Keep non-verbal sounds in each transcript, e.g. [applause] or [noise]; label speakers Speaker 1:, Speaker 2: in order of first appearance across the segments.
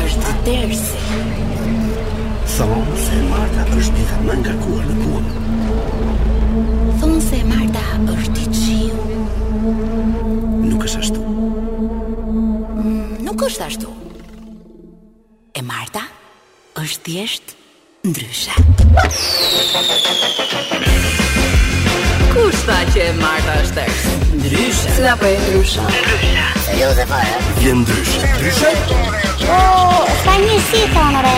Speaker 1: Dersi.
Speaker 2: Thonë se Marta është dita më nga kuar në punë.
Speaker 1: Thonë se Marta është i qiu.
Speaker 2: Nuk është ashtu.
Speaker 1: Nuk është ashtu. E Marta është thjesht ndryshe.
Speaker 3: Kush tha që e Marta është tërës? Ndryshe.
Speaker 4: Si da po e ndryshe?
Speaker 5: Serioze fare.
Speaker 2: Vjen ndryshe. Ndryshe?
Speaker 5: Po, s'ka një si thonë re.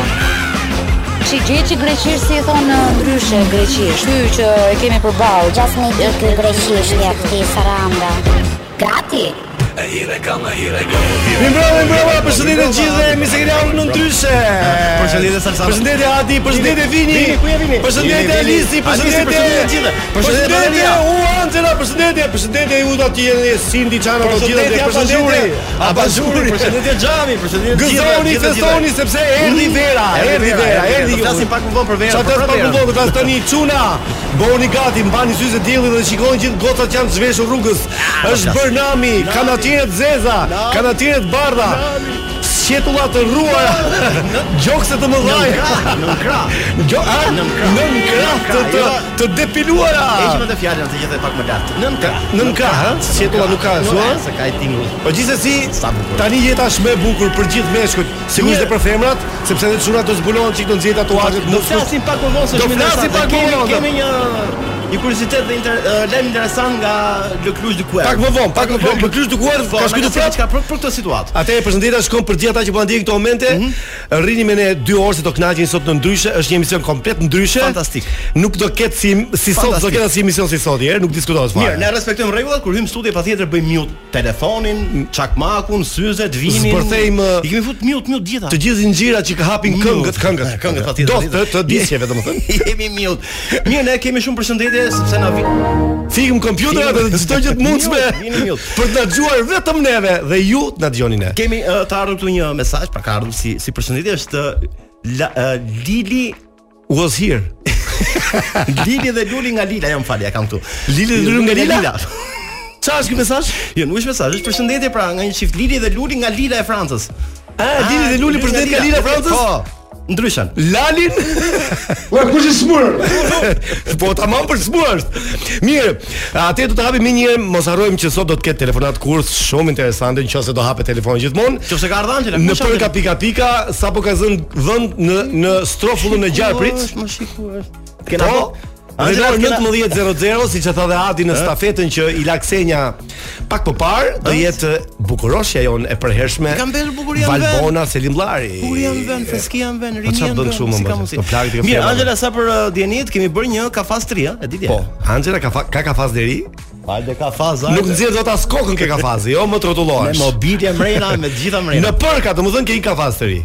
Speaker 4: Që gjë që greqisht si e thonë ndryshe greqisht. Ky që e kemi përballë.
Speaker 5: Gjasmi ky greqisht ja këti Saranda. Gati.
Speaker 2: E hire kam, e hire go.
Speaker 6: Mi mbrëma, mi mbrëma, përshëndetje të gjithëve, mi se keni ardhur në ndryshe.
Speaker 7: Përshëndetje, Salsano.
Speaker 6: Përshëndetje Adi, përshëndetje Vini.
Speaker 7: Vini, ku je Vini?
Speaker 6: Përshëndetje
Speaker 7: Vini, Vini. Alisi,
Speaker 6: Alisi, përshëndetje
Speaker 7: përshëndetje të gjithëve. Përshëndetje
Speaker 6: Përshëndetje
Speaker 7: Valeria.
Speaker 6: u Angela, përshëndetje, përshëndetje ju do të jeni Sindi Çano do të gjithë
Speaker 7: Përshëndetje Abazhuri, Abazhuri, përshëndetje Xhami, përshëndetje të gjithëve,
Speaker 6: Gëzoni,
Speaker 7: gjithëve, gjithëve.
Speaker 6: festoni sepse erdhi vera, erdhi vera, erdhi.
Speaker 7: Do flasim pak më vonë për verën.
Speaker 6: Çfarë të pak mundon të tas tani çuna? Bëuni gati, mbani syze diellin dhe shikoni gjithë gocat që janë zhveshur rrugës. Është Bërnami, kanatiret zeza, kanatiret bardha. Sqetulla të rruara, gjokse të mëdha.
Speaker 7: Në krah.
Speaker 6: Gjo, a?
Speaker 7: Nën krah.
Speaker 6: Nën krah të të, të depiluara.
Speaker 7: Heqim atë fjalën se gjithë pak më lart. Nën krah.
Speaker 6: Nën krah, ha? Sqetulla nuk ka
Speaker 7: Nuk
Speaker 6: zua.
Speaker 7: ka, se ka i tingull.
Speaker 6: Po gjithsesi,
Speaker 7: Sa bukur.
Speaker 6: tani jeta është më e bukur për gjithë meshkujt, sigurisht edhe për femrat, sepse edhe çunat do zbulohen çik do nxjerrin tatuazhet,
Speaker 7: Do
Speaker 6: muskut.
Speaker 7: flasim pak më vonë se
Speaker 6: Do
Speaker 7: shumë
Speaker 6: flasim
Speaker 7: interesante.
Speaker 6: pak më
Speaker 7: Kemi-
Speaker 6: vonë,
Speaker 7: Kemi një një kuriozitet dhe inter- eh, lajm interesant nga Le Cluj du Cuer.
Speaker 6: Pak më vonë, pak më vonë, për krysh dukuar
Speaker 7: Po,
Speaker 6: ka shkruar
Speaker 7: magazin
Speaker 6: prapë.
Speaker 7: diçka për për këtë situatë.
Speaker 6: Atë e përshëndeta shkon për gjithë ata që po na ndjekin këto momente. Rrini me ne 2 orë se do kënaqeni sot në ndryshe, është një emision komplet ndryshe.
Speaker 7: Fantastik.
Speaker 6: Nuk do ket si si sot, do
Speaker 7: Fantastik.
Speaker 6: ket as si emision si sot, herë nuk diskutohet fare.
Speaker 7: Mirë, ne respektojmë rregullat kur hym në studio patjetër bëjmë mute telefonin, çakmakun, syzet, vinin.
Speaker 6: Zbërthejmë-
Speaker 7: i kemi fut mute mute gjitha.
Speaker 6: Të gjithë ngjyrat që ka hapin
Speaker 7: Mute.
Speaker 6: këngët, këngët,
Speaker 7: Këngët, patjetër,
Speaker 6: Do të
Speaker 7: patjetër.
Speaker 6: të disjeve domethënë. [laughs]
Speaker 7: jemi mute. Mirë, ne kemi shumë përshëndetje sepse na vi
Speaker 6: Fikëm kompjuterat
Speaker 7: Fikëm-
Speaker 6: dhe çdo gjë të mundshme
Speaker 7: Mute, vini mute.
Speaker 6: për të na dëgjuar vetëm neve dhe ju të na dëgjoni ne.
Speaker 7: kemi uh, të ardhur këtu një mesazh, pra ka ardhur si si përshëndetje është la, uh, Lili
Speaker 6: Was [laughs] here.
Speaker 7: Lili dhe Luli nga Lila, jo më fali, ja kam këtu.
Speaker 6: Lili dhe Luli nga Lila?
Speaker 7: Çfarë është ky mesazh? Jo, nuk është mesazh, është përshëndetje pra nga një çift Lili dhe Luli nga Lila e Francës.
Speaker 6: A dini dhe Ah, Luli për nga Lila Francës?
Speaker 7: Po. Ndryshën.
Speaker 8: [laughs]
Speaker 6: Lalin?
Speaker 8: Ua, kush i smurë?
Speaker 6: [laughs] po tamam për smurës. Mirë, atë do të hapim një herë, mos harrojmë që sot do të ketë telefonat kurs shumë interesante, nëse do hapet telefoni gjithmonë.
Speaker 7: Qofse ka ardhur Angela,
Speaker 6: Në
Speaker 7: kush është Angela?
Speaker 6: përka pika pika, sapo ka zënë vend në në strofullën e gjarprit.
Speaker 7: Është më shikuar. Kena po.
Speaker 6: Po, Në
Speaker 7: Angela,
Speaker 6: orë
Speaker 7: kena-
Speaker 6: 19:00, siç e tha dhe Adi në stafetën që i la Ksenja pak më parë, do jetë bukuroshja jon e përhershme.
Speaker 7: Ka mbledhur bukuria në vend.
Speaker 6: Valbona Selimllari.
Speaker 7: Kur janë vend, freski janë vend,
Speaker 6: Po
Speaker 7: rini
Speaker 6: çfarë
Speaker 7: janë vend.
Speaker 6: bën kështu,
Speaker 7: si
Speaker 6: më
Speaker 7: ka
Speaker 6: bërë?
Speaker 7: mundsi?
Speaker 6: Po plagët e
Speaker 7: Mirë,
Speaker 6: fjallave.
Speaker 7: Angela sa për uh, dienit kemi bërë një kafaz 3, ë, e di ti.
Speaker 6: Po, Angela ka fa- ka kafaz deri.
Speaker 7: Hajde kafaza.
Speaker 6: Nuk nxjerr dot as kokën ke kafazi, jo, më
Speaker 7: me
Speaker 6: trotullohesh.
Speaker 7: mobilje mrena, me të gjitha mrena.
Speaker 6: Në përka, domethënë ke i kafaz
Speaker 7: [laughs]
Speaker 6: të ri.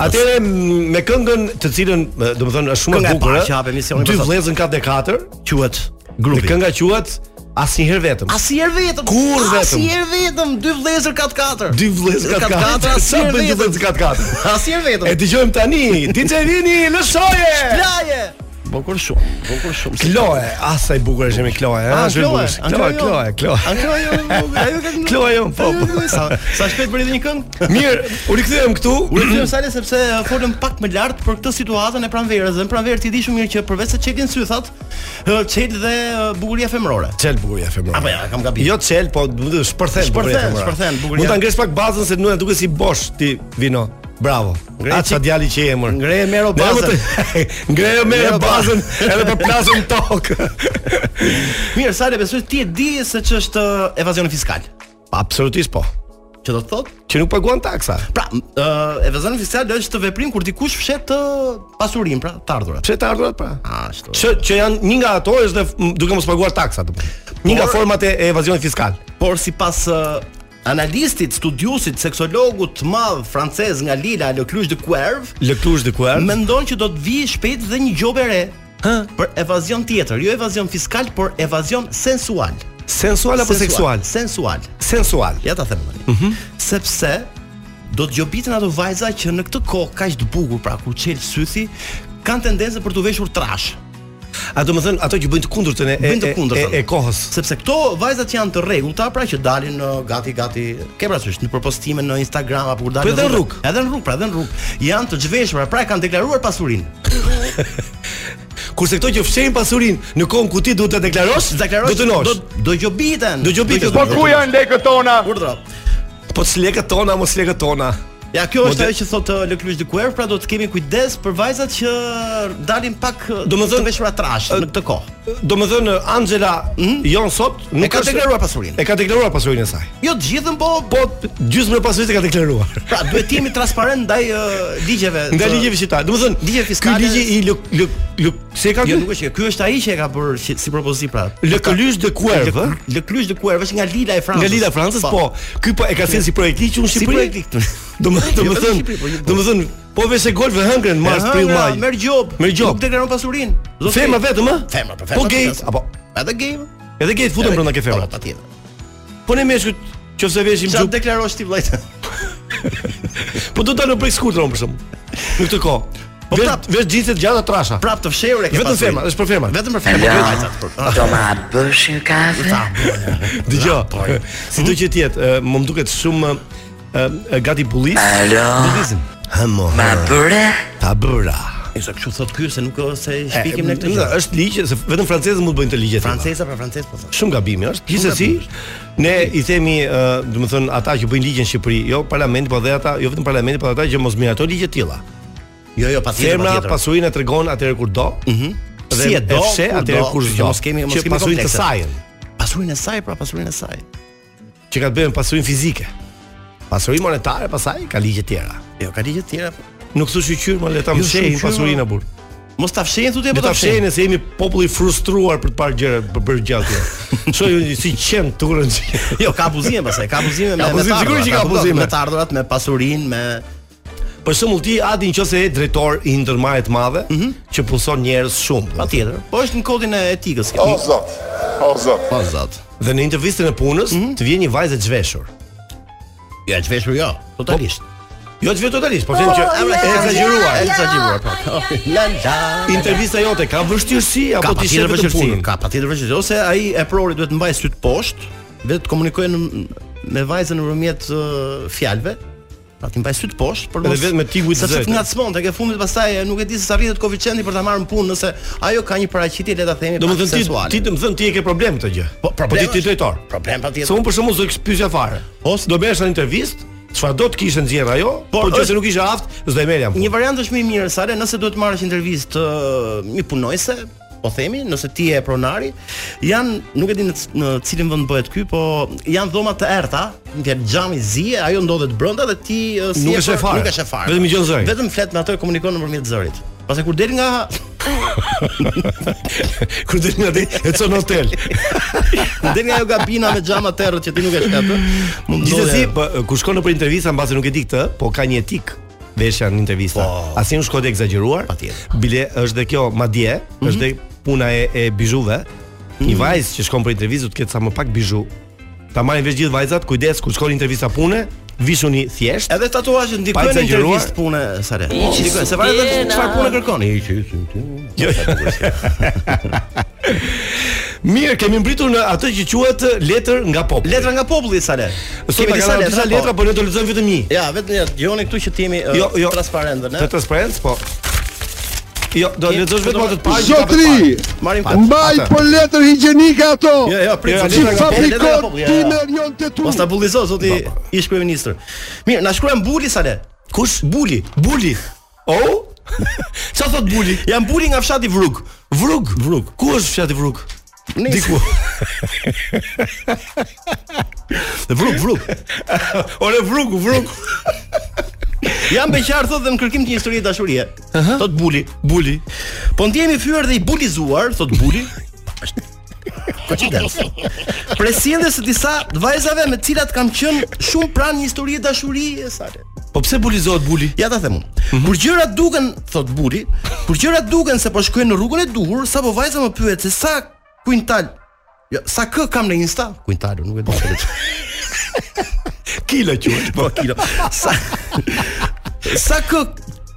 Speaker 6: Atëre m, me këngën të cilën domethënë është shumë
Speaker 7: Kënga
Speaker 6: e
Speaker 7: e
Speaker 6: bukur.
Speaker 7: parë
Speaker 6: ë,
Speaker 7: që hap emisionin
Speaker 6: Dy
Speaker 7: për sot.
Speaker 6: vëllezën ka D4,
Speaker 7: quhet
Speaker 6: dhe kënga quhet Asnjëherë vetëm.
Speaker 7: Asnjëherë vetëm.
Speaker 6: Kur er vetëm?
Speaker 7: Asnjëherë vetëm, dy vëllezër kat katër.
Speaker 6: Dy vëllezër ka katër. er Sa
Speaker 7: asnjëherë
Speaker 6: bën dy
Speaker 7: vetëm.
Speaker 6: vëllezër ka katër?
Speaker 7: Asnjëherë
Speaker 6: E
Speaker 7: vetëm.
Speaker 6: dëgjojmë tani, DJ Vini, lëshoje!
Speaker 7: Plaje. Bukur shumë, bukur shumë.
Speaker 6: Kloe, asa i bukur është me Kloe, ha? Është e bukur. Ah, Kloe, Kloe,
Speaker 7: A
Speaker 6: Kloe. [laughs]
Speaker 7: Kloe, jo, bukur, ajo ka kënduar.
Speaker 6: Kloe jon, po. po.
Speaker 7: Sa sa shpejt bëri një këngë?
Speaker 6: [clears throat] Mirë, u rikthyem këtu.
Speaker 7: U rikthyem sale sepse uh, folëm pak më lart për këtë situatën e pranverës dhe në pranverë ti di shumë mirë që përveç se çelin sy that, uh, çel dhe uh, bukuria femërore.
Speaker 6: Çel bukuria femërore.
Speaker 7: Apo ja, kam gabim.
Speaker 6: Jo çel, po më duhet shpërthen bukuria
Speaker 7: Shpërthen,
Speaker 6: femërore.
Speaker 7: shpërthen bukuria.
Speaker 6: Mund ta ngresh pak bazën se nuk na duket si bosh ti Vino. Bravo.
Speaker 7: Ngre
Speaker 6: Atë sa
Speaker 7: qik-
Speaker 6: djali që je emër.
Speaker 7: ngre mero
Speaker 6: Ne jemi
Speaker 7: bazën.
Speaker 6: të- [laughs] Ngre merë
Speaker 7: Mero
Speaker 6: bazën edhe për
Speaker 7: [laughs]
Speaker 6: plazën tokë.
Speaker 7: Mirë, sale besoj ti e di se ç'është uh, evazioni fiskal.
Speaker 6: Absolutisht po.
Speaker 7: Që do të thotë
Speaker 6: Që nuk paguan taksa.
Speaker 7: Pra, ë evazioni fiskal është të veprim kur dikush fshet të pasurinë, pra, të ardhurat.
Speaker 6: Pse të ardhurat pra?
Speaker 7: Ashtu.
Speaker 6: që që janë një nga ato është dhe f- duke mos paguar taksa apo. Një nga
Speaker 7: Por-
Speaker 6: format e e evazionit fiskal.
Speaker 7: Por sipas ë, analistit, studiusit, seksologut të madh francez nga Lila Le Cluj de Cuerve,
Speaker 6: Le Cluj de Cuerve.
Speaker 7: mendon që do të vijë shpejt dhe një gjobë e re për evazion tjetër, jo evazion fiskal, por evazion sensual.
Speaker 6: Sensual apo seksual? Mhm.
Speaker 7: Sensual.
Speaker 6: Sensual.
Speaker 7: Ja ta them tani. Sepse do të gjobiten ato vajza që në këtë kohë kaq të bukur, pra kur çel sythi, kanë tendencë për të veshur trash.
Speaker 6: A do të thënë ato që bëjnë të kundërtën e e,
Speaker 7: Bëjnë të
Speaker 6: e,
Speaker 7: kundërtën.
Speaker 6: e kohës.
Speaker 7: sepse këto vajzat që janë të rregullta, pra që dalin ë, gati gati, ke parasysh në propostime në Instagram apo kur dalin.
Speaker 6: Po edhe në
Speaker 7: rrugë.
Speaker 6: rrugë.
Speaker 7: Edhe në rrugë, pra edhe në rrugë. Janë të zhveshura, pra e kanë deklaruar pasurinë.
Speaker 6: Kurse këto që fshehin pasurinë në kohën ku ti duhet ta deklarosh,
Speaker 7: Deklarosh
Speaker 6: do të nosh.
Speaker 7: do do gjobiten.
Speaker 6: Do gjobiten.
Speaker 8: Po ku janë lekët tona?
Speaker 7: Urdhra.
Speaker 6: Po çlekët tona, mos çlekët tona.
Speaker 7: Ja, kjo është
Speaker 6: Mode-
Speaker 7: ajo që thotë uh, Lëkrysh Dikuer, pra do të kemi kujdes për vajzat që dalin pak uh,
Speaker 6: Do me
Speaker 7: të
Speaker 6: thënë-
Speaker 7: veshura trash në këtë kohë.
Speaker 6: Do më thënë Angela jon sot nuk
Speaker 7: Mhm. ka
Speaker 6: është-
Speaker 7: deklaruar pasurinë.
Speaker 6: E ka deklaruar pasurinë e saj.
Speaker 7: Jo të gjithën, po
Speaker 6: Po gjysmën e pasurisë e ka deklaruar.
Speaker 7: [laughs] pra duhet të jemi transparent ndaj uh, ligjeve.
Speaker 6: Nga
Speaker 7: të-
Speaker 6: ligjevi shqiptar. Do të thënë
Speaker 7: Ligje fiskale-
Speaker 6: Ky ligji i lë lë lë se ka
Speaker 7: Jo,
Speaker 6: ky?
Speaker 7: nuk është. kjo. Ky është ai që e ka bërë si, si propozim pra.
Speaker 6: Lëkëlysh de Kuervë.
Speaker 7: Lëkrysh Dikuer, është nga Lila e Francës.
Speaker 6: Nga Lila e Francës, po. Ky po e ka thënë si projekt ligj unë në
Speaker 7: Si
Speaker 6: Shqipëri.
Speaker 7: projekt ligj [laughs] këtu.
Speaker 6: Do më do
Speaker 7: Jo,
Speaker 6: më
Speaker 7: vetëm
Speaker 6: thënë,
Speaker 7: në Shqipëri, po, jo, po.
Speaker 6: do më thënë, po vese golfë hëngrën mars
Speaker 7: Aha,
Speaker 6: prill
Speaker 7: Ah, nga,
Speaker 6: maj.
Speaker 7: Merr gjob.
Speaker 6: Merr gjob.
Speaker 7: Nuk deklaron pasurinë. Zotri.
Speaker 6: Femra vetëm, ë?
Speaker 7: Femra, po
Speaker 6: Po
Speaker 7: femra.
Speaker 6: gay,
Speaker 7: të-
Speaker 6: apo
Speaker 7: Edhe game.
Speaker 6: edhe gay futen brenda ke femrat.
Speaker 7: Patjetër.
Speaker 6: Po ne meshkut qofse veshim
Speaker 7: Çfarë
Speaker 6: gjup,
Speaker 7: deklarosh ti vllajtë?
Speaker 6: po do të dalë në brek skuqtër unë për shkakun. Në këtë kohë.
Speaker 7: Po
Speaker 6: Vesh
Speaker 7: prap-
Speaker 6: vesh gjinset gjata trasha.
Speaker 7: Prap të fshehur e ke
Speaker 6: Pra- Vetëm
Speaker 7: pasurinë.
Speaker 6: femra, është për femra.
Speaker 7: Vetëm për femra. për vajzat, për- Ah,
Speaker 6: [laughs]
Speaker 3: Do ma bësh një kafe?
Speaker 6: Dgjoj. [laughs] Sido që të jetë, ë, më duket shumë ë, ë, gati bullis.
Speaker 3: Alo,
Speaker 6: Bullizëm. Hamo.
Speaker 3: ma bëre?
Speaker 6: Ta bëra.
Speaker 7: Ishte kështu thot ky se nuk ë, se shpikim
Speaker 6: E,
Speaker 7: ne këtë
Speaker 6: nga,
Speaker 7: gjë.
Speaker 6: Është ligj se vetëm francezët mund të bëjnë të ligje. tilla.
Speaker 7: Franceza për francez po thon.
Speaker 6: Shumë gabimi është. Gjithsesi, ne i themi, ë, do të thënë, ata që bëjnë ligje në Shqipëri, jo parlamenti, po dhe ata, jo vetëm parlamenti, por ata që mos mirë ato ligje të tilla.
Speaker 7: Jo, jo, patjetër,
Speaker 6: Femra
Speaker 7: patjetër.
Speaker 6: pasurinë e tregon atëherë kur do. Mhm. Dhe
Speaker 7: Si e do,
Speaker 6: fshe
Speaker 7: kur
Speaker 6: atëherë
Speaker 7: do,
Speaker 6: kur
Speaker 7: që
Speaker 6: do.
Speaker 7: mos kemi- mos
Speaker 6: Që
Speaker 7: kemi
Speaker 6: pasurinë të
Speaker 7: komplekse.
Speaker 6: sajën,
Speaker 7: Pasurinë e saj, pra pasurinë e saj.
Speaker 6: që ka të bëjë me pasurinë fizike. Pasurinë monetare, pastaj ka ligje të tjera.
Speaker 7: Jo, ka ligje të tjera. po.
Speaker 6: Nuk thu shqyr, më le ta
Speaker 7: Jo,
Speaker 6: mshehin
Speaker 7: shqyr,
Speaker 6: pasurinë
Speaker 7: ma.
Speaker 6: e burr.
Speaker 7: Mos ta fshehin thotë
Speaker 6: Le
Speaker 7: apo
Speaker 6: ta
Speaker 7: ta
Speaker 6: fshehin
Speaker 7: fshehin.
Speaker 6: e se jemi popull i frustruar për të parë gjëra për bërë gjatë. [laughs] tjera. Shoj unë si qen turën.
Speaker 7: Jo, ka abuzime pastaj, ka abuzime me
Speaker 6: Ka abuzim,
Speaker 7: me të
Speaker 6: sigurisht që ka
Speaker 7: ardhurat,
Speaker 6: abuzime.
Speaker 7: Me të ardhurat, me pasurinë, me
Speaker 6: Për shembull ti Adi nëse je drejtor i një ndërmarrje të madhe, që pulson njerëz shumë.
Speaker 7: patjetër. Po është në kodin e etikës kjo.
Speaker 8: O zot. O zot.
Speaker 7: Po zot.
Speaker 6: Dhe në intervistën e punës, të vjen një vajzë e zhveshur.
Speaker 7: Jo, e çveshur jo, totalisht.
Speaker 6: Jo të vjen totalisht, po them që
Speaker 7: emra-
Speaker 6: e exagjeruar.
Speaker 7: E exagjeruar po. La la.
Speaker 6: Intervista jote ka vështirësi
Speaker 7: Ka
Speaker 6: apo Po, ti
Speaker 7: patjetër
Speaker 6: shef të punën?
Speaker 7: vështirësi, ka patjetër vështirësi ose ai e prori duhet të mbaj syt poshtë, vetë të komunikojë në- me vajzën nëpërmjet ë, fjalëve. Pra ti mbaj syt poshtë, por
Speaker 6: Edhe vetëm me tigu të
Speaker 7: Sepse
Speaker 6: zëtë.
Speaker 7: të ngacmon tek e fundit pastaj e, nuk e di se sa rritet koeficienti për ta marrë në punë nëse ajo ka një paraqitje le ta themi. pak
Speaker 6: Domethënë ti
Speaker 7: seksuale.
Speaker 6: ti domethënë ti e ke problem këtë gjë.
Speaker 7: Po, problem
Speaker 6: ti ti
Speaker 7: është-
Speaker 6: drejtor.
Speaker 7: problem patjetër.
Speaker 6: Se unë për shembull do të pyesja fare. Ose do bëhesh në intervistë, çfarë do të kishte nxjerr ajo, por
Speaker 7: Por
Speaker 6: nëse
Speaker 7: Po, është-
Speaker 6: nuk isha aft, s'do e merrja.
Speaker 7: Një variant është më i mirë sa le nëse duhet marrësh intervistë ë, një punojse, po themi, nëse ti je pronari, janë nuk e di në, c- në cilin vend bëhet ky, po janë dhoma të errta, në fjalë xhami zi, ajo ndodhet brenda dhe ti ë, si
Speaker 6: Nuk
Speaker 7: e
Speaker 6: e
Speaker 7: për-
Speaker 6: shef fare.
Speaker 7: nuk e shef fare.
Speaker 6: Vetëm i gjon zërin.
Speaker 7: Vetëm flet me ato e komunikon nëpërmjet zërit. Pastaj kur del nga
Speaker 6: [laughs] kur del nga deri e çon në hotel.
Speaker 7: kur del nga ajo gabina me xhama të errët që ti [laughs] nuk e shef atë, mund
Speaker 6: Gjithsesi, po, kur shkon në për intervista, mbase nuk e di këtë, po ka një etik veshja në intervista.
Speaker 7: Po.
Speaker 6: Asnjë nuk shkon të egzageruar.
Speaker 7: Patjetër.
Speaker 6: Bile është dhe kjo madje,
Speaker 7: Mhm.
Speaker 6: është dhe puna e, e bizhuve. Një vajzë që shkon për intervistë do të ketë sa më pak bizhu. Ta marrin vesh gjithë vajzat, kujdes kur shkon në intervista pune, vishuni thjesht.
Speaker 7: Edhe tatuazhet
Speaker 6: Pa
Speaker 7: ndikojnë në
Speaker 6: exagjeruar.
Speaker 7: intervistë pune sa le. Ndikojnë, se varet edhe çfarë pune kërkoni.
Speaker 6: Jo. Mirë, kemi mbritur në atë që quhet eh, letër nga populli.
Speaker 7: Letra nga populli sa le.
Speaker 6: Sot na kanë disa
Speaker 7: po.
Speaker 6: letra, por ne do lexojmë vetëm një.
Speaker 7: Ja, vetëm ja, dëgjoni këtu që t'jemi uh,
Speaker 6: Jo, jo.
Speaker 7: transparentë, ne.
Speaker 6: Të transparencë, po. Jo, do
Speaker 7: Kemi-
Speaker 6: lexosh vetëm
Speaker 7: do-
Speaker 6: atë të parë.
Speaker 8: Zotri,
Speaker 7: Marim
Speaker 6: Pa-
Speaker 7: këtë.
Speaker 8: mbaj po- për letër higjienike ato.
Speaker 7: Jo, jo, prit,
Speaker 6: Jo,
Speaker 7: sa
Speaker 6: jo, letra
Speaker 8: Që
Speaker 7: letra
Speaker 6: nga
Speaker 7: nga populli, letra nga
Speaker 8: fabrikon
Speaker 7: populli.
Speaker 8: ti
Speaker 7: ja,
Speaker 8: me
Speaker 7: ja.
Speaker 8: rion të tu.
Speaker 7: Mos ta bullizo zoti ish kryeministër. Mirë, na shkruan Buli sa le.
Speaker 6: Kush? Buli. Buli. Oh? Çfarë thot Buli?
Speaker 7: Jam Buli nga fshati Vrug.
Speaker 6: Vrug. Vrug. Ku është fshati Vrug?
Speaker 7: Diku.
Speaker 6: Dhe Vrug,
Speaker 7: [laughs]
Speaker 6: Vrug. Ore Vrug, Vrug.
Speaker 7: Jam beqar thotë dhe në kërkim të një historie dashurie. Thot Buli.
Speaker 6: Buli.
Speaker 7: Po ndjehemi fyer dhe i bulizuar, thot Buli. Është Koincidencë. Presjelljes së disa vajzave me të cilat kam qenë shumë pranë një historie dashurie sa le.
Speaker 6: Po pse bulizohet Buli?
Speaker 7: Ja ta them unë. Kur gjërat duken, thot Buli, kur gjërat duken se po shkojnë në rrugën e duhur, sapo vajza më pyet se sa kuintal Jo, sa kë kam në Insta? Kuintal, nuk e di
Speaker 6: [laughs]
Speaker 7: çfarë.
Speaker 6: Kila quhet.
Speaker 7: [laughs] Po kilo. Sa Sa kë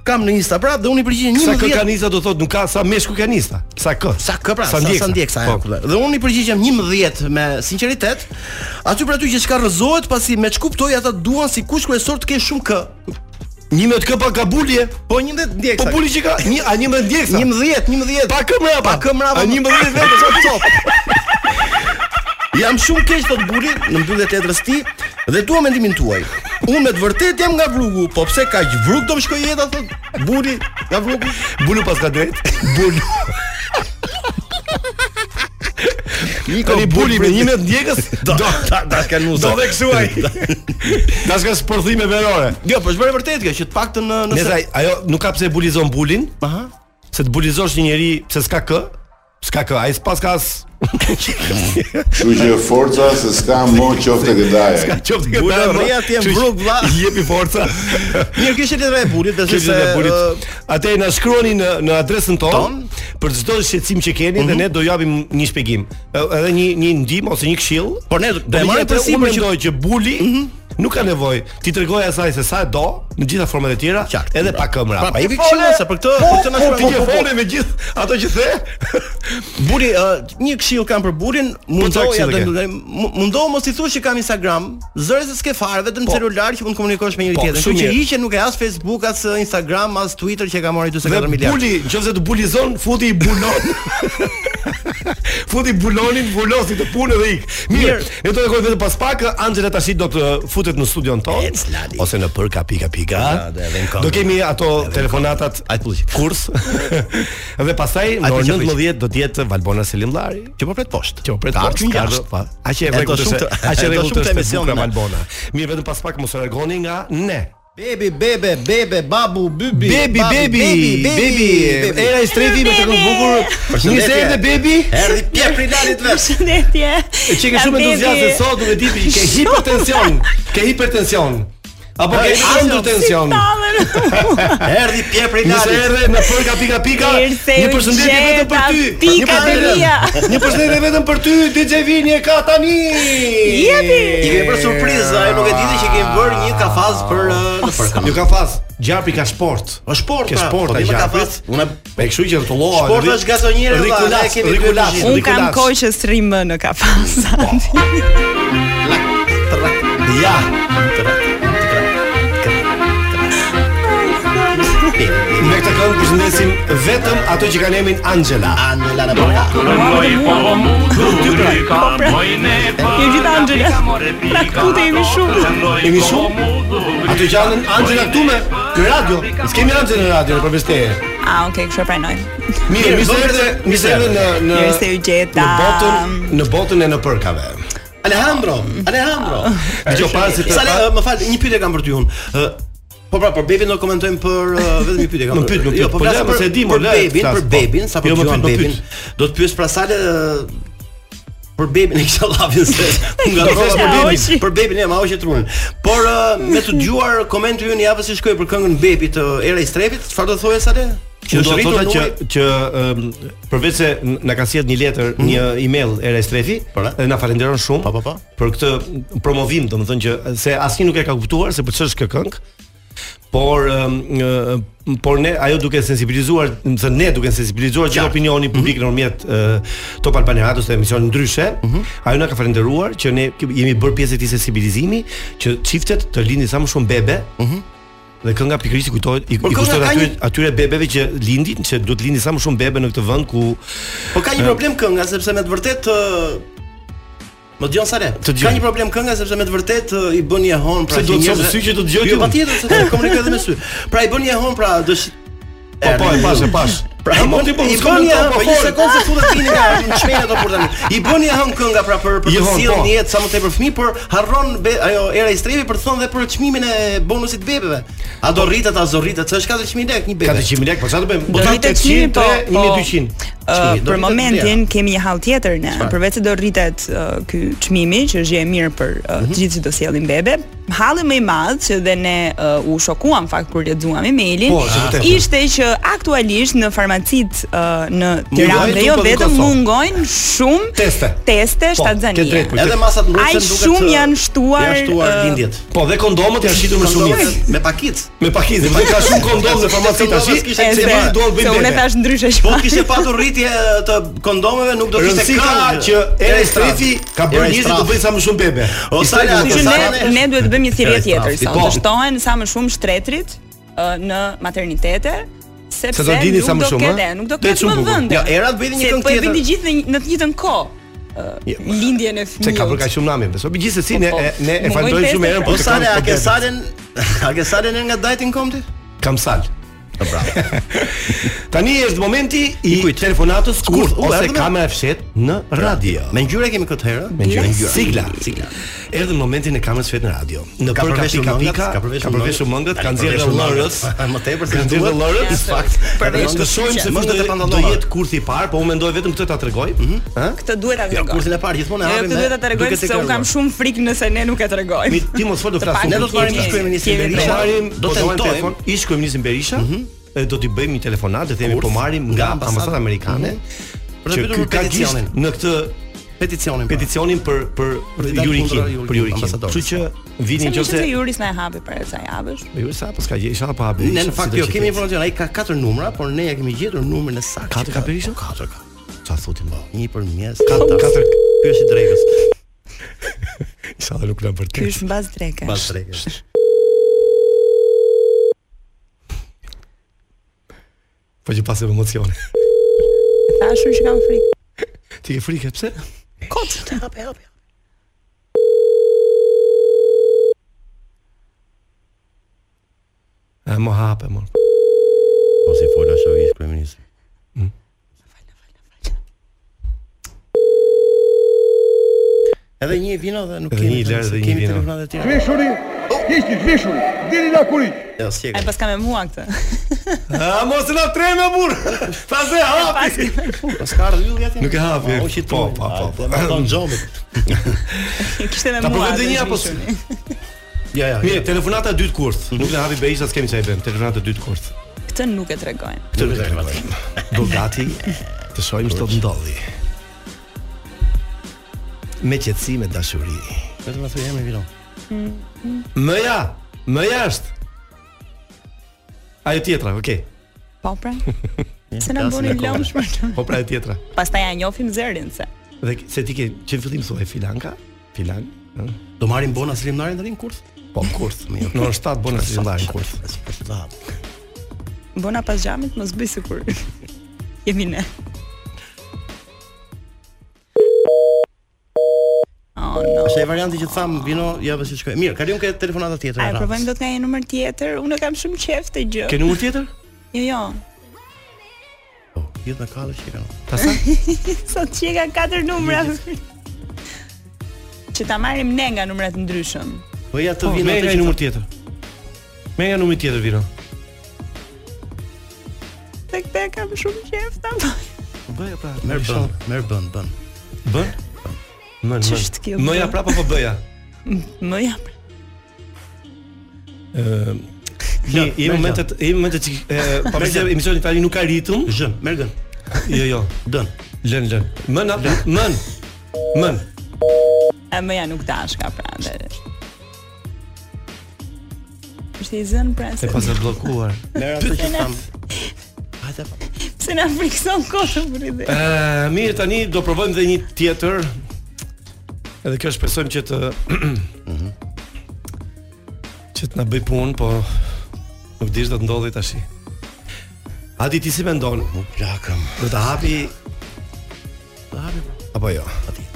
Speaker 7: kam në Insta prap dhe unë i përgjigjem
Speaker 6: Sa
Speaker 7: 11
Speaker 6: kë kanista do thotë nuk ka sa meshku kanista. Sa kë?
Speaker 7: Sa kë pra, sa sa ndjeksa
Speaker 6: Po.
Speaker 7: ajo. Dhe unë i përgjigjem 11 me sinqeritet. Aty për aty që çka rrëzohet pasi me çkuptoj ata duan si kush kryesor të kesh shumë kë.
Speaker 6: 11 kë pa kabulje.
Speaker 7: Po 11 ndjeksa.
Speaker 6: Po buli që ka, një a 11 ndjeksa.
Speaker 7: 11, 11.
Speaker 6: Pa kë mrapa.
Speaker 7: Pa kë mrapa.
Speaker 6: A 11 vetë sa sot.
Speaker 7: [laughs] Jam shumë keq thot Buri në mbyllje të letrës ti dhe dua mendimin tuaj. Unë me të vërtetë jam nga Vrugu, po pse kaq Vrug do më shkoj jeta thot Buri nga Vrugu.
Speaker 6: Bulu pas ka drejt. Bulu. Tani buli me 11 ndjekës do
Speaker 7: ta ta ka nusë.
Speaker 6: do dhe kështu ai. Tash ka sporthime verore.
Speaker 7: Jo, po është bërë vërtet kjo që të paktën në- nëse
Speaker 6: Nëse ai- ajo nuk ka pse bulizon bulin,
Speaker 7: Aha.
Speaker 6: se të bulizosh një njeri pse s'ka kë, s'ka kë, ai s'pas ka as
Speaker 7: [laughs]
Speaker 9: Kështu që forca se s'ka më qoftë
Speaker 6: s'ka
Speaker 9: gëdaja.
Speaker 6: qoftë këtë.
Speaker 7: Bula
Speaker 6: darë,
Speaker 7: rria ti e
Speaker 6: kështu që
Speaker 7: mbruk, vlla.
Speaker 6: i Jepi forca.
Speaker 7: [laughs] Mirë, kjo është letra e Burit, besoj
Speaker 6: Kështu
Speaker 7: se
Speaker 6: që bulit.
Speaker 7: ë,
Speaker 6: Atë na shkruani në në adresën tonë
Speaker 7: Ton? Mhm.
Speaker 6: për çdo shqetësim që keni dhe ne do japim një shpjegim. Ë, Edhe një një ndihmë ose një këshill.
Speaker 7: Por ne do
Speaker 6: do
Speaker 7: e marrim
Speaker 6: marrim për
Speaker 7: përsipër
Speaker 6: unë
Speaker 7: që- Mhm.
Speaker 6: mendoj që buli Nuk ka nevojë. Ti tregoj asaj se sa e do në gjitha format e tjera,
Speaker 7: Qartë,
Speaker 6: edhe
Speaker 7: pra.
Speaker 6: pa këmbra.
Speaker 7: Pra, i këshilla se për këtë- për këtë na shkruan.
Speaker 6: Ti ke
Speaker 7: Po, po, po.
Speaker 6: folë me gjithë ato që the.
Speaker 7: [laughs] Buri, ë, një këshill kam për Burin, mundohu ja
Speaker 6: këshill
Speaker 7: do
Speaker 6: Po, ke?
Speaker 7: mu- mundohu mos i thuash që kam Instagram, zëre se s'ke fare, vetëm
Speaker 6: Po.
Speaker 7: celular që mund të komunikosh me njëri
Speaker 6: Po,
Speaker 7: tjetrin. Kështu
Speaker 6: shumë
Speaker 7: që
Speaker 6: mirë.
Speaker 7: hiqe nuk e as Facebook, as ë, Instagram, as Twitter që e ka marrë 44
Speaker 6: Dhe
Speaker 7: miliardë.
Speaker 6: buli, nëse të bulizon, futi
Speaker 7: [laughs]
Speaker 6: i bulon. futi bulonin, bulosi të punë dhe ik. Mirë,
Speaker 7: Mirë.
Speaker 6: ne do të kërkojmë vetëm pas pak Angela tash do të futet në studion ton
Speaker 7: Ec, Lali.
Speaker 6: ose në përka pika pika.
Speaker 7: Da, da, Ah, edhe në këngë.
Speaker 6: Do kemi ato telefonatat
Speaker 7: Ajt pulliqi. [laughs]
Speaker 6: kurs. dhe pastaj në
Speaker 7: Ajt pulliqi,
Speaker 6: orën
Speaker 7: pulliqi.
Speaker 6: 19 do të jetë Valbona Selimllari.
Speaker 7: Që po pret poshtë.
Speaker 6: Që pret
Speaker 7: Ka
Speaker 6: post,
Speaker 7: ardhur
Speaker 6: ka
Speaker 7: jashtë.
Speaker 6: ardhur, pa. A që e
Speaker 7: E do
Speaker 6: rregullt
Speaker 7: shumë
Speaker 6: është.
Speaker 7: të-
Speaker 6: A
Speaker 7: [laughs] e
Speaker 6: që
Speaker 7: do
Speaker 6: rregullt
Speaker 7: shumë të
Speaker 6: është
Speaker 7: emision,
Speaker 6: emisionin
Speaker 7: ne.
Speaker 6: Valbona. Mirë, vetëm pas pak mos largoni nga ne.
Speaker 7: Bebi, bebe, bebe, babu, bybi.
Speaker 6: Bebi,
Speaker 7: babi,
Speaker 6: bebi, bebi. Era i strefi me të këngë bukur. Një
Speaker 7: Përshëndetje.
Speaker 6: se edhe bebi.
Speaker 7: Erdhi pjepri lalit [laughs] vesh.
Speaker 10: Përshëndetje.
Speaker 6: E që ke shumë entuziazme sot, duke di që ke hipertension, ke hipertension. Apo ke
Speaker 7: Hipertension.
Speaker 6: androtension.
Speaker 7: Erdhi pjepri
Speaker 6: Nëse
Speaker 7: lalit.
Speaker 6: erdhe në përka pika pika,
Speaker 10: Mirse
Speaker 6: një përshëndetje
Speaker 10: u
Speaker 6: vetëm për ty.
Speaker 10: gjeta, pika
Speaker 6: Një përshëndetje-
Speaker 10: të mia.
Speaker 6: [laughs] Një përshëndetje vetëm për ty, DJ Vini e ka tani.
Speaker 10: Jepi.
Speaker 7: I kemi bërë surprizë, ajo nuk e dinte që kemi bërë një kafaz për ë, në përkën.
Speaker 6: Ju ka fas, gjapi ka shport.
Speaker 7: Po sport,
Speaker 6: Ke
Speaker 7: pra,
Speaker 6: sport
Speaker 7: po
Speaker 6: ai
Speaker 7: ti më ka
Speaker 6: gjapit.
Speaker 7: pas. Unë
Speaker 6: Po e kështu që rrotulloa.
Speaker 7: Sporti
Speaker 6: rri-
Speaker 7: është garsonjere, valla,
Speaker 6: rikulas,
Speaker 7: ne kemi dy
Speaker 6: rikulas,
Speaker 10: Un
Speaker 7: kuzhinë.
Speaker 10: kam
Speaker 6: rikulas.
Speaker 10: kohë që s'ri më në kafasa.
Speaker 7: ja.
Speaker 6: Me këtë këngë përshëndesim vetëm ato që kanë emrin Angela.
Speaker 7: Angela në përka.
Speaker 10: Ju gjithë Angela. Pra këtu të jemi shumë.
Speaker 6: Jemi shumë ato që janë Angela këtu me në radio. S'kemi Angela në radio në përvesteje.
Speaker 10: Ah, okay, kështu e pranoj.
Speaker 6: Mirë, mirë se erdhe, mirë se erdhe në në
Speaker 10: Mirë se u gjeta.
Speaker 6: në botën, në botën e në përkave.
Speaker 7: Alejandro, Alejandro.
Speaker 6: Dgjoj para se të
Speaker 7: Sa le, më fal, një pyetje kam për ty unë. Ë, Po pra, për bebin do komentojmë për uh, vetëm një pyetje kam.
Speaker 6: [laughs] Nuk pyet, nuk
Speaker 7: Jo,
Speaker 6: pyet,
Speaker 7: po
Speaker 6: po
Speaker 7: flas
Speaker 6: le,
Speaker 7: për
Speaker 6: se di, mo,
Speaker 7: për
Speaker 6: le,
Speaker 7: bebin, për
Speaker 6: flas, po.
Speaker 7: bebin, sa
Speaker 6: Jo,
Speaker 7: po
Speaker 6: më pyet,
Speaker 7: dëgjon
Speaker 6: më pyet.
Speaker 7: bebin. Do të pyes pra sale ë, për bebin e kisha
Speaker 6: [laughs]
Speaker 7: llafin [laughs] se nga
Speaker 10: Kisha
Speaker 7: për bebin,
Speaker 10: hoqi.
Speaker 7: për bebin e ma hoqë trunin. Por ë, me të dëgjuar komentin ju në javën që shkoi për këngën Bebi të Era i Strepit, çfarë do thoje sale?
Speaker 6: Që do të thotë që
Speaker 7: numri-
Speaker 6: që ëm, përveç se n- na ka sjell një letër, një email e Restrefi,
Speaker 7: Pra.
Speaker 6: dhe na falenderon shumë
Speaker 7: Po, po, po.
Speaker 6: për këtë promovim, domethënë që se asnjë nuk e ka kuptuar se për ç'është kjo këngë. Por ëm, ë, por ne ajo duke sensibilizuar, më thënë ne duke sensibilizuar gjithë opinionin publik nëpërmjet ë, Top Albania Radios dhe emisione ndryshe, ajo na ka falendëruar që ne jemi bërë pjesë e këtij sensibilizimi që çiftet të lindin sa më shumë bebe. Dhe kënga pikërisht i kujtohet i, i
Speaker 7: kënga
Speaker 6: kushtohet
Speaker 7: ka
Speaker 6: atyre,
Speaker 7: një-
Speaker 6: atyre bebeve që lindin, që duhet lindin sa më shumë bebe në këtë vend ku
Speaker 7: Po ka një problem kënga sepse me të vërtet ë, Më dëgjon sa le.
Speaker 6: Të dëgjoj.
Speaker 7: Ka një problem kënga sepse me të vërtet ë, i bën një hon pra
Speaker 6: Pse do të
Speaker 7: njerëzve-
Speaker 6: thotë sy që do të dëgjoj ti
Speaker 7: Jo
Speaker 6: unë?
Speaker 7: patjetër se do komunikoj edhe me sy. Pra i bën një hon pra dësh
Speaker 6: Po po, e pash, e pash.
Speaker 7: Pra i bën i bën një hon, po një sekondë se futet vini nga
Speaker 6: [laughs]
Speaker 7: në çmenja ato burtani. I bën një hon kënga pra për për
Speaker 6: I
Speaker 7: të
Speaker 6: hon,
Speaker 7: sjellë
Speaker 6: po.
Speaker 7: në jetë sa më tepër fëmijë, por harron be- ajo era i strepi për të thonë dhe për çmimin e bonusit bebeve. A do rritet, a do rritet, se është 4000 lekë një bebe.
Speaker 6: 400 lekë, po çfarë do bëjmë?
Speaker 10: Do rritet çmimi, po, po.
Speaker 6: 1200.
Speaker 7: Çmimi, do
Speaker 11: për
Speaker 7: rritet
Speaker 11: momentin
Speaker 6: Po,
Speaker 7: vlera.
Speaker 11: kemi një hall tjetër ne.
Speaker 7: Çfarë?
Speaker 11: Përveç se do rritet uh, ky çmimi që është gjë e mirë për uh, të
Speaker 6: Mhm.
Speaker 11: gjithë që do sjellin bebe, halli më i madh që dhe ne uh, u shokuam në fakt kur lexuam emailin,
Speaker 6: Po, është vërtet.
Speaker 11: ishte që aktualisht në farmacit uh, në
Speaker 6: Mungojnë
Speaker 11: Tiranë dhe jo
Speaker 6: trupat në
Speaker 11: vetëm
Speaker 6: Kosovë.
Speaker 11: mungojnë shumë
Speaker 6: Teste. Po,
Speaker 11: teste
Speaker 6: ke
Speaker 11: shtatzanie.
Speaker 6: drejt, kujtë.
Speaker 7: Edhe masat
Speaker 11: Ai
Speaker 7: ngrohtë
Speaker 11: shumë janë shtuar,
Speaker 7: janë shtuar
Speaker 11: ë,
Speaker 7: lindjet.
Speaker 6: Po dhe kondomët janë shitur me shumicë.
Speaker 7: Kondomet Me pakicë.
Speaker 6: Me pakizë, vërtet ka shumë kondom në farmaci tash.
Speaker 7: Kondomet s'kishte
Speaker 11: E,
Speaker 7: Se
Speaker 11: se-
Speaker 7: bërë
Speaker 6: do të
Speaker 11: se
Speaker 6: bëjnë
Speaker 11: unë e
Speaker 6: bebe.
Speaker 11: thash ndryshe
Speaker 7: Po
Speaker 11: shpa.
Speaker 7: kishte patur rritje të kondomeve, nuk do kishte
Speaker 6: Rëndësi ka që era e strefi ka bërë njerëzit të bëjnë sa më shumë bebe.
Speaker 7: O,
Speaker 6: I
Speaker 7: Sala,
Speaker 6: strefi-
Speaker 7: atë
Speaker 11: Që
Speaker 7: Sa
Speaker 11: ne
Speaker 7: rane-
Speaker 11: ne duhet të bëjmë një thirrje
Speaker 7: Kërë
Speaker 11: tjetër
Speaker 7: strafti,
Speaker 11: sot.
Speaker 6: po.
Speaker 11: Të shtohen sa më shumë shtretrit ë, në maternitete sepse
Speaker 6: Se do dini
Speaker 11: nuk
Speaker 6: sa më
Speaker 11: do
Speaker 6: shumë,
Speaker 11: ketë,
Speaker 6: ë?
Speaker 11: nuk do
Speaker 6: Te
Speaker 11: ketë
Speaker 6: shumë
Speaker 11: më
Speaker 6: bukur.
Speaker 11: vende.
Speaker 7: Jo, era të bëjnë një
Speaker 11: Se
Speaker 7: këngë
Speaker 11: po e bëjnë
Speaker 7: tjetër.
Speaker 11: të gjithë në në të njëjtën kohë. ë, Lindjen e
Speaker 6: Se ka bërë ka
Speaker 11: fëmijës.
Speaker 6: shumë nami, beso. Megjithëse si ne
Speaker 11: Po, po.
Speaker 6: e- ne e
Speaker 11: Mungojnë
Speaker 6: falënderojmë shumë
Speaker 11: teste,
Speaker 6: herën, po
Speaker 7: Po
Speaker 6: të
Speaker 7: sale,
Speaker 6: kam-
Speaker 7: a
Speaker 6: po
Speaker 7: ke
Speaker 6: bebe.
Speaker 7: salen, [laughs] a ke salen nga dajtin komti?
Speaker 6: Kam sal. [laughs] Tani është momenti Ah, i,
Speaker 7: I kujt?
Speaker 6: telefonatës
Speaker 7: Kurth,
Speaker 6: kurth
Speaker 7: u,
Speaker 6: ose
Speaker 7: erdhme?
Speaker 6: kamera e fshet në radio.
Speaker 7: Me ngjyra kemi këtë herë.
Speaker 6: Me ngjyra.
Speaker 7: ngjyra.
Speaker 6: Sigla.
Speaker 7: Sigla.
Speaker 6: Erdhën momenti në kamerën sfet në radio. Në
Speaker 7: Ka
Speaker 6: për
Speaker 7: përveshur
Speaker 6: pika
Speaker 7: mëngët,
Speaker 6: pika,
Speaker 7: ka përveshur
Speaker 6: ka përveshur
Speaker 7: mëngët,
Speaker 6: mëngët,
Speaker 7: ka
Speaker 6: kanë nxjerrë
Speaker 7: përveshur
Speaker 6: dhe [laughs] lërës,
Speaker 7: mëngët, pa, më tepër se
Speaker 6: kanë nxjerrë
Speaker 7: duhet.
Speaker 6: dhe lërës,
Speaker 11: Ja,
Speaker 6: fakt.
Speaker 11: përveshur
Speaker 6: Do shohim se
Speaker 7: mëngët
Speaker 6: mëngët
Speaker 7: e
Speaker 6: e
Speaker 7: pantallona.
Speaker 6: do jetë kurthi i parë, po unë mendoj vetëm këtë ta tregoj, ëh?
Speaker 11: Këtë duhet ta
Speaker 7: Jo,
Speaker 11: tregoj.
Speaker 7: kursin e parë gjithmonë e
Speaker 11: Jo,
Speaker 7: hapim.
Speaker 11: këtë
Speaker 7: me-
Speaker 11: duhet ta tregoj
Speaker 7: duke
Speaker 11: se un kam
Speaker 7: deklaruar.
Speaker 11: shumë frikë nëse ne nuk e tregojmë.
Speaker 6: Mi ti mos fol do
Speaker 11: Të
Speaker 6: flas.
Speaker 11: paktën
Speaker 6: unë
Speaker 7: Ne do të marrim
Speaker 11: Kemi-
Speaker 7: ish kryeministin
Speaker 11: kemi
Speaker 6: do
Speaker 7: Berisha.
Speaker 11: Berisha.
Speaker 6: marrim
Speaker 7: do
Speaker 6: do të marrim
Speaker 7: tentojmë.
Speaker 6: po telefon ish kryeministin Berisha. e Do t'i bëjmë një telefonat dhe themi
Speaker 7: Kurth,
Speaker 6: po marrim
Speaker 7: nga
Speaker 6: nga
Speaker 7: ambasada-
Speaker 6: ambasadë amerikane
Speaker 7: Për të
Speaker 6: që
Speaker 7: pyetur
Speaker 6: ky
Speaker 7: për
Speaker 6: ka
Speaker 7: peticionin.
Speaker 6: gisht në këtë
Speaker 7: Peticionin. pra.
Speaker 6: peticionin po. për për
Speaker 7: Për Vedat
Speaker 6: Jurikin,
Speaker 7: kundra Jurikin,
Speaker 6: për Jurikin.
Speaker 7: ambasadorës.
Speaker 6: Kështu që vini
Speaker 11: Se më
Speaker 6: nëse
Speaker 11: qëse Juris na e hapi para sa javësh.
Speaker 6: Jo, sa pas ka gjë, isha pa habi.
Speaker 7: Ne në fakt jo kemi informacion, ai ka katër numra, por ne ja kemi gjetur numrin e saktë. që
Speaker 6: Katër ka Berisha?
Speaker 7: Po, Katër ka.
Speaker 6: Çfarë thotim ba?
Speaker 7: Një për mes.
Speaker 6: Katër, katër.
Speaker 7: Pyesi drekës.
Speaker 6: Isha nuk na për
Speaker 11: Ky
Speaker 6: të.
Speaker 11: është mbas dreke.
Speaker 7: Pas drekës.
Speaker 6: Po që pasë emocione.
Speaker 11: Thashur që kam frikë.
Speaker 6: Ti ke frikë pse?
Speaker 11: Kot.
Speaker 6: E mo hape mo.
Speaker 7: Po si fola shovis kryeminist.
Speaker 6: Mm.
Speaker 7: Edhe një vino dhe nuk
Speaker 6: Edhe
Speaker 7: kemi.
Speaker 6: një
Speaker 7: tani,
Speaker 6: lerë
Speaker 7: se
Speaker 6: dhe një
Speaker 7: kemi
Speaker 6: vino.
Speaker 7: telefonat e tjera.
Speaker 8: Veshuri, ishti veshuri, diri nga kurit.
Speaker 7: Jo, s'je.
Speaker 11: Ai pas kam e mua këtë.
Speaker 6: A mos na treme burr. Pasë hapi.
Speaker 7: Po s'ka ardhur yllja ti.
Speaker 6: Nuk e hapi.
Speaker 7: Po, që
Speaker 6: Po, po, po, po.
Speaker 7: Dhe më don xhomit.
Speaker 11: Kishte me
Speaker 6: [laughs] Ta
Speaker 11: mua.
Speaker 6: përmend
Speaker 11: atë
Speaker 6: një apo
Speaker 11: zhvishuni.
Speaker 7: Jo, jo.
Speaker 6: Mirë, telefonata e dytë kurth.
Speaker 7: Mhm.
Speaker 6: Nuk na hapi Berisha, s'kemi çaj bëm. Telefonata e dytë kurth.
Speaker 11: Këtë nuk e tregojmë.
Speaker 6: Këtë nuk e tregojmë. Do gati të shohim ç'do të ndodhi. Me qetësi, me dashuri.
Speaker 7: Vetëm na thuaj emrin vino.
Speaker 6: Mëja, mëja është. Ajo tjetra, okay.
Speaker 11: Po
Speaker 6: [laughs]
Speaker 11: pra. Se na bëni lëmsh për të.
Speaker 6: Po pra e tjetra.
Speaker 11: Pastaj ja njohim zërin se.
Speaker 6: Dhe k- se ti ke që në fillim thua filanka, filan, ëh?
Speaker 7: Do marrim bona slimnarin tani në kurth?
Speaker 6: Po kurth, mirë. Në orën 7 bën si ndaj kurth.
Speaker 11: Bona pas xhamit mos bëj sikur. [laughs] Jemi ne. Oh no.
Speaker 7: Është e varianti që të tham vino, ja pse shkoj. Mirë, kalim ke telefonata tjetër.
Speaker 11: A e provojmë dot nga një numër tjetër? Unë kam shumë qejf të gjë.
Speaker 6: Ke numër tjetër?
Speaker 11: Jo, jo.
Speaker 6: Po.
Speaker 7: Gjithë na kallë që kanë.
Speaker 11: Sot që ka katër numra. [laughs] që ta marrim ne nga numrat ndryshëm.
Speaker 7: Po ja të
Speaker 6: Po,
Speaker 7: vino
Speaker 6: me
Speaker 7: atë
Speaker 6: nga
Speaker 7: që
Speaker 6: numër tjetër. Me nga numër tjetër vino.
Speaker 11: Tek tek kam shumë qejf ta marr.
Speaker 6: Bëja pra.
Speaker 7: Merë bën, merë bën, bën.
Speaker 6: Bën? Mën, mën.
Speaker 11: Ç'është kjo,
Speaker 6: Mëja
Speaker 11: bën?
Speaker 6: prapa po bëja.
Speaker 11: [laughs] Më pra, jap.
Speaker 6: Ëm. Ne i
Speaker 7: merë
Speaker 6: momentet, i momentet që [laughs] e, pa përse emisioni tani nuk ka ritëm.
Speaker 7: Zhën, merë gën.
Speaker 6: Jo, jo.
Speaker 7: Dën.
Speaker 6: Lën, lën. Mën, a- mën. Mën.
Speaker 11: E më ja nuk dash ka pra dhe. Është i zënë pra
Speaker 6: E
Speaker 11: se
Speaker 6: pas e bllokuar.
Speaker 7: Merë atë që tham. Hajde. pa.
Speaker 11: se na frikson kohën për ide.
Speaker 6: Ë, mirë tani do provojmë dhe një tjetër. Edhe kjo shpresojmë që të [clears throat] që të na bëj punë, po nuk dish do të ndodhi tash. Adi ti si mendon?
Speaker 7: Nuk plakëm.
Speaker 6: Do ta hapi
Speaker 7: Ta hapi, po.
Speaker 6: apo jo?
Speaker 7: Ati.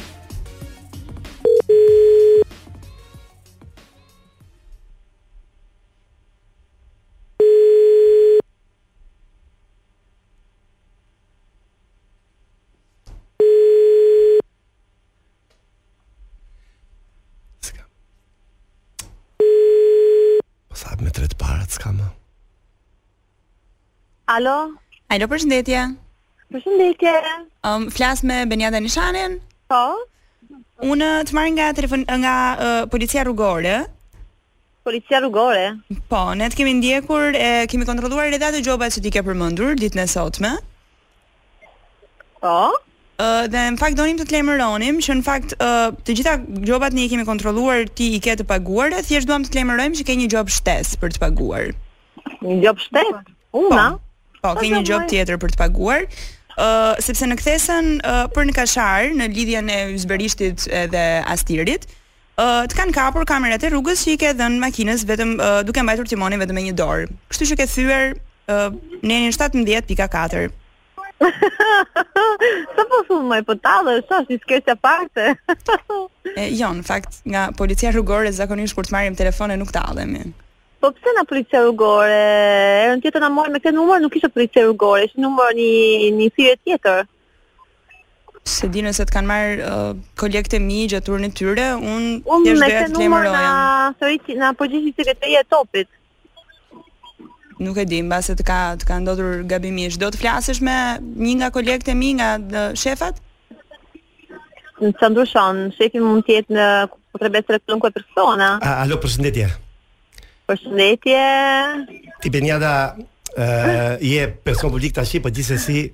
Speaker 6: S'ka. Po sa hap me tret parat s'ka më.
Speaker 12: Alo,
Speaker 11: Alo, përshëndetje. Përshëndetje.
Speaker 13: Um, flas me Benjada Nishanin?
Speaker 11: Po.
Speaker 13: Unë të marr nga telefon nga uh, policia rrugore.
Speaker 11: Policia rrugore.
Speaker 13: Po, ne të kemi ndjekur, e kemi kontrolluar edhe ato gjoba që ti ke përmendur ditën e sotme.
Speaker 11: Po.
Speaker 13: Uh, dhe në fakt donim të të lajmëronim që në fakt uh, të gjitha gjobat ne i kemi kontrolluar, ti i ke të paguar, e thjesht duam të të lajmërojmë që ke një gjob shtesë për të paguar.
Speaker 11: Një gjop shtet? Una?
Speaker 13: Po, po ke një gjob tjetër për të paguar. Uh, sepse në kthesën uh, për në Kashar, në lidhjen e Yzberishtit edhe Astirit, uh, të kanë kapur kamerat e rrugës që i ke dhënë makinës vetëm uh, duke mbajtur timonin vetëm me një dorë. Kështu që ke thyer uh, nenin 17.4.
Speaker 11: [laughs] Sa po thumë më pëtallë, sa si skeqja parte.
Speaker 13: [laughs] e, jo, në fakt, nga policia rrugore zakonisht kur të marrim telefone nuk tallemi.
Speaker 11: Po pse na policia rrugore? Erën tjetër na morën me këtë numër, nuk ishte policia rrugore, ishte numër një një thirrje tjetër.
Speaker 13: Se di nëse të kanë marrë uh, kolekte mi gjatë turnit tyre, unë
Speaker 11: un thjesht doja të lajmëroja. Unë me këtë numër na përgjigji sekretaria po e topit
Speaker 13: nuk e di, mbase të ka të ka ndodhur gabimisht. Do të flasësh me një nga kolegët e mi nga dë, shefat?
Speaker 11: Në të ndryshon, shefi mund të jetë në potrebbe të rëkullon kërë persona.
Speaker 6: A, alo, përshëndetje.
Speaker 11: Përshëndetje. [laughs]
Speaker 6: Ti Benjada, uh, je person publik tash, po gjithsesi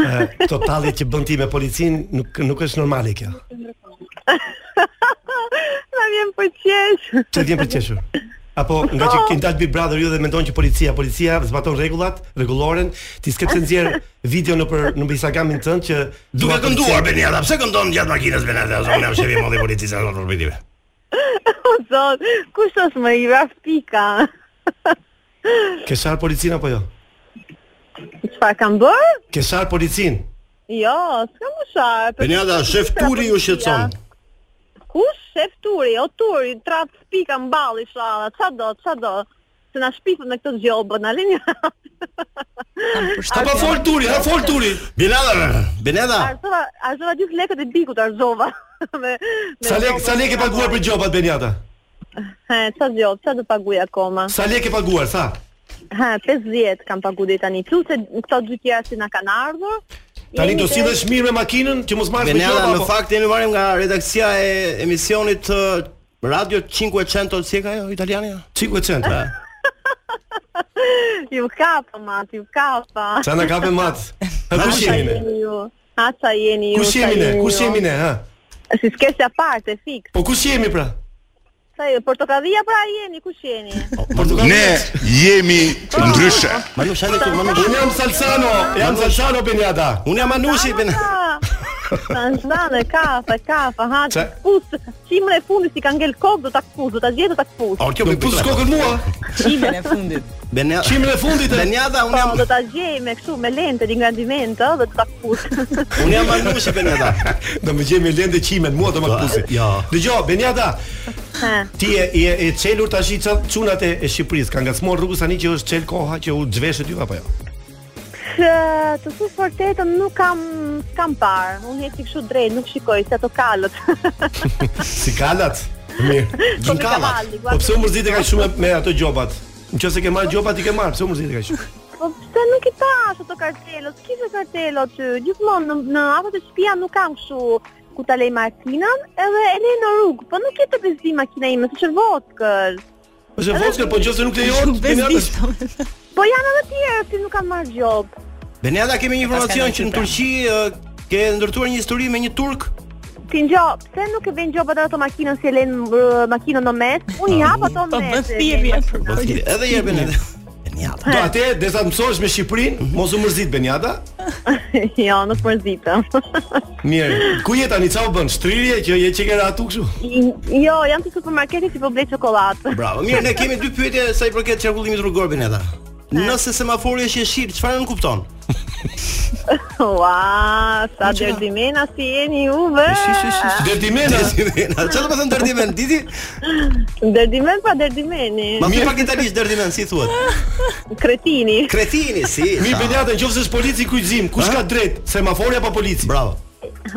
Speaker 6: uh, këto tallje që bën ti me policin nuk nuk është normale kjo.
Speaker 11: Na vjen për qesh. [laughs]
Speaker 6: Çfarë vjen për qeshur? Apo nga që keni dalë Big Brother ju dhe mendon që policia, policia zbaton rregullat, rregulloren, ti s'ke pse nxjerr video në për në Instagramin tënd që
Speaker 7: duke kënduar Benjada, pse këndon gjatë makinës Benjada, zonë jam shefi i modhi policisë atë përpitive.
Speaker 11: O Po, zot, kush është më i raftika?
Speaker 6: Ke shar policin apo jo?
Speaker 11: Çfarë kam bërë?
Speaker 6: Ke shar policin?
Speaker 11: Jo, s'kam më shar.
Speaker 7: Benjada, shef Turi ju shqetëson.
Speaker 11: Kush? Shef Turi, o Turi, trat spika mballi shalla, ça do, ça do. Se na shpifën me këtë gjobë, na lini. [laughs]
Speaker 6: Apo fol Turi, ha fol Turi.
Speaker 7: Benada, Benada.
Speaker 11: Arzova, arzova gjithë lekët e bikut arzova. [laughs]
Speaker 6: me, me sa lek, sa lek e paguar për gjobat Benjada?
Speaker 11: He, ça gjobë, ça do paguaj akoma?
Speaker 6: Sa lek e paguar, sa?
Speaker 11: Ha, 50 kam pagu deri tani. Plus se këto dy tjera si na kanë ardhur,
Speaker 6: Tani do sillesh mirë me makinën që mos marrësh me
Speaker 7: gjoba. Në fakt jemi marrim nga redaksia e emisionit të Radio 500 si ka ajo Pra. italiana?
Speaker 6: 500.
Speaker 11: [laughs] Ju kapa mat, ju kapa.
Speaker 6: Sa na kape mat. Kush jemi ne?
Speaker 11: Ha sa jeni ju?
Speaker 6: Kush jemi ne?
Speaker 7: jo.
Speaker 6: Kush jemi ne, ha?
Speaker 11: Si skesha parte fik.
Speaker 6: Po kush jemi pra?
Speaker 11: Sa ju portokallia pra jeni, kush jeni?
Speaker 7: Po,
Speaker 6: Po,
Speaker 9: Ne jemi ndryshe.
Speaker 7: Manush, hajde këtu, Manush.
Speaker 6: Unë jam Salsano, jam Salsano Benjada.
Speaker 7: Unë jam Manushi
Speaker 11: Benjada. Tanzane, kafa, kafa, ha, kus, qimre e fundit si ka ngel kokë, do ta kus, do ta gjetë, do ta kus.
Speaker 6: O, kjo më kus kokën mua.
Speaker 13: Qimre e fundit.
Speaker 7: Benjada.
Speaker 6: Qimre e fundit.
Speaker 7: Benjada, unë jam
Speaker 11: do ta gjej me kështu me lente di ngrandiment, ë, do ta kus.
Speaker 7: Unë jam Manushi Benjada.
Speaker 6: [laughs] Do më gjej me lente qimen, mua do më kusi.
Speaker 7: Jo.
Speaker 6: Dgjoj, Benjada. Ti je je e çelur tash çunat e Shqipërisë, ka ngacmuar rrugës tani që është çel koha që u zhveshët ju apo jo?
Speaker 11: të thos vërtetën nuk kam kam parë. Unë jeti kështu drejt, nuk shikoj se ato kalët. [laughs]
Speaker 6: si kalët?
Speaker 7: [laughs]
Speaker 6: Mirë.
Speaker 7: Gjum kalët.
Speaker 6: Po pse u mërzit e ka shumë me ato gjobat? Nëse ke marr gjobat i ke marr, pse u mërzit e ka shumë?
Speaker 11: Po pse nuk i tash ato kartelot? Kishe kartelo ty. Gjithmonë në, në ato të shtëpia nuk kam kështu ku ta lej makinën, edhe e lej në rrugë, po nuk jetë të bezdi makina ime, se që votkël.
Speaker 6: Po se votkël, po gjose nuk lejohet,
Speaker 13: bezdi.
Speaker 11: Po janë edhe tjerë që nuk kanë marrë gjobë.
Speaker 7: Benjada kemi një informacion që në Turqi uh, ke ndërtuar një histori me një turk.
Speaker 11: Ti ngjo, pse nuk e vën gjobat ato makinën si e lën makinën në mes? Unë i hap ato në mes.
Speaker 13: Po
Speaker 7: bën Edhe [laughs] një Benjada.
Speaker 6: Benjada. Do atë derisa të mësohesh me Shqipërinë, mos u mërzit Benjada.
Speaker 11: [laughs] jo, nuk mërzitem.
Speaker 6: Mirë, ku je tani? Çau bën? Shtrirje që je çike atu kështu?
Speaker 11: [laughs] Jo, jam te supermarketi si po blej çokoladë. [laughs]
Speaker 7: Bravo. Mirë, ne kemi dy pyetje sa i përket qarkullimit rrugor Benjada. Nëse semafori është jeshil, çfarë nën kupton?
Speaker 11: Ua, sa derdimena si jeni juve.
Speaker 6: Ah! [laughs] Derdimena.
Speaker 7: Çfarë do të thon derdimen, Didi?
Speaker 11: Derdimen pa derdimeni.
Speaker 7: Ma mirë pak italisht derdimen, si thuhet?
Speaker 11: Kretini.
Speaker 7: Kretini, si.
Speaker 6: Mi Benjata, nëse është polici kujzim, kush ka drejt? Semafori apo polici?
Speaker 7: Bravo.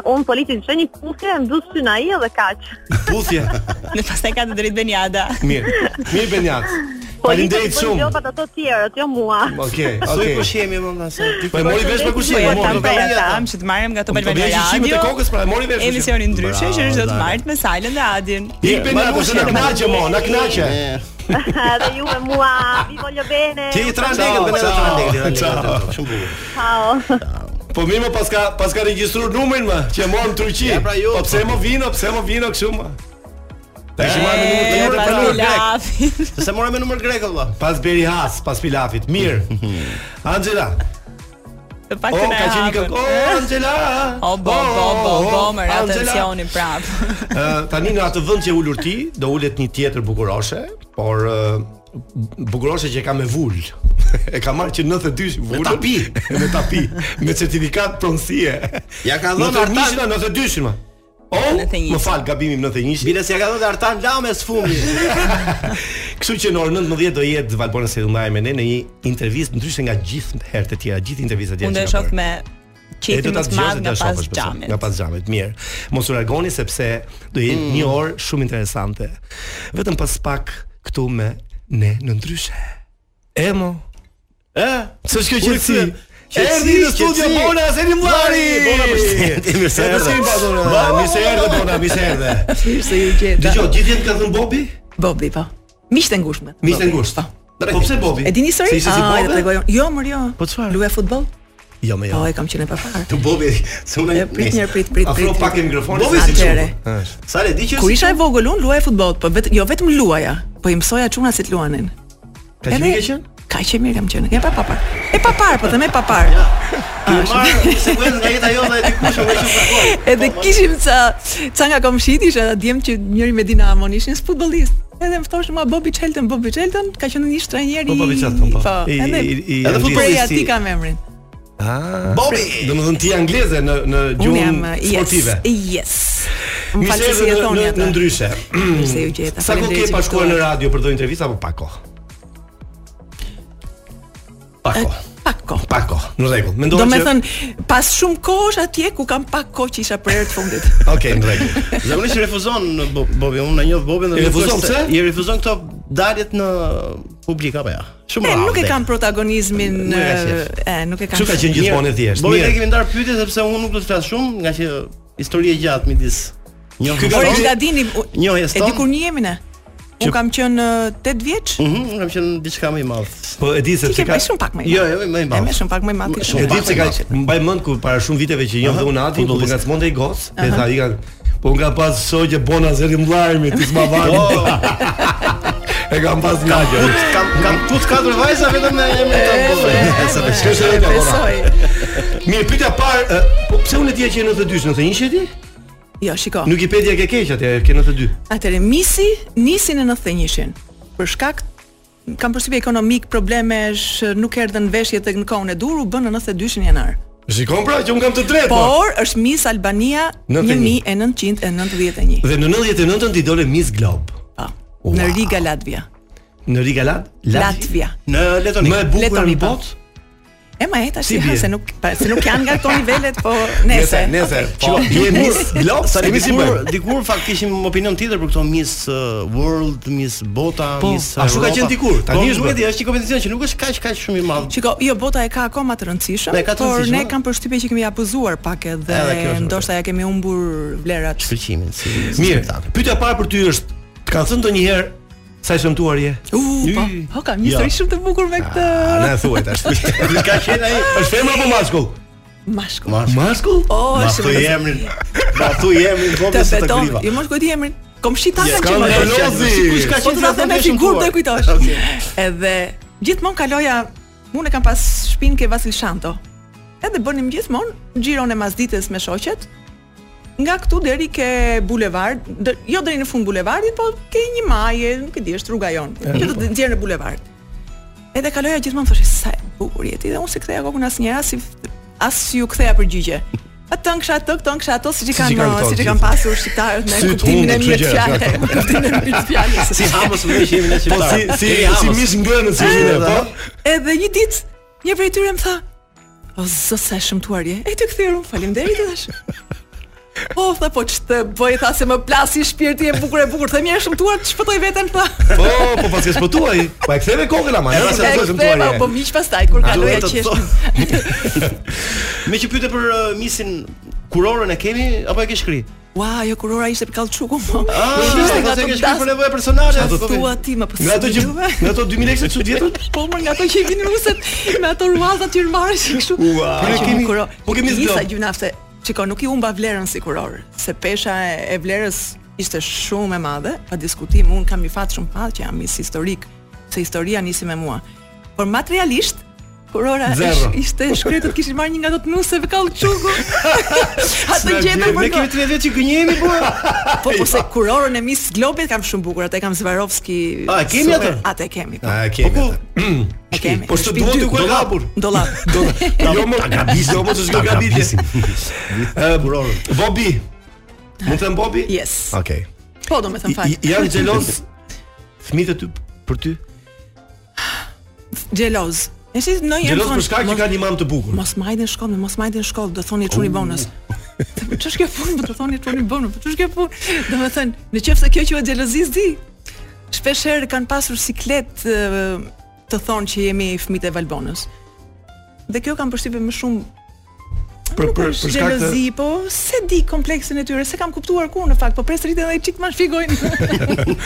Speaker 11: Un polici çon një puthje, mbus sy na i edhe kaq.
Speaker 6: Puthje.
Speaker 13: Në pastaj ka të drejtë Benjada.
Speaker 6: Mirë. Mirë Benjat. Faleminderit shumë.
Speaker 14: Jopat ato të tjerët, jo mua.
Speaker 6: Okej,
Speaker 7: Soi
Speaker 6: okej.
Speaker 7: kush jemi më pasaj.
Speaker 6: Po e mori vesh me kushim,
Speaker 15: Po
Speaker 6: e
Speaker 15: ja
Speaker 6: mori
Speaker 15: tam
Speaker 6: vesh.
Speaker 15: pra ja tam që të marrim nga ato
Speaker 6: Po, do
Speaker 15: Balvania
Speaker 6: bëjë gjyqimet e
Speaker 15: Radio.
Speaker 6: kokës, pra, e mori vesh, kushim.
Speaker 15: Emisioni ndryshe që është do të
Speaker 6: Bravo.
Speaker 15: marrit me Salën dhe Adin.
Speaker 6: Ikpin na të na knaqe mo, na knaqe.
Speaker 14: Dhe ju me mua, vi voglio bene.
Speaker 6: Ti i tran
Speaker 7: Ciao,
Speaker 6: degët, bëj
Speaker 7: ciao,
Speaker 6: tran
Speaker 7: ciao.
Speaker 6: degët. Shumë bukur.
Speaker 14: Ciao.
Speaker 6: Po mirë, më paska paska regjistruar numrin më, që e morëm Turqi.
Speaker 7: Ja, pra, jo.
Speaker 6: Po pse mo vino, pse mo vino kështu më? Tash i marrë me numër
Speaker 15: E,
Speaker 6: numër
Speaker 11: pra,
Speaker 15: pas
Speaker 6: për numër grek.
Speaker 15: pilafit.
Speaker 7: Se mora me numër grek valla.
Speaker 6: Pas Beri Has, pas Pilafit. Mirë. Angela.
Speaker 15: Të [laughs] pak
Speaker 6: O,
Speaker 15: të
Speaker 6: ka qenë një këngë. O, Angela.
Speaker 15: O, bo, bo, bo,
Speaker 6: o,
Speaker 15: bo, më ra
Speaker 6: Angela.
Speaker 15: tensionin prapë.
Speaker 6: Ë, tani në atë vend që e ulur ti, do ulet një tjetër bukuroshe, por ë, bukuroshe që e ka me vul. [laughs] e ka marrë që 92 vulën. Me
Speaker 7: tapi.
Speaker 6: [laughs] me tapi, me certifikat pronësie.
Speaker 7: Ja ka dhënë Artan.
Speaker 6: 91-shin, 92-shin. ma. O,
Speaker 15: 91.
Speaker 6: më fal gabimin 91-shin.
Speaker 7: Bile si ja ka dhënë Artan Lame sfumi.
Speaker 6: [laughs] Kështu që në orën 19 do jetë Valbona Sedundaj me ne në një intervistë ndryshe nga gjithë herët e tjera, gjithë intervistat janë.
Speaker 15: Unë do
Speaker 6: që
Speaker 15: e
Speaker 6: ka
Speaker 15: shoh
Speaker 6: bërë.
Speaker 15: me
Speaker 6: E do
Speaker 15: qefin
Speaker 6: ta
Speaker 15: më të
Speaker 6: dëgjosh
Speaker 15: madh
Speaker 6: dhe
Speaker 15: nga
Speaker 6: ta
Speaker 15: pas
Speaker 6: shohësh
Speaker 15: xhamit.
Speaker 6: xhamit. Nga pas xhamit, mirë. Mos u largoni sepse do jetë një orë shumë interesante. Vetëm pas pak këtu me ne në ndryshe. Emo.
Speaker 7: Ë?
Speaker 6: Pse s'kjo
Speaker 7: Ujë,
Speaker 6: qetësi?
Speaker 7: qetësi,
Speaker 6: Erdi në studio
Speaker 7: qetësi.
Speaker 6: Bona Selimvari.
Speaker 7: Bona përshëndetje, mirë se erdhe.
Speaker 6: Mirë se erdhe Bona, mirë se erdhe.
Speaker 11: Mirë se ju gjeta.
Speaker 6: Dgjoj, gjithë jetë ka thënë Bobi?
Speaker 11: Bobi po. Miqtë e ngushtë.
Speaker 6: Miqtë e ngushtë. Po pse Bobi?
Speaker 11: E dini historinë?
Speaker 6: Se ishte si
Speaker 11: Ah, e
Speaker 6: Bobi?
Speaker 11: tregoj unë. Jo, mor, jo. Po
Speaker 6: çfarë?
Speaker 11: Luaj futboll?
Speaker 6: Jo, më jo.
Speaker 11: Po, e kam qenë pa fare.
Speaker 6: Tu Bobi, se unë
Speaker 11: E, prit një, prit, prit,
Speaker 6: Afro
Speaker 11: prit,
Speaker 6: pak e
Speaker 11: prit.
Speaker 6: mikrofonin.
Speaker 11: Bobi, si Atëre.
Speaker 7: Sa le di që
Speaker 11: Kur isha e vogël unë luaj futboll, po vetë jo vetëm luaja, po i mësoja çuna si të luanin.
Speaker 6: Ka qenë
Speaker 11: Edhe-
Speaker 6: ke qenë?
Speaker 11: Ka që mirë kam qenë. Ja pa papar. E papar, po them e
Speaker 6: [laughs]
Speaker 11: papar.
Speaker 7: Ti marr sekuencë nga jeta jote e dikush apo kështu faqor.
Speaker 11: Edhe kishim ca ca nga komshit, isha ata djem që njëri me Dinamon ishin futbollist. Edhe më thoshin ma Bobby Charlton, Bobby Charlton, ka qenë një trajner i.
Speaker 6: Po, Bobby Charlton, po. I-
Speaker 11: edhe
Speaker 6: i- i-
Speaker 11: edhe
Speaker 6: i- i-
Speaker 11: futbollisti. Ati ka me emrin.
Speaker 6: Ah. Bobi, domethënë ti je angleze në në
Speaker 11: Unë
Speaker 6: gjuhën
Speaker 11: jam yes.
Speaker 6: sportive.
Speaker 11: Yes. Më
Speaker 6: Mirë se
Speaker 11: falë se si
Speaker 6: erdhe
Speaker 11: e
Speaker 6: në-
Speaker 11: thoni
Speaker 6: në-
Speaker 11: atë.
Speaker 6: Në
Speaker 11: [clears throat]
Speaker 6: ndryshe.
Speaker 11: Mirë se ju gjeta.
Speaker 6: Sa kohë
Speaker 11: Faleminderit
Speaker 6: ke
Speaker 11: që
Speaker 6: pa shkuar në
Speaker 11: ftuat.
Speaker 6: radio për do intervistë apo pa kohë? Pa kohë.
Speaker 11: Pak kohë.
Speaker 6: Pa kohë. Në rregull. Mendoj
Speaker 11: Do
Speaker 6: Po, që
Speaker 11: me thënë, pas shumë kohësh atje ku kam pak kohë që isha për herë
Speaker 6: [laughs]
Speaker 11: të fundit.
Speaker 6: Okej, në rregull.
Speaker 7: Zakonisht refuzon Bo- Bobi, unë e njoh Bobin dhe
Speaker 6: I refuzon,
Speaker 7: nuk është se-
Speaker 6: pse?
Speaker 7: I refuzon këto daljet në publik apo ja. Shumë
Speaker 11: E,
Speaker 7: rrallë.
Speaker 11: nuk e kam protagonizmin,
Speaker 7: Nuk e ka qef.
Speaker 11: e, nuk e kam.
Speaker 6: Kështu ka qenë gjithmonë e thjeshtë.
Speaker 7: Bobi ne
Speaker 6: Mirë.
Speaker 7: kemi ndar pyetje sepse unë nuk do të flas shumë nga që histori e gjatë midis njohjes.
Speaker 6: Ky ka
Speaker 11: Por e
Speaker 7: tonë-
Speaker 11: që ta dini, u-
Speaker 7: Njohjes
Speaker 11: e
Speaker 7: tonë.
Speaker 11: di kur një jemi ne? Unë kam qenë uh, 8 vjeç.
Speaker 7: Mhm, unë kam qenë diçka më i madh.
Speaker 6: Po e di
Speaker 11: Ti
Speaker 6: sepse
Speaker 11: ke
Speaker 6: ka
Speaker 11: më shumë pak më. i
Speaker 7: Jo,
Speaker 11: madh.
Speaker 7: jo, më i
Speaker 11: E
Speaker 7: madh.
Speaker 11: më shumë pak më i madh. ti
Speaker 7: shumë
Speaker 6: E
Speaker 11: shumë
Speaker 6: di
Speaker 11: pak.
Speaker 6: pse ka mbaj mend ku para shumë viteve që jam dhe unë aty, po nga smonte i gos, e tha i kanë Po unë kam pas shoqë bona zëri mllajmi, ti s'ma vani. E kam pas nga gjë.
Speaker 7: Kam kam tut katër vajza vetëm me emrin tonë Bobi.
Speaker 6: Sa të shkosh edhe
Speaker 11: E Besoj.
Speaker 6: Mirë, pyetja parë, ë, po pse unë e dija që e 92, 91 e ti?
Speaker 11: Jo, shiko.
Speaker 6: Wikipedia ke keq atje, ke 92.
Speaker 11: Atëre misi nisi në 91-shin. Për shkak kam përshtypje ekonomik, problemesh, nuk erdhën veshje tek në kohën e dur, u bën në 92-shin janar.
Speaker 6: Shikon pra që un kam të drejtë. po.
Speaker 11: Por është Miss Albania
Speaker 6: 91.
Speaker 11: 1991.
Speaker 6: Dhe në 99-ën ti dole Miss Globe.
Speaker 11: Po.
Speaker 6: Ua.
Speaker 11: Në Riga, Latvia.
Speaker 6: Në Riga Lat,
Speaker 11: Latvia.
Speaker 7: Në Letoni.
Speaker 6: Më e bukur
Speaker 11: Letoni,
Speaker 6: në
Speaker 11: po.
Speaker 6: botë.
Speaker 11: E ma e tash
Speaker 6: Si
Speaker 11: si ha,
Speaker 6: bie?
Speaker 11: se nuk pa, se nuk janë nga këto nivelet, po nese.
Speaker 6: nese. Po,
Speaker 7: Shiko,
Speaker 6: je Miss Globe,
Speaker 7: Sa
Speaker 6: sa
Speaker 7: ne
Speaker 6: kemi si
Speaker 7: dikur,
Speaker 6: bën.
Speaker 7: dikur fakt kishim opinion tjetër për këto Miss uh, World, Miss Bota,
Speaker 6: Po,
Speaker 7: Miss
Speaker 6: ashtu ka
Speaker 7: Europa.
Speaker 6: qenë dikur, tani
Speaker 7: Po,
Speaker 6: është
Speaker 7: nuk e
Speaker 6: bërë.
Speaker 7: di, është një kompeticion që nuk është kaq kaq shumë i madh.
Speaker 11: Shiko, jo bota e ka akoma të rëndësishëm,
Speaker 7: Ne, ka të
Speaker 11: por
Speaker 7: rëndësishme.
Speaker 11: ne kam përshtypje që kemi abuzuar pak edhe
Speaker 7: Edhe kjo është
Speaker 11: ndoshta ja kemi humbur vlerat.
Speaker 7: Shkëlqimin si
Speaker 6: Mirë, pyetja parë për ty është, të kanë thënë ndonjëherë sa i shëmtuar je?
Speaker 11: U, po, ho kam një histori shumë të bukur me këtë
Speaker 6: A Ah, na e thuaj
Speaker 7: [laughs]
Speaker 6: tash.
Speaker 7: Ka qenë ai
Speaker 6: Është femër apo mashkull?
Speaker 11: mashkull.
Speaker 6: Mashkull?
Speaker 11: O,
Speaker 7: Ma
Speaker 11: është
Speaker 7: thu i
Speaker 11: vërtet.
Speaker 7: emrin, [laughs] ma thu i emrin
Speaker 11: Të
Speaker 7: Bobi se të
Speaker 11: beton,
Speaker 7: griva.
Speaker 11: ju mos kujti emrin. Komshit ata që më
Speaker 6: Skandalozi.
Speaker 7: Sikush ka
Speaker 11: Po të
Speaker 7: qenë
Speaker 11: na
Speaker 7: sa
Speaker 11: them me
Speaker 7: të
Speaker 11: figurë do
Speaker 7: shëmtuar.
Speaker 11: e kujtosh.
Speaker 7: Okej.
Speaker 11: Edhe gjithmonë kaloja unë e kam pas shtëpinë ke Vasil Shanto. Edhe bënim gjithmonë gjiron e masdites me shoqet. Nga këtu deri ke bulevard, dë- jo deri në fund bulevardit, po ke një maje, nuk e po. di, është rruga jon. Që do të nxjerrë në bulevard. Edhe kaloja gjithmonë thoshte sa e bukur jeti dhe unë se ktheja kokën asnjëherë as i as ju ktheja përgjigje. Atë nksha ato, këto nksha ato, siç
Speaker 6: Siç
Speaker 11: i
Speaker 6: i kanë
Speaker 11: kanë,
Speaker 6: këto
Speaker 11: siç i
Speaker 6: gjithë.
Speaker 11: kanë pasur shqiptarët me
Speaker 6: Sytë
Speaker 11: kuptimin
Speaker 6: hundë,
Speaker 11: e
Speaker 6: kështu
Speaker 11: mirë të
Speaker 6: gjëra,
Speaker 11: fjalës,
Speaker 6: gjëra.
Speaker 11: kuptimin e mirë të fjalës. [laughs]
Speaker 7: Si Amos më ishim ne
Speaker 6: Po
Speaker 7: shqiptar.
Speaker 6: si si si mish ngrënë si
Speaker 7: Jemi
Speaker 6: jeni po?
Speaker 7: Amos.
Speaker 11: Edhe një ditë, një prej tyre më tha, "O zot sa e shëmtuar je." E ty kthyer un, faleminderit e thash. Po, tha, po që të bëj, tha, se më plasi shpirti e bukur e bukur, tha, mirë shëmtuar, të shpëtoj veten, tha.
Speaker 6: Po, po pas ke shpëtuaj. Pa e ktheve kokën ama, nëse
Speaker 11: E
Speaker 6: do të shëmtuar. [laughs]
Speaker 11: ktheva, po miq pastaj kur
Speaker 7: A,
Speaker 11: kaloja
Speaker 7: duhet të
Speaker 11: [laughs] qeshnin.
Speaker 7: Me që pyete për uh, misin kurorën e kemi apo e ke shkri?
Speaker 11: Ua, jo kurora ishte për kallçuku mo.
Speaker 7: Ah,
Speaker 11: Ishte
Speaker 7: po, se
Speaker 11: nga ato
Speaker 7: ke shkruar
Speaker 11: tas-
Speaker 7: për nevoja personale,
Speaker 11: Ato
Speaker 7: po,
Speaker 11: thua
Speaker 7: po.
Speaker 11: ti më po.
Speaker 7: Nga ato që- nga ato 2000 lekë çu dietën?
Speaker 11: Po më nga ato që i vinin ruset me ato ruaza tyrmare që kështu.
Speaker 6: Ua.
Speaker 11: Po
Speaker 6: Ne
Speaker 11: që
Speaker 6: kemi-
Speaker 11: më kuro-
Speaker 6: po kemi
Speaker 11: Isa
Speaker 6: zglop.
Speaker 11: gjunafse. Çiko, nuk i humba vlerën si kuror, se pesha e, e vlerës ishte shumë e madhe, pa diskutim, un kam një fat shumë fat që jam mis historik, se historia nisi me mua. Por materialisht Kurora
Speaker 6: Zero.
Speaker 11: ish- ishte shkretët kishin marrë një nga ato të nuseve kallçuku.
Speaker 6: [laughs]
Speaker 11: Ato
Speaker 6: S'na
Speaker 11: gjetën
Speaker 6: gjetë.
Speaker 11: për
Speaker 6: Ne kemi 30 vjet që gënjehemi po.
Speaker 11: Po po se kurorën e Miss Globit kam shumë bukur, atë e kam Zvarovski.
Speaker 6: A, e kemi
Speaker 11: super.
Speaker 6: atë?
Speaker 11: Atë e kemi. Po.
Speaker 6: [laughs] A e kemi. atë.
Speaker 11: E kemi.
Speaker 6: Po ç'të duhet ju ku e kapur?
Speaker 11: Dollap.
Speaker 6: Jo më ta gabis, jo më të s'do gabitje. [laughs] Ë, Bobi. Mund të them Bobi?
Speaker 11: [laughs] Yes.
Speaker 6: Okej.
Speaker 11: Po do me thënë fal.
Speaker 6: I- Janë
Speaker 11: [laughs]
Speaker 6: xhelos fëmijët e ty për ty?
Speaker 11: Xheloz. E si në një
Speaker 6: Xhelos për shkak që kanë një Oh. mamë të bukur.
Speaker 11: Mos majden shkollë, mos majden shkollë, do thoni çuni bonus. Po [laughs] Ç'është kjo punë, do të thoni çuni bonus. Po ç'është kjo punë? Domethënë, në qoftë se kjo quhet xhelozi di. Shpesh herë kanë pasur siklet ë, të thonë që jemi fëmijët e Valbonës. Dhe kjo kanë përshtypje më shumë
Speaker 6: Për për
Speaker 11: është
Speaker 6: për shkak të
Speaker 11: xhelozi, po se di kompleksin e tyre, se kam kuptuar kur në fakt, po pres rritën edhe çik më [laughs] shpjegojnë.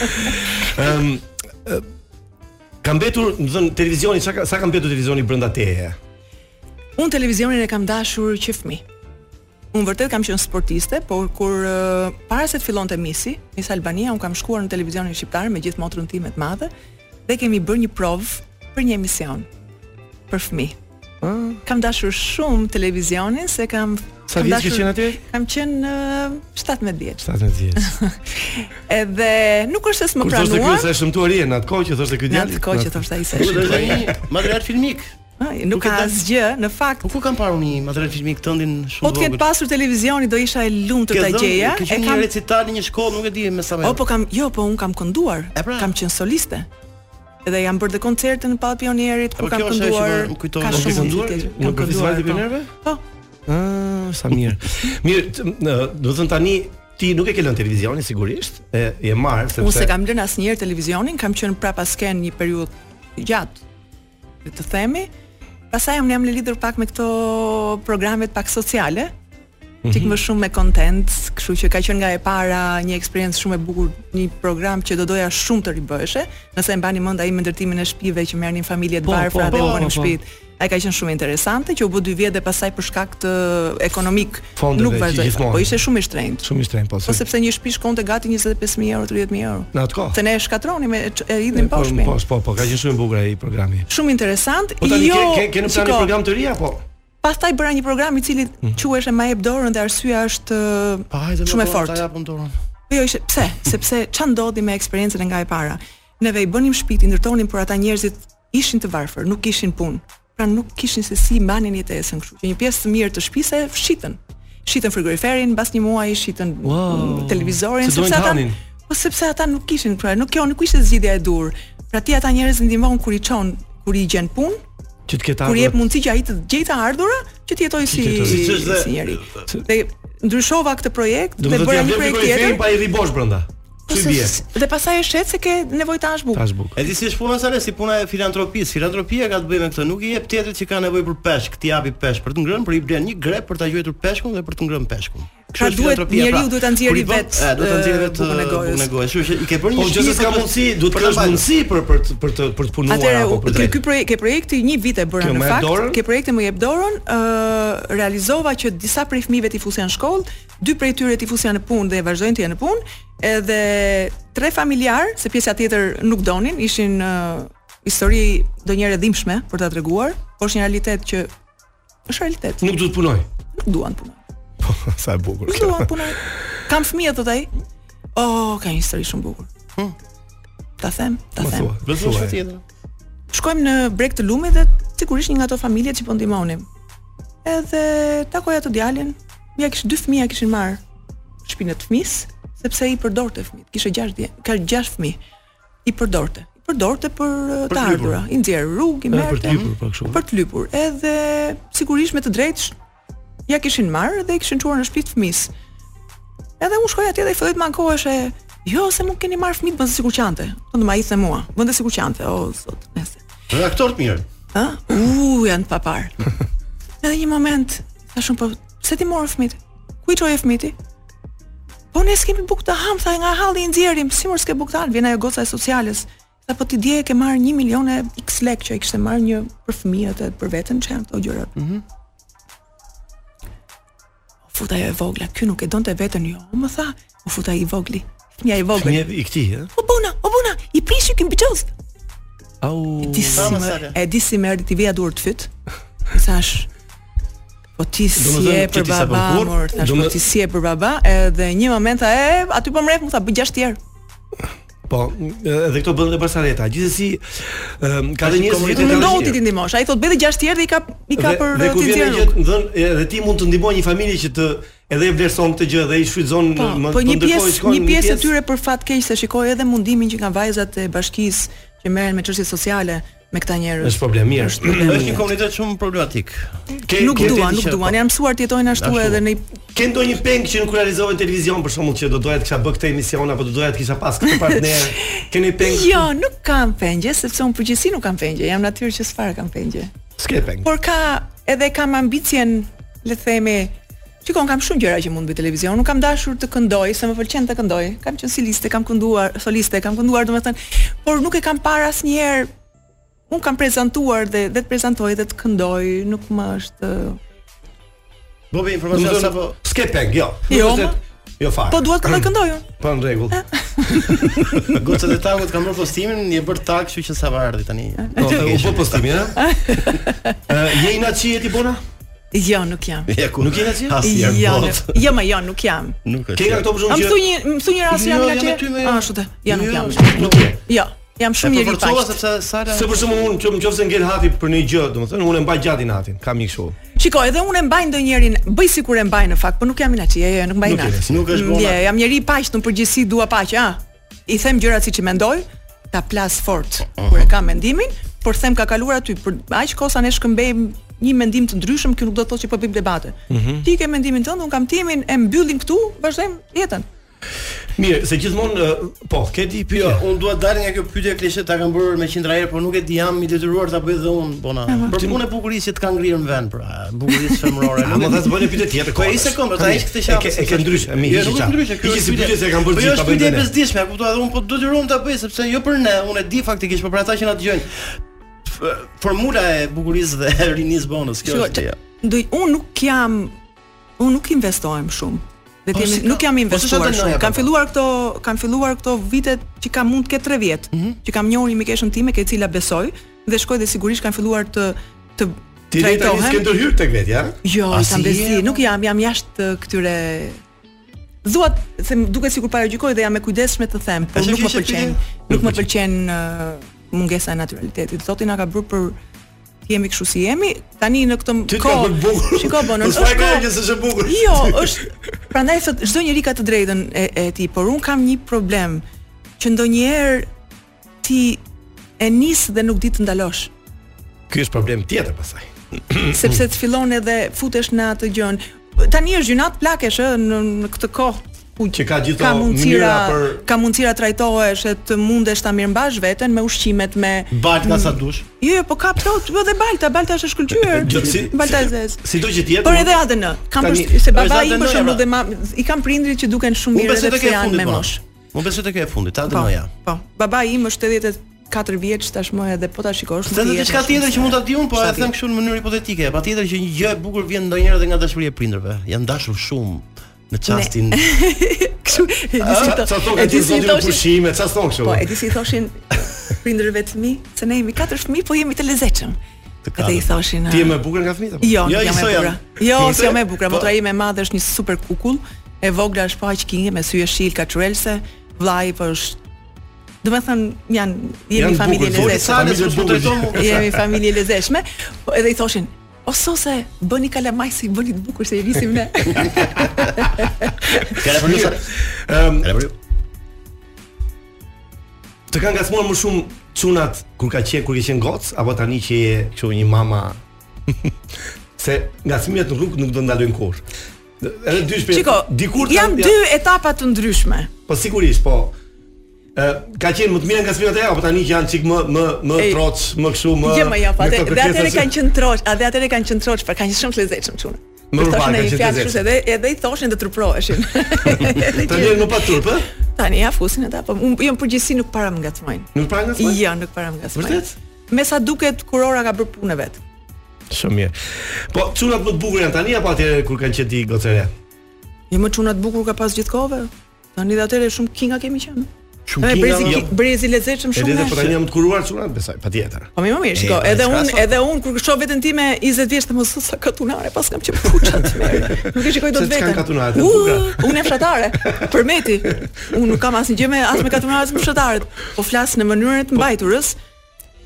Speaker 6: Ëm ë, ka mbetur, do të thënë televizioni, çka ka- sa ka mbetur televizioni brenda teje?
Speaker 11: Unë televizionin e kam dashur që fëmi. Unë vërtet kam qenë sportiste, por kur uh, para se të fillonte misi, Miss Albania, unë kam shkuar në televizionin shqiptar me gjithë motrën time të madhe dhe kemi bërë një provë për një emision për fëmijë. Kam dashur shumë televizionin se kam
Speaker 6: Sa
Speaker 11: kam
Speaker 6: vjeç ke
Speaker 11: dashur-
Speaker 6: qenë aty?
Speaker 11: Kam qenë uh, 17 vjeç.
Speaker 6: 17 vjeç.
Speaker 11: Edhe nuk është se s'më
Speaker 6: Kur thoshte ky
Speaker 11: pranuan.
Speaker 6: se e shëmtuar je në atë kohë që thoshte ky
Speaker 11: Në
Speaker 6: djalë.
Speaker 11: atë kohë që thoshte ai se
Speaker 7: Po do të
Speaker 11: shëmtuar je.
Speaker 7: një material filmik.
Speaker 11: Ai, Nuk ka asgjë, në fakt.
Speaker 7: Po ku kam parë unë një material filmik tëndin
Speaker 11: Po
Speaker 7: shumë
Speaker 11: të ketë pasur televizioni do isha e lumtur ta gjeja.
Speaker 7: Ke qenë një recital në një shkollë, nuk e di me sa më.
Speaker 11: O po kam, jo, po un kam kënduar. Kam qenë soliste. Edhe jam bërë dhe koncerte në Pall Pionierit
Speaker 7: po
Speaker 11: ku kam
Speaker 7: kjo është ajo që
Speaker 11: kënduar.
Speaker 7: më- më kujton
Speaker 11: Ka
Speaker 6: Kam
Speaker 11: shumë
Speaker 6: kënduar
Speaker 11: muzikë.
Speaker 6: në festivalin e
Speaker 11: po.
Speaker 6: pionerëve?
Speaker 11: Po.
Speaker 6: Ah, sa mirë. Mirë, t- në- do të thënë tani ti nuk e ke lënë televizionin sigurisht, e e marr sepse
Speaker 11: Unë se kam lënë asnjëherë televizionin, kam qenë prapa sken një periudhë gjatë. Le të themi, pastaj unë jam lidhur pak me këto programet pak sociale,
Speaker 6: Mhm.
Speaker 11: Tik më shumë me content, kështu që ka qenë nga e para një eksperiencë shumë e bukur, një program që do doja shumë të ribëshe, nëse e mbani mend ai me ndërtimin e shtëpive që merrnin familje të
Speaker 6: Po, po,
Speaker 11: varfra
Speaker 6: po,
Speaker 11: dhe u bënin
Speaker 6: po.
Speaker 11: shtëpi. Ai ka qenë shumë interesante që u bë 2 vjet dhe pastaj për shkak të ekonomik
Speaker 6: Fondeve
Speaker 11: nuk
Speaker 6: që
Speaker 11: vazhdoi.
Speaker 6: gjithmonë.
Speaker 11: Po ishte shumë i shtrenjtë.
Speaker 6: shumë i shtrenjtë po.
Speaker 11: Po sepse një shtëpi shkonte gati 25000 euro, 30000 euro.
Speaker 6: Në atë kohë.
Speaker 11: Se ne e shkatronim e ç- e idhnim pa
Speaker 6: po,
Speaker 11: shtëpinë.
Speaker 6: po, po, ka qenë shumë e bukur ai programi.
Speaker 11: Shumë interesant.
Speaker 6: Po tani
Speaker 11: jo,
Speaker 6: ke ke, ke në plan një
Speaker 11: shiko,
Speaker 6: program Mm. të ri apo?
Speaker 11: Pastaj bëra një program i cili quhej Ma jep dorën dhe arsyeja është ë, shumë
Speaker 6: po,
Speaker 11: e fortë.
Speaker 7: Ja japëm dorën.
Speaker 11: Jo, ishte pse? Sepse ç'a ndodhi me eksperiencën e nga e para? Neve i bënim shtëpi, i ndërtonim, por ata njerëzit ishin të varfër, nuk kishin punë. Pra nuk kishin se si mbanin jetesën, kështu që një pjesë të mirë të shtëpisë e shitën. Shitën frigoriferin, mbas një muaji shitën
Speaker 6: Wow.
Speaker 11: mm, televizorin,
Speaker 6: Se dojnë të hanin.
Speaker 11: po sepse ata nuk kishin, pra nuk kjo nuk ishte zgjidhja e dur. Pra ti ata njerëz ndihmon kur i çon, kur i gjen punë,
Speaker 6: Që të ketë
Speaker 11: kur i jep
Speaker 6: ardhur.
Speaker 11: mundësi që ai të gjejë të ardhurën, që të jetojë si
Speaker 6: Që të
Speaker 11: si,
Speaker 6: jetojë.
Speaker 11: si, njeri. Dhe ndryshova këtë projekt
Speaker 6: Do
Speaker 11: dhe
Speaker 6: të thotë
Speaker 11: bëra
Speaker 6: jam
Speaker 11: një
Speaker 6: vlerë
Speaker 11: projekt
Speaker 6: frigoriferin
Speaker 11: tjetër.
Speaker 6: pa i ribosh brenda.
Speaker 11: Po
Speaker 6: Çi
Speaker 11: se-
Speaker 6: bie?
Speaker 11: Dhe pastaj e shet se ke nevojë të hash bukë.
Speaker 6: Tash buk.
Speaker 7: E di si është puna sa ne, si puna e filantropisë. Filantropia ka të bëjë me këtë, nuk i jep tjetrit që ka nevojë për peshk, ti japi peshk për të ngrënë, por i blen një grep për ta gjuetur peshkun dhe për të ngrënë peshkun. Kështu
Speaker 11: Pra
Speaker 7: është
Speaker 11: duhet-
Speaker 7: filantropia,
Speaker 11: njeriu
Speaker 7: pra.
Speaker 11: duhet ta nxjerrë
Speaker 7: Kur i bën-
Speaker 11: vet,
Speaker 7: e, duhet ta nxjerrë
Speaker 11: e,
Speaker 7: vet
Speaker 11: bukën e
Speaker 7: e,
Speaker 11: gojës.
Speaker 7: bukën e gojës. Kështu që i ke bërë një
Speaker 6: Po gjithsesi
Speaker 7: shtëpi
Speaker 6: s'ka
Speaker 7: për të-
Speaker 6: mundësi,
Speaker 7: për
Speaker 6: duhet të
Speaker 7: ta
Speaker 6: kesh
Speaker 7: mbajtur.
Speaker 6: mundësi për për të për të për të punuar
Speaker 11: Atëre
Speaker 6: apo për
Speaker 11: ky
Speaker 6: drejt.
Speaker 11: ky projekt, ke projekti një vit e bëra
Speaker 6: Kjo
Speaker 11: në
Speaker 6: më jep
Speaker 11: fakt.
Speaker 6: dorën?
Speaker 11: Ke projekti më jep dorën, ë realizova që disa prej fëmijëve ti fusën në shkollë, dy prej tyre ti fusën në punë dhe vazhdojnë të jenë në punë, edhe tre familjar, se pjesa tjetër nuk donin, ishin ë, histori donjëherë dhimbshme për ta treguar, por është një realitet që është realitet.
Speaker 6: Nuk do të punoj.
Speaker 11: Nuk duan të punojnë.
Speaker 6: Po, [laughs] sa e bukur.
Speaker 11: Nuk
Speaker 6: [laughs]
Speaker 11: po, duan të punojnë. Kam fëmijë thot ai. Oh, ka një histori shumë bukur. Ta them, ta
Speaker 6: Po
Speaker 11: them.
Speaker 6: Hm. thua.
Speaker 7: Vetëm
Speaker 6: thuaj.
Speaker 7: çfarë tjetër?
Speaker 11: Shkojmë në breg të lumit dhe sigurisht një nga ato familje që po ndihmonim. Edhe takoja të djalin, ja kishte dy fëmija kishin marr shtëpinë të fëmisë, sepse i përdorte fëmijët. Kishte 6 dje, ka 6 fëmijë. I përdorte. I përdorte për, për të
Speaker 6: lypur.
Speaker 11: ardhura, i nxjerr rrugë, i
Speaker 6: Edhe për
Speaker 11: merrte.
Speaker 6: të lypur, po, kështu.
Speaker 11: Për të lypur. Edhe sigurisht me të drejtë sh- ja kishin marrë dhe i kishin çuar në shtëpi të fëmisë. Edhe unë shkoj atje dhe i filloi të mankohesh e Jo, se mund keni marr fëmijët vende sikur qante. Do të më ai mua, vende sikur qante. O zot, nëse.
Speaker 7: Redaktor të mirë.
Speaker 11: Ha? U, janë të papar. Edhe një moment, thashun po, pse ti morë fëmijët? Ku i çoje fëmijët? Po ne s'kemi bukë të ham, tha nga halli i nxjerrim, si mor s'ke bukë të ham, vjen ajo goca e sociales. Tha po ti dje e ke marr 1 milion e X lek që e kishte marr një për fëmijët e për veten që janë këto gjëra. Mhm. U futa ajo e vogla, ky nuk e donte veten jo. Më tha, u futa i vogli. Fëmia e vogël.
Speaker 6: Një i këtij, eh? ë?
Speaker 11: O Po bona, o bona, i prishi kim biçoz.
Speaker 6: Au.
Speaker 11: Ti si më, e di si më erdhi ti vija dur të fyt. I thash Po ti si
Speaker 6: Domethënë,
Speaker 11: e
Speaker 6: ti
Speaker 11: për
Speaker 6: ti sa
Speaker 11: baba,
Speaker 6: përkur,
Speaker 11: mor, thash,
Speaker 6: domo-
Speaker 11: po ti si e për baba, edhe një moment tha, e, aty po mref, më tha, bëj gjashtë herë.
Speaker 6: Po, edhe këto bën dhe Barsaleta. Gjithsesi, ëm, ka dhe njerëz
Speaker 11: Nuk mundohu ti ti ndihmosh. Ai thot, bëj dhe gjashtë herë dhe i ka i ka për
Speaker 6: dhe
Speaker 11: uh,
Speaker 6: ku
Speaker 11: ti
Speaker 6: vjen
Speaker 11: nxjerrë
Speaker 6: gjë,
Speaker 11: rrugë.
Speaker 6: do thënë, edhe ti mund të ndihmoj një familje që të edhe e vlerëson këtë gjë dhe i shfrytëzon
Speaker 11: Po,
Speaker 6: më-
Speaker 11: po një
Speaker 6: ndërkohë
Speaker 11: pjesë,
Speaker 6: shkojnë
Speaker 11: një pjesë e tyre për fat keq se shikoj edhe mundimin që kanë vajzat e bashkisë që merren me çështjet sociale me këta njerëz.
Speaker 6: [clears throat] Është po- problem mirë.
Speaker 11: Është problem [clears throat]
Speaker 7: Është një
Speaker 11: mirë.
Speaker 7: komunitet shumë problematik.
Speaker 6: Ke-
Speaker 11: Nuk
Speaker 6: ke-
Speaker 11: duan, nuk duan, janë mësuar të jetojnë ashtu
Speaker 6: po- Ashtu.
Speaker 11: edhe në
Speaker 6: Ke ndonjë peng që nuk realizohet në televizion për shembull që do doja të kisha bë këtë emision apo do doja të kisha pas
Speaker 11: [laughs]
Speaker 6: këtë partner. Keni peng?
Speaker 11: Jo, nuk kam pengje, sepse unë përgjithësi nuk kam pengje, jam natyrë që s'fare kam pengje.
Speaker 6: S'ke peng.
Speaker 11: Por ka edhe kam ambicien, le të themi, Shikon, kam shumë gjëra që mund të bëj televizion. Nuk kam dashur të këndoj, se më pëlqen të këndoj. Kam qenë soliste, kam kënduar, soliste, kam kënduar, domethënë, por nuk e kam parë asnjëherë. Un kam prezantuar dhe dhe të prezantoj dhe të këndoj, nuk më është.
Speaker 7: Bobi
Speaker 6: Do
Speaker 7: informacion
Speaker 6: të
Speaker 7: sapo [laughs]
Speaker 6: thonë, S'ke peng, jo.
Speaker 11: po, Jo,
Speaker 6: Nuk
Speaker 11: ma.
Speaker 6: është- Jo fare.
Speaker 11: Po
Speaker 6: [clears throat]
Speaker 11: duhet të këndoj unë.
Speaker 6: Po në
Speaker 11: [laughs]
Speaker 6: rregull.
Speaker 7: gocët e takut kanë bërë postimin, je bër tag, kështu që sa vardhi tani.
Speaker 6: Po, e, U bë postimi,
Speaker 11: [laughs]
Speaker 6: ha? Ë, Je i naçi e ti bona?
Speaker 11: Jo, nuk jam.
Speaker 7: [laughs] Ja ku.
Speaker 6: Nuk je naçi?
Speaker 7: Asnjë
Speaker 11: Jo,
Speaker 7: bot.
Speaker 11: nuk- jo, ma jo, nuk jam.
Speaker 7: Nuk
Speaker 6: Ke nga këto për
Speaker 11: A
Speaker 6: shembull
Speaker 11: më
Speaker 6: që
Speaker 11: thuj një, më thuj një rast që
Speaker 6: Jo, jam
Speaker 11: jam nga
Speaker 6: aty
Speaker 11: që?
Speaker 6: me-
Speaker 11: Ashtu të, ja nuk
Speaker 6: Jo,
Speaker 11: jam.
Speaker 6: Nuk je.
Speaker 11: Jo, jam shumë
Speaker 6: E
Speaker 11: njeri i
Speaker 6: përforcova
Speaker 11: paqët.
Speaker 7: Po, sepse Sara
Speaker 6: Se për shembull unë që nëse ngel hati për një gjë, domethënë unë e mbaj gjatë i natin, kam një kështu.
Speaker 11: Shiko, edhe unë e mbaj ndonjërin, bëj sikur e mbaj në fakt, por nuk jam inaçi, jo, jo, nuk mbaj
Speaker 6: Nuk je,
Speaker 11: inaç.
Speaker 6: nuk është
Speaker 11: Mm,
Speaker 6: bona.
Speaker 11: Je, jam njeri i paqë, në përgjithësi dua paqe, a. I them gjërat siç i mendoj, ta plas fort kur e kam mendimin, por them ka kaluar aty, për aq kosa ne shkëmbejmë një mendim të ndryshëm, kjo nuk do të thotë që po bëjmë debate.
Speaker 6: Mhm.
Speaker 11: Ti ke mendimin tënd, unë kam timin, e mbyllim këtu, vazhdojmë jetën.
Speaker 6: Mirë, se gjithmonë ë, po, ke di pyetje.
Speaker 7: Jo, unë dua të dal nga kjo pyetje klishe ta kam bërë me qindra herë, por nuk e di jam i detyruar ta bëj dhe unë bona.
Speaker 11: Ama.
Speaker 7: Për punë e bukurisë që të ka ngrirë në vend, pra, bukurisë femërore.
Speaker 6: [laughs] A më tha të bëni pyetje tjetër.
Speaker 7: Po e ishte këmbë, ta ishte këtë
Speaker 6: E ke-
Speaker 7: qafë.
Speaker 6: e ke ndrysh, e mi,
Speaker 7: Jo,
Speaker 6: hiqi
Speaker 7: nuk
Speaker 6: qafë.
Speaker 7: është ndryshe, kjo
Speaker 6: Hiqi
Speaker 7: është
Speaker 6: si
Speaker 7: pyetje
Speaker 6: pyetje se e kam bërë
Speaker 7: Po
Speaker 6: gjithë,
Speaker 7: jo, është
Speaker 6: ta bëjmë
Speaker 7: pyetje e
Speaker 6: dhe ne.
Speaker 7: bezdishme, e kuptoj, edhe unë po detyruam ta bëj sepse jo për ne, unë e di faktikisht, por për ata që na dëgjojnë. F- Formula e bukurisë dhe [laughs] rinis bonus, kjo
Speaker 11: Shiko,
Speaker 7: është.
Speaker 11: që-
Speaker 7: ja.
Speaker 11: Do unë nuk jam unë nuk investohem shumë. Dhe
Speaker 7: Po,
Speaker 11: po,
Speaker 7: si ka-
Speaker 11: nuk jam
Speaker 7: po, s'është
Speaker 11: investuar
Speaker 7: të
Speaker 11: shumë.
Speaker 7: noja,
Speaker 11: Kam
Speaker 7: po.
Speaker 11: filluar këto kam filluar këto vitet që kam mund të ketë 3 vjet,
Speaker 7: Mhm.
Speaker 11: që kam njohur imikeshën time, ke cila besoj dhe shkoj dhe sigurisht kam filluar të të
Speaker 6: Ti le tani s'ke ndërhyr tek vetë, ja?
Speaker 11: Jo,
Speaker 6: A
Speaker 11: sa
Speaker 6: si je,
Speaker 11: bezi,
Speaker 6: po?
Speaker 11: nuk jam, jam jashtë uh, këtyre Dua të- se më duket sikur paragjykoj dhe jam e kujdesshme të them, por
Speaker 7: A që
Speaker 11: nuk më
Speaker 7: kishe
Speaker 11: pëlqen,
Speaker 7: pyetje?
Speaker 11: nuk më pëlqen uh, mungesa e naturalitetit. Zoti na ka bërë për të jemi kështu si jemi. Tani në këtë
Speaker 6: Ti ka bërë bukur.
Speaker 11: Shiko bonon.
Speaker 6: Po [laughs] s'ka
Speaker 11: është
Speaker 6: gjë
Speaker 11: kohë-
Speaker 6: se është bukur.
Speaker 11: Jo, është prandaj thot çdo njeri ka të drejtën e, e tij, por un kam një problem që ndonjëherë ti e nis dhe nuk di të ndalosh,
Speaker 6: Ky është problem tjetër pastaj.
Speaker 11: sepse të fillon edhe futesh në atë gjën. Tani është gjynat plakesh ë në, në këtë kohë ku
Speaker 6: që ka gjithë
Speaker 11: ka
Speaker 6: ato
Speaker 11: mundësira
Speaker 6: mënyra për
Speaker 11: ka mundësira trajtohesh e të mundesh ta mirëmbash veten me ushqimet me
Speaker 7: Balt nga sa dush.
Speaker 11: Jo, jo, po ka plot, po dhe Balta, Balta është e shkëlqyer.
Speaker 6: Gjë- si-
Speaker 11: Balta e zez.
Speaker 6: Sido që të jetë.
Speaker 11: Por edhe ADN. Kam
Speaker 6: Tani,
Speaker 11: përsh- se baba
Speaker 7: është
Speaker 11: im për
Speaker 7: ADN,
Speaker 11: shembull
Speaker 7: pra.
Speaker 11: dhe ma, i kam prindrit që duken shumë
Speaker 7: Unë
Speaker 11: mirë
Speaker 7: besoj
Speaker 11: edhe
Speaker 7: të
Speaker 11: pse
Speaker 7: ke e
Speaker 11: janë
Speaker 7: fundit, po.
Speaker 11: me
Speaker 7: bona.
Speaker 11: mosh.
Speaker 7: Unë besoj të ke e fundit, ta
Speaker 11: Po.
Speaker 7: dënoja.
Speaker 11: Po. Baba im është 84 vjeç tashmë edhe po ta shikosh.
Speaker 7: Se
Speaker 11: nuk
Speaker 7: edhe
Speaker 11: i jep
Speaker 7: diçka
Speaker 11: shumë
Speaker 7: tjetër që
Speaker 11: se-
Speaker 7: mund ta di unë, po e
Speaker 11: sa
Speaker 7: them
Speaker 11: vjet.
Speaker 7: kështu në mënyrë hipotetike. Patjetër që një gjë e bukur vjen ndonjëherë edhe nga dashuria e prindërve. Janë dashur shumë në çastin.
Speaker 11: Kështu [laughs] e di si
Speaker 6: A,
Speaker 7: [laughs]
Speaker 11: to-
Speaker 6: Sa thonë
Speaker 11: e
Speaker 6: ka
Speaker 11: di si i
Speaker 6: zotin në
Speaker 11: thoshin.
Speaker 6: pushime, çfarë thonë kështu?
Speaker 11: Po, e di si i thoshin prindërve të mi, se ne jemi katër fëmijë, po jemi të lezetshëm. Edhe i thoshin.
Speaker 6: Ti je
Speaker 11: "Ah,
Speaker 6: më e bukur nga fëmijët apo?
Speaker 11: Jo,
Speaker 6: Jo,
Speaker 11: jo, jam
Speaker 6: i
Speaker 11: e
Speaker 6: sojam.
Speaker 11: bukur. Jo,
Speaker 6: Mirë.
Speaker 11: si jam e bukur.
Speaker 6: Po.
Speaker 11: Motra ime e madhe është një super kukull. E vogla është pa aq kinge me sy e shil kaçurelse. Vllai po është Do me thënë, janë, jemi
Speaker 6: Janë
Speaker 11: familje
Speaker 6: bukur, po,
Speaker 11: lezeshme.
Speaker 6: Sales,
Speaker 7: Familje
Speaker 6: s'u
Speaker 7: bukur.
Speaker 6: trajton bukur.
Speaker 11: Jemi familje lezeshme. Po edhe i thoshin, o sose, bëni kalamaj si bëni të bukur se i visim
Speaker 6: [laughs]
Speaker 11: ne.
Speaker 7: Kale për nësa.
Speaker 6: Ëm,
Speaker 7: Kale për
Speaker 6: të kanë ngacmuar më shumë çunat kur ka qenë kur ke qenë goc apo tani që [laughs] je kështu një mama se ngacmimet nuk nuk do ndalojnë kurrë. Edhe dy shpejt.
Speaker 11: Çiko,
Speaker 6: dikur
Speaker 11: janë dy etapa të ndryshme.
Speaker 6: Po sigurisht, po. Ë ka qenë më të mirë nga sfidat e apo tani që janë çik më më më
Speaker 11: Ej,
Speaker 6: troc, më kështu më.
Speaker 11: Jo, më jo, po
Speaker 6: me
Speaker 11: atë
Speaker 6: këto
Speaker 11: dhe atëre
Speaker 6: kërkesa
Speaker 11: kanë qenë troç, a dhe atëre kanë qenë troç, por kanë qenë shumë të lezetshëm çuna.
Speaker 6: Më
Speaker 11: Kur
Speaker 6: urban kanë qenë
Speaker 11: thoshin ai
Speaker 6: të lezetshme.
Speaker 11: fjalë kështu se edhe edhe i thoshin dhe
Speaker 6: [laughs]
Speaker 11: truproheshin.
Speaker 6: se- Të ndjen më pa turp, ë?
Speaker 11: Tani ja fusin ata, po unë jo në përgjithësi nuk para më ngacmojnë.
Speaker 6: Nuk para ngacmojnë?
Speaker 11: Jo, nuk para më ngacmojnë.
Speaker 6: Vërtet?
Speaker 11: Me sa duket kurora ka bërë punën e vet.
Speaker 6: Shumë mirë. Po çunat më të bukur janë tani apo atëherë kur kanë qenë ti gocëre?
Speaker 11: Jo më çuna të bukur ka pas gjithkove. Tani dhe atëre shumë kinga kemi qenë.
Speaker 6: Shumë
Speaker 11: Edhe
Speaker 6: kinga,
Speaker 11: brezi
Speaker 6: jo.
Speaker 11: ki- brezi lezetshëm shumë.
Speaker 6: Edhe
Speaker 11: nga-
Speaker 6: po tani jam të kuruar çunat, besoj, patjetër.
Speaker 11: Po më më mirë,
Speaker 6: E,
Speaker 11: shiko,
Speaker 6: po,
Speaker 11: edhe
Speaker 6: s'ka
Speaker 11: unë
Speaker 6: asfalt.
Speaker 11: edhe unë kur shoh veten time 20 vjeç të mos sa katunare, pas kam qenë puça të merë. Nuk e shikoj dot
Speaker 6: Se
Speaker 11: veten.
Speaker 6: s'kan katunare, të
Speaker 11: U,
Speaker 6: buka.
Speaker 11: Unë jam fshatare. Përmeti. Unë nuk kam asnjë gjë me as me katunare as me fshatarët, po flas në mënyrën të mbajturës.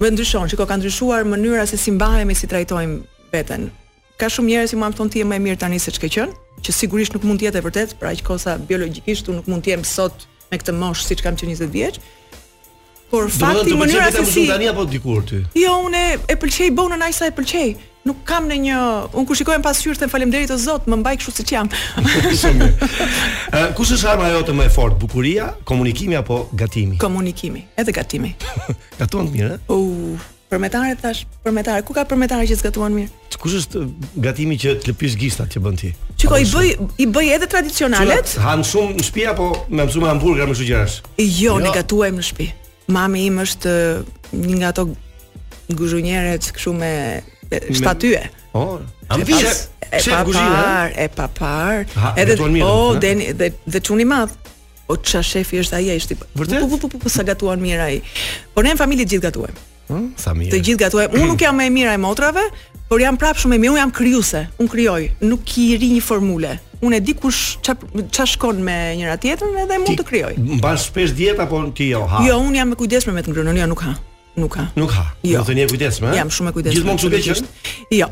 Speaker 11: Më ndryshon, shiko, ka ndryshuar mënyra se si mbahemi, si trajtojmë veten. Ka shumë njerëz që mua më thon ti je më e mirë tani se ç'ke qenë, që sigurisht nuk mund të jetë e vërtet, për aq kosa biologjikisht unë nuk mund të jem sot me këtë moshë siç kam qenë 20 vjeç. Por fakti mënyra se si
Speaker 6: tani apo dikur ty. [laughs]
Speaker 11: Jo, unë e- e pëlqej bonën aq sa e pëlqej. Nuk kam në një, unë kur shikoj pas hyrë them faleminderit o Zot, më mbaj kështu siç jam. [laughs]
Speaker 6: Shumë mirë. Ë, Kush është arma jote më e fortë, bukuria, komunikimi apo gatimi?
Speaker 11: Komunikimi, edhe gatimi.
Speaker 6: Gatuan të mirë, ë?
Speaker 11: U, përmetare thash, përmetare. Ku ka përmetare që zgatuan mirë?
Speaker 6: Kush është gatimi që të lëpish gishtat që bën ti?
Speaker 11: Çiko i bëj i bëj edhe
Speaker 6: Çunat
Speaker 11: tradicionalet.
Speaker 6: han shumë në shtëpi apo me mësuar hamburger me shugjerash?
Speaker 11: Jo, ne
Speaker 6: Jo.
Speaker 11: gatuajmë në shtëpi. Mami im është ë, një nga ato guzhunjeret kështu me me shtatye.
Speaker 6: Oh,
Speaker 11: Ambis. E pa par, e pa par.
Speaker 6: Ha,
Speaker 11: Edhe
Speaker 6: gatuan mirë,
Speaker 11: po
Speaker 6: ha?
Speaker 11: deni dhe dhe çuni i madh. Po ç'a shefi është ai ai është. i- Po po po po, po sa gatuan mirë ai. Po ne në familje gjithë gatuajmë.
Speaker 6: Hm, sa
Speaker 11: Të
Speaker 6: mirë.
Speaker 11: gjithë gatuajmë. Unë nuk jam më e mira e motrave, por jam prapë shumë e mirë. Unë jam krijuese. Unë krijoj, nuk i ri një formule. Unë e di kush ç'a ç'a shkon me njëra tjetrën edhe mund të krijoj.
Speaker 6: Mban shpesh dieta apo ti jo ha?
Speaker 11: Jo, unë jam e kujdesshme me të ngrënën, jo nuk ha. Nuk ha.
Speaker 6: Nuk ha.
Speaker 11: Jo.
Speaker 6: Do të një kujdesme, ë?
Speaker 11: Jam shumë e kujdesshme.
Speaker 6: Gjithmonë kështu ke qenë?
Speaker 11: Jo.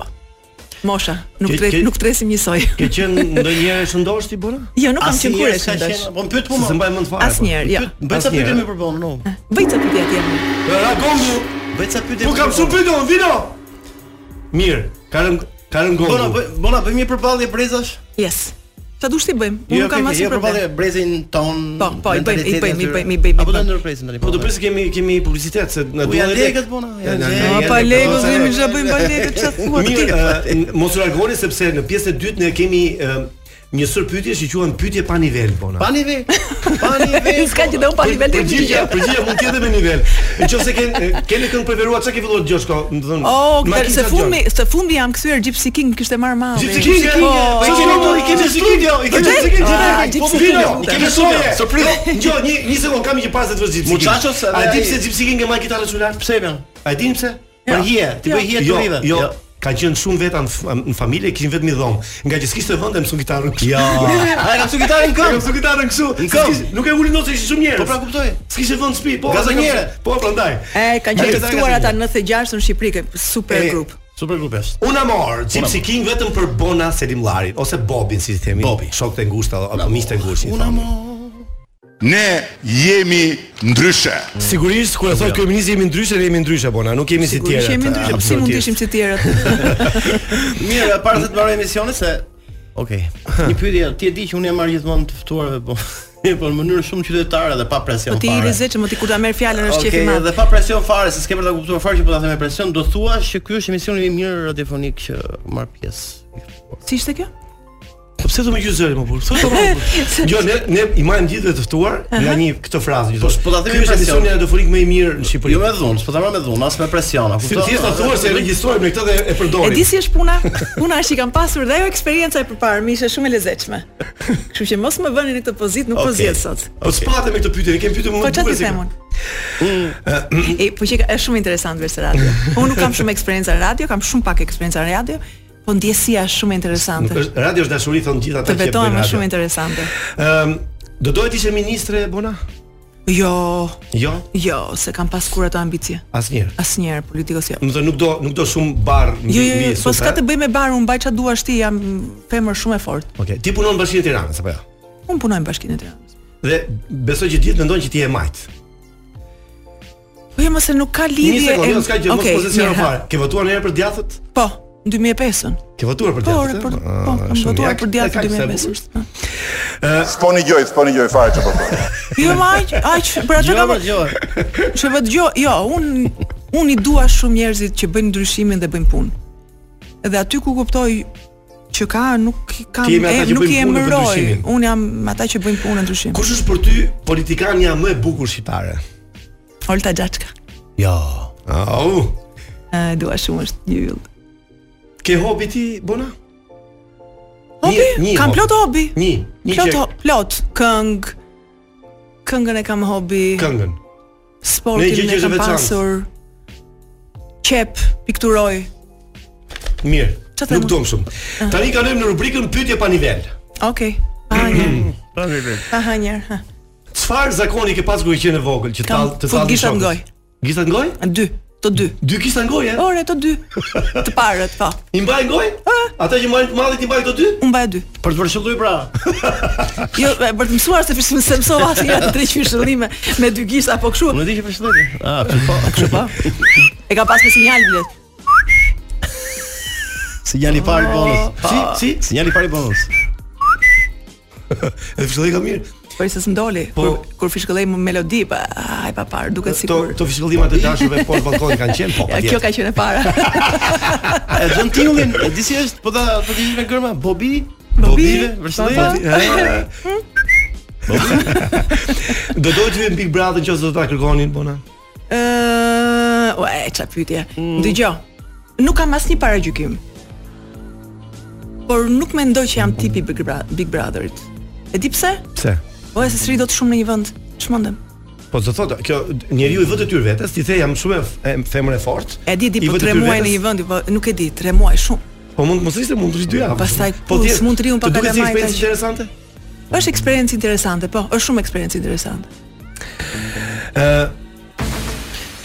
Speaker 11: Mosha, nuk
Speaker 6: Ke-
Speaker 11: tre,
Speaker 6: ke-
Speaker 11: nuk tresim njësoj.
Speaker 6: Ke
Speaker 11: [laughs]
Speaker 6: qenë ndonjëherë shëndosh ti bëra?
Speaker 11: Jo, nuk kam qenë kur e shëndosh.
Speaker 7: Po më pyet po.
Speaker 6: Se mbaj mend fare. po.
Speaker 11: Asnjëherë, jo.
Speaker 6: Pyet-
Speaker 7: Bëj sa
Speaker 6: asnjëherë.
Speaker 7: pyetje më përbën, no.
Speaker 11: Bëj të pyetje atje.
Speaker 6: Ra gongu.
Speaker 7: Bëj ca pyetje.
Speaker 6: Po kam shumë pyetje, unë, vino. Mirë, ka rënë ka rënë gongu.
Speaker 7: Bona, bëj, bona bëjmë një përballje brezash.
Speaker 11: Yes. Çfarë dush ti bëjmë? Unë
Speaker 7: Jo,
Speaker 11: nuk kam
Speaker 7: okay,
Speaker 6: po
Speaker 11: asnjë
Speaker 7: jo përballje
Speaker 11: problem.
Speaker 7: brezin ton.
Speaker 11: Po, po, i bëjmë, i
Speaker 7: mentalitetin
Speaker 11: bëjmë, i
Speaker 7: atyre.
Speaker 11: bëjmë, i bëjmë. i
Speaker 7: Apo do
Speaker 11: bëjmë.
Speaker 7: ndërpresim tani.
Speaker 6: Po do pres kemi kemi publicitet se na
Speaker 7: Po,
Speaker 6: duan
Speaker 7: janë
Speaker 6: edhe-
Speaker 7: lekët, bona, janë
Speaker 6: Janë-
Speaker 7: lekët.
Speaker 6: janë
Speaker 7: Pa,
Speaker 6: lekët,
Speaker 7: lekët,
Speaker 6: po,
Speaker 7: zemi,
Speaker 6: se-
Speaker 7: çfarë bëjmë, pa
Speaker 6: [laughs]
Speaker 7: lekët, çfarë thua ti?
Speaker 6: Mirë, e, n- mos u largoni sepse në pjesën e dytë ne kemi e, një sër pyetje që quhen pyetje pa nivel bona.
Speaker 7: Pani ve. Pani po, ve.
Speaker 11: S'ka që dhe unë pa nivel të
Speaker 6: Përgjigja, përgjigja mund të jetë me nivel. Nëse ke ke këngë preferuar çka ke filluar të dëgjosh ko, do të thënë.
Speaker 11: Oh,
Speaker 6: ma
Speaker 11: këtë
Speaker 6: kisha
Speaker 11: se
Speaker 6: dëgjuar.
Speaker 11: fundi, se fundi jam kthyer Gypsy King kishte marr mami.
Speaker 6: Ah, Gypsy King, Gypsy King, po, i kemi i kemi studio, i kemi
Speaker 11: Vërtet?
Speaker 6: Gypsy King,
Speaker 11: Ah,
Speaker 6: Gypsy King, po
Speaker 11: Gypsy
Speaker 6: vino,
Speaker 11: King,
Speaker 6: i kemi
Speaker 11: vërtet.
Speaker 6: soje.
Speaker 7: Surprizë.
Speaker 6: Jo, një një sekond kam një pasë të vëzhgjet.
Speaker 7: Muchachos,
Speaker 6: a
Speaker 7: edhe
Speaker 6: di
Speaker 7: ai-
Speaker 6: pse Gypsy King e marr kitarën celular?
Speaker 7: Pse jam?
Speaker 6: A e din pse?
Speaker 7: Për hije, ti bëj hije të
Speaker 6: Jo,
Speaker 7: rive.
Speaker 6: jo. Ka qenë shumë veta në f- në familje, kishin vetëm i dhomë. Nga që s'kishte vend e mëson kitarën.
Speaker 7: Jo.
Speaker 6: [laughs]
Speaker 7: Ai ka mësuar gitarën
Speaker 6: Ka [laughs]
Speaker 7: këngë.
Speaker 6: mëson kitarën kështu.
Speaker 7: Në këmbë.
Speaker 6: s'kishte- Nuk e ulin dot se ishin shumë njerëz.
Speaker 7: Po pra kuptoj.
Speaker 6: S'kishte vend shtëpi, po.
Speaker 7: Gazonjere.
Speaker 6: Po prandaj.
Speaker 11: E kanë
Speaker 6: Ai
Speaker 11: qenë
Speaker 6: ka
Speaker 11: të
Speaker 6: thënë
Speaker 11: ftuar
Speaker 6: gazonjere.
Speaker 11: ata 96 në Shqipëri, kë- super
Speaker 6: E,
Speaker 11: grup.
Speaker 7: Super grup është.
Speaker 6: Unë amor, Gypsy King vetëm për Bona Selimllarin ose Bobin si i themi. Bobi, shokët e ngushtë apo miqtë e ngushtë. Unë amor.
Speaker 9: Ne jemi ndryshe.
Speaker 6: Sigurisht kur e thot kryeministi jemi ndryshe, ne jemi ndryshe bona, nuk jemi si tjerët.
Speaker 11: Sigurisht jemi ndryshe, pse mund të ishim si tjerët?
Speaker 6: [laughs]
Speaker 7: Mirë, para se të mbaroj emisionin se Okej. Një pyetje, ti e di që unë jam marr gjithmonë të ftuarve, po [laughs] po në mënyrë shumë qytetare dhe pa
Speaker 11: Po
Speaker 7: presion
Speaker 11: ti i
Speaker 7: fare.
Speaker 11: lezetshëm, ti kur ta merr fjalën është
Speaker 7: Okej,
Speaker 11: qefi i madh.
Speaker 7: dhe pa presion fare, se s'ke për ta kuptuar fare që po ta them me presion, do thua që ky është emisioni i mirë radiofonik që marr pjesë.
Speaker 11: Si ishte kjo?
Speaker 6: [laughs] Po pse do më gjysë zëri më burr? Thotë më.
Speaker 11: [laughs]
Speaker 6: burr. Jo, ne ne i marrim gjithëve të ftuar nga një këtë frazë gjithë.
Speaker 7: Po, s'po ta themi
Speaker 6: Ky është
Speaker 7: presion.
Speaker 6: emisioni radiofonik më i mirë në Shqipëri.
Speaker 7: Jo me dhunë, s'po ta marr me dhunë, as me presion, a
Speaker 6: Si
Speaker 7: kupton?
Speaker 6: thjesht ta thuar se e regjistrojmë ne këtë dhe e
Speaker 11: E
Speaker 6: përdorim.
Speaker 11: di si është
Speaker 6: [laughs]
Speaker 11: puna? Puna është që kam pasur dhe ajo eksperjenca e përparë, më ishte shumë e lezetshme. Kështu që mos më vëni në këtë pozitë, nuk po
Speaker 7: Okej.
Speaker 11: zgjedh sot.
Speaker 6: Po spatë me këtë pyetje, ne kemi pyetje më
Speaker 11: Po çfarë ti
Speaker 6: se-
Speaker 11: them unë?
Speaker 6: Mm.
Speaker 11: E po që ka- është shumë interesant vetë radio. Unë nuk kam shumë eksperiencë në radio, kam shumë pak eksperiencë në radio, po ndjesia është shumë
Speaker 6: Nuk
Speaker 11: interesante.
Speaker 6: është radio është dashuri thon gjithë ata që
Speaker 11: Të
Speaker 6: e bëjnë
Speaker 11: betohem është
Speaker 6: radio.
Speaker 11: shumë interesante.
Speaker 6: Ëm, Ehm, do dohet ishe ministre Bona?
Speaker 11: Jo,
Speaker 6: Jo,
Speaker 11: jo, se kam pas kur ato ambicie.
Speaker 6: asnjëherë.
Speaker 11: Asnjëherë politikos jo.
Speaker 6: Do të thonë nuk do nuk do shumë barr mbi
Speaker 11: Jo, jo, jo,
Speaker 6: mbi
Speaker 11: po
Speaker 6: supra.
Speaker 11: s'ka të bëj me barë, unë baj çfarë duash ti, jam femër shumë e fortë.
Speaker 6: Okej, ti punon në Bashkinë e Tiranës apo jo?
Speaker 11: Unë punoj në Bashkinë e Tiranës.
Speaker 6: Dhe besoj që gjithë mendojnë që ti je majt.
Speaker 11: Po jo, mos e nuk ka
Speaker 6: Një
Speaker 11: lidhje.
Speaker 6: sekondë,
Speaker 11: Po e-
Speaker 6: jo, s'ka gjë, mos
Speaker 11: Okej,
Speaker 6: poziciono
Speaker 11: mirë, ha.
Speaker 6: fare. Ke votuar një herë për djathët?
Speaker 11: Po, 2005-ën.
Speaker 6: Ke votuar për
Speaker 11: Por,
Speaker 6: djathtë?
Speaker 11: por,
Speaker 6: të?
Speaker 11: po,
Speaker 6: Ah,
Speaker 11: kam
Speaker 6: shumë
Speaker 11: votuar
Speaker 6: jak.
Speaker 11: për djathtë
Speaker 6: E kaq,
Speaker 11: 2005-ës.
Speaker 9: S'po një gjoj, s'po një gjoj fare që po bëj.
Speaker 11: Jo, ma aq,
Speaker 6: [laughs]
Speaker 11: aq, për
Speaker 6: Jo,
Speaker 11: atë kam. Që vetë dëgjoj, jo, un un i dua shumë njerëzit që bëjnë ndryshimin dhe bëjnë punë. Dhe aty ku kuptoj që ka nuk i kam
Speaker 6: Ti je me ata
Speaker 11: e,
Speaker 6: që
Speaker 11: nuk
Speaker 6: bëjnë
Speaker 11: i
Speaker 6: punën dhe
Speaker 11: emëroj.
Speaker 6: ndryshimin.
Speaker 11: Un jam me ata që bëjnë punë ndryshim.
Speaker 6: Kush është për ty politikania më e bukur shqiptare?
Speaker 11: Olta Xhaçka.
Speaker 6: Jo. Au.
Speaker 11: E dua shumë është një yll.
Speaker 6: Ke hobi ti, Bona?
Speaker 11: Hobi?
Speaker 6: Një- një
Speaker 11: kam
Speaker 6: hobi.
Speaker 11: plot hobi.
Speaker 6: Një, një
Speaker 11: plot,
Speaker 6: që-
Speaker 11: ho- plot këng. Këngën e kam hobi.
Speaker 6: Këngën. Ne gjë
Speaker 11: Sportin
Speaker 6: që
Speaker 11: e
Speaker 6: është
Speaker 11: kam
Speaker 6: veçantë.
Speaker 11: pasur. Qep, pikturoj.
Speaker 6: Mirë.
Speaker 11: Çfarë
Speaker 6: Nuk
Speaker 11: them?
Speaker 6: duam shumë.
Speaker 11: Ah.
Speaker 6: Tani kalojmë në rubrikën pyetje pa nivel.
Speaker 11: Okej.
Speaker 6: [clears throat] Pa nivel.
Speaker 11: Aha, një herë. ha.
Speaker 6: Çfarë zakoni ke pas kur i qenë e vogël që
Speaker 11: Kam
Speaker 6: tall të
Speaker 11: fut
Speaker 6: tall
Speaker 11: gishtat në gojë.
Speaker 6: Gishtat në gojë?
Speaker 11: Dy, të dy.
Speaker 6: Dy gishtat në gojë? e?
Speaker 11: Ore, të
Speaker 6: [laughs]
Speaker 11: dy. Të parët, po.
Speaker 6: I mbaj në gojë?
Speaker 11: Ah.
Speaker 6: Ata që marrin mallit i mbaj të dy?
Speaker 11: Unë mbaj dy.
Speaker 6: Për të përshëlluj pra.
Speaker 11: Jo, e, për të mësuar se fishim se mësova asnjëherë tre qyshëllime me dy gishta apo kështu.
Speaker 7: Unë di që përshëndetje. Ah, kështu po.
Speaker 11: Kështu po. E ka pas me sinjal bilet.
Speaker 7: Sinjali i parë i bonus.
Speaker 6: Oh.
Speaker 11: Po.
Speaker 7: Si, si, sinjali i parë i
Speaker 6: [laughs]
Speaker 7: bonus.
Speaker 6: E fshëlloj ka mirë.
Speaker 11: Po se s'mdoli.
Speaker 6: Po.
Speaker 11: Kur, kur fishkëllej më melodi, pa, ai pa parë, duket sikur.
Speaker 6: To fshëllimat e dashurve poshtë balkonit kanë qenë po.
Speaker 11: Ja,
Speaker 6: patjetër.
Speaker 11: kjo ka qenë e para.
Speaker 6: [laughs]
Speaker 7: E zon tingullin, e di si është, po ta po ti me gërma, Bobi, Bobive,
Speaker 11: [laughs]
Speaker 7: vërtetëve.
Speaker 6: Po.
Speaker 7: [laughs]
Speaker 6: Do dojë të vjen Big Brother nëse do ta kërkonin Bona.
Speaker 11: Ë, ua, e ça pyetje.
Speaker 6: Mm.
Speaker 11: Dëgjoj. Nuk kam asnjë paragjykim. Por nuk mendoj që jam tipi Big, Bra Big Brotherit. E di pse?
Speaker 6: Pse?
Speaker 11: O e se s'ri do të shumë në një vend. Çmendem.
Speaker 6: Po do thotë, kjo njeriu i vë detyrë vetes, ti the jam shumë e f- e femër e fortë.
Speaker 11: E di di
Speaker 6: i
Speaker 11: po
Speaker 6: vë
Speaker 11: 3
Speaker 6: detyrë
Speaker 11: muaj në
Speaker 6: vetes.
Speaker 11: një vend, po nuk e di, 3 muaj shumë.
Speaker 6: Po mund mos ishte mund të rish dy javë.
Speaker 11: Pastaj
Speaker 6: po ti
Speaker 11: mund të riun pa
Speaker 6: të duket si
Speaker 11: kalamajt
Speaker 6: eksperiencë
Speaker 11: aq.
Speaker 6: interesante.
Speaker 11: Është eksperiencë interesante, po, është shumë eksperiencë interesante.
Speaker 6: Ë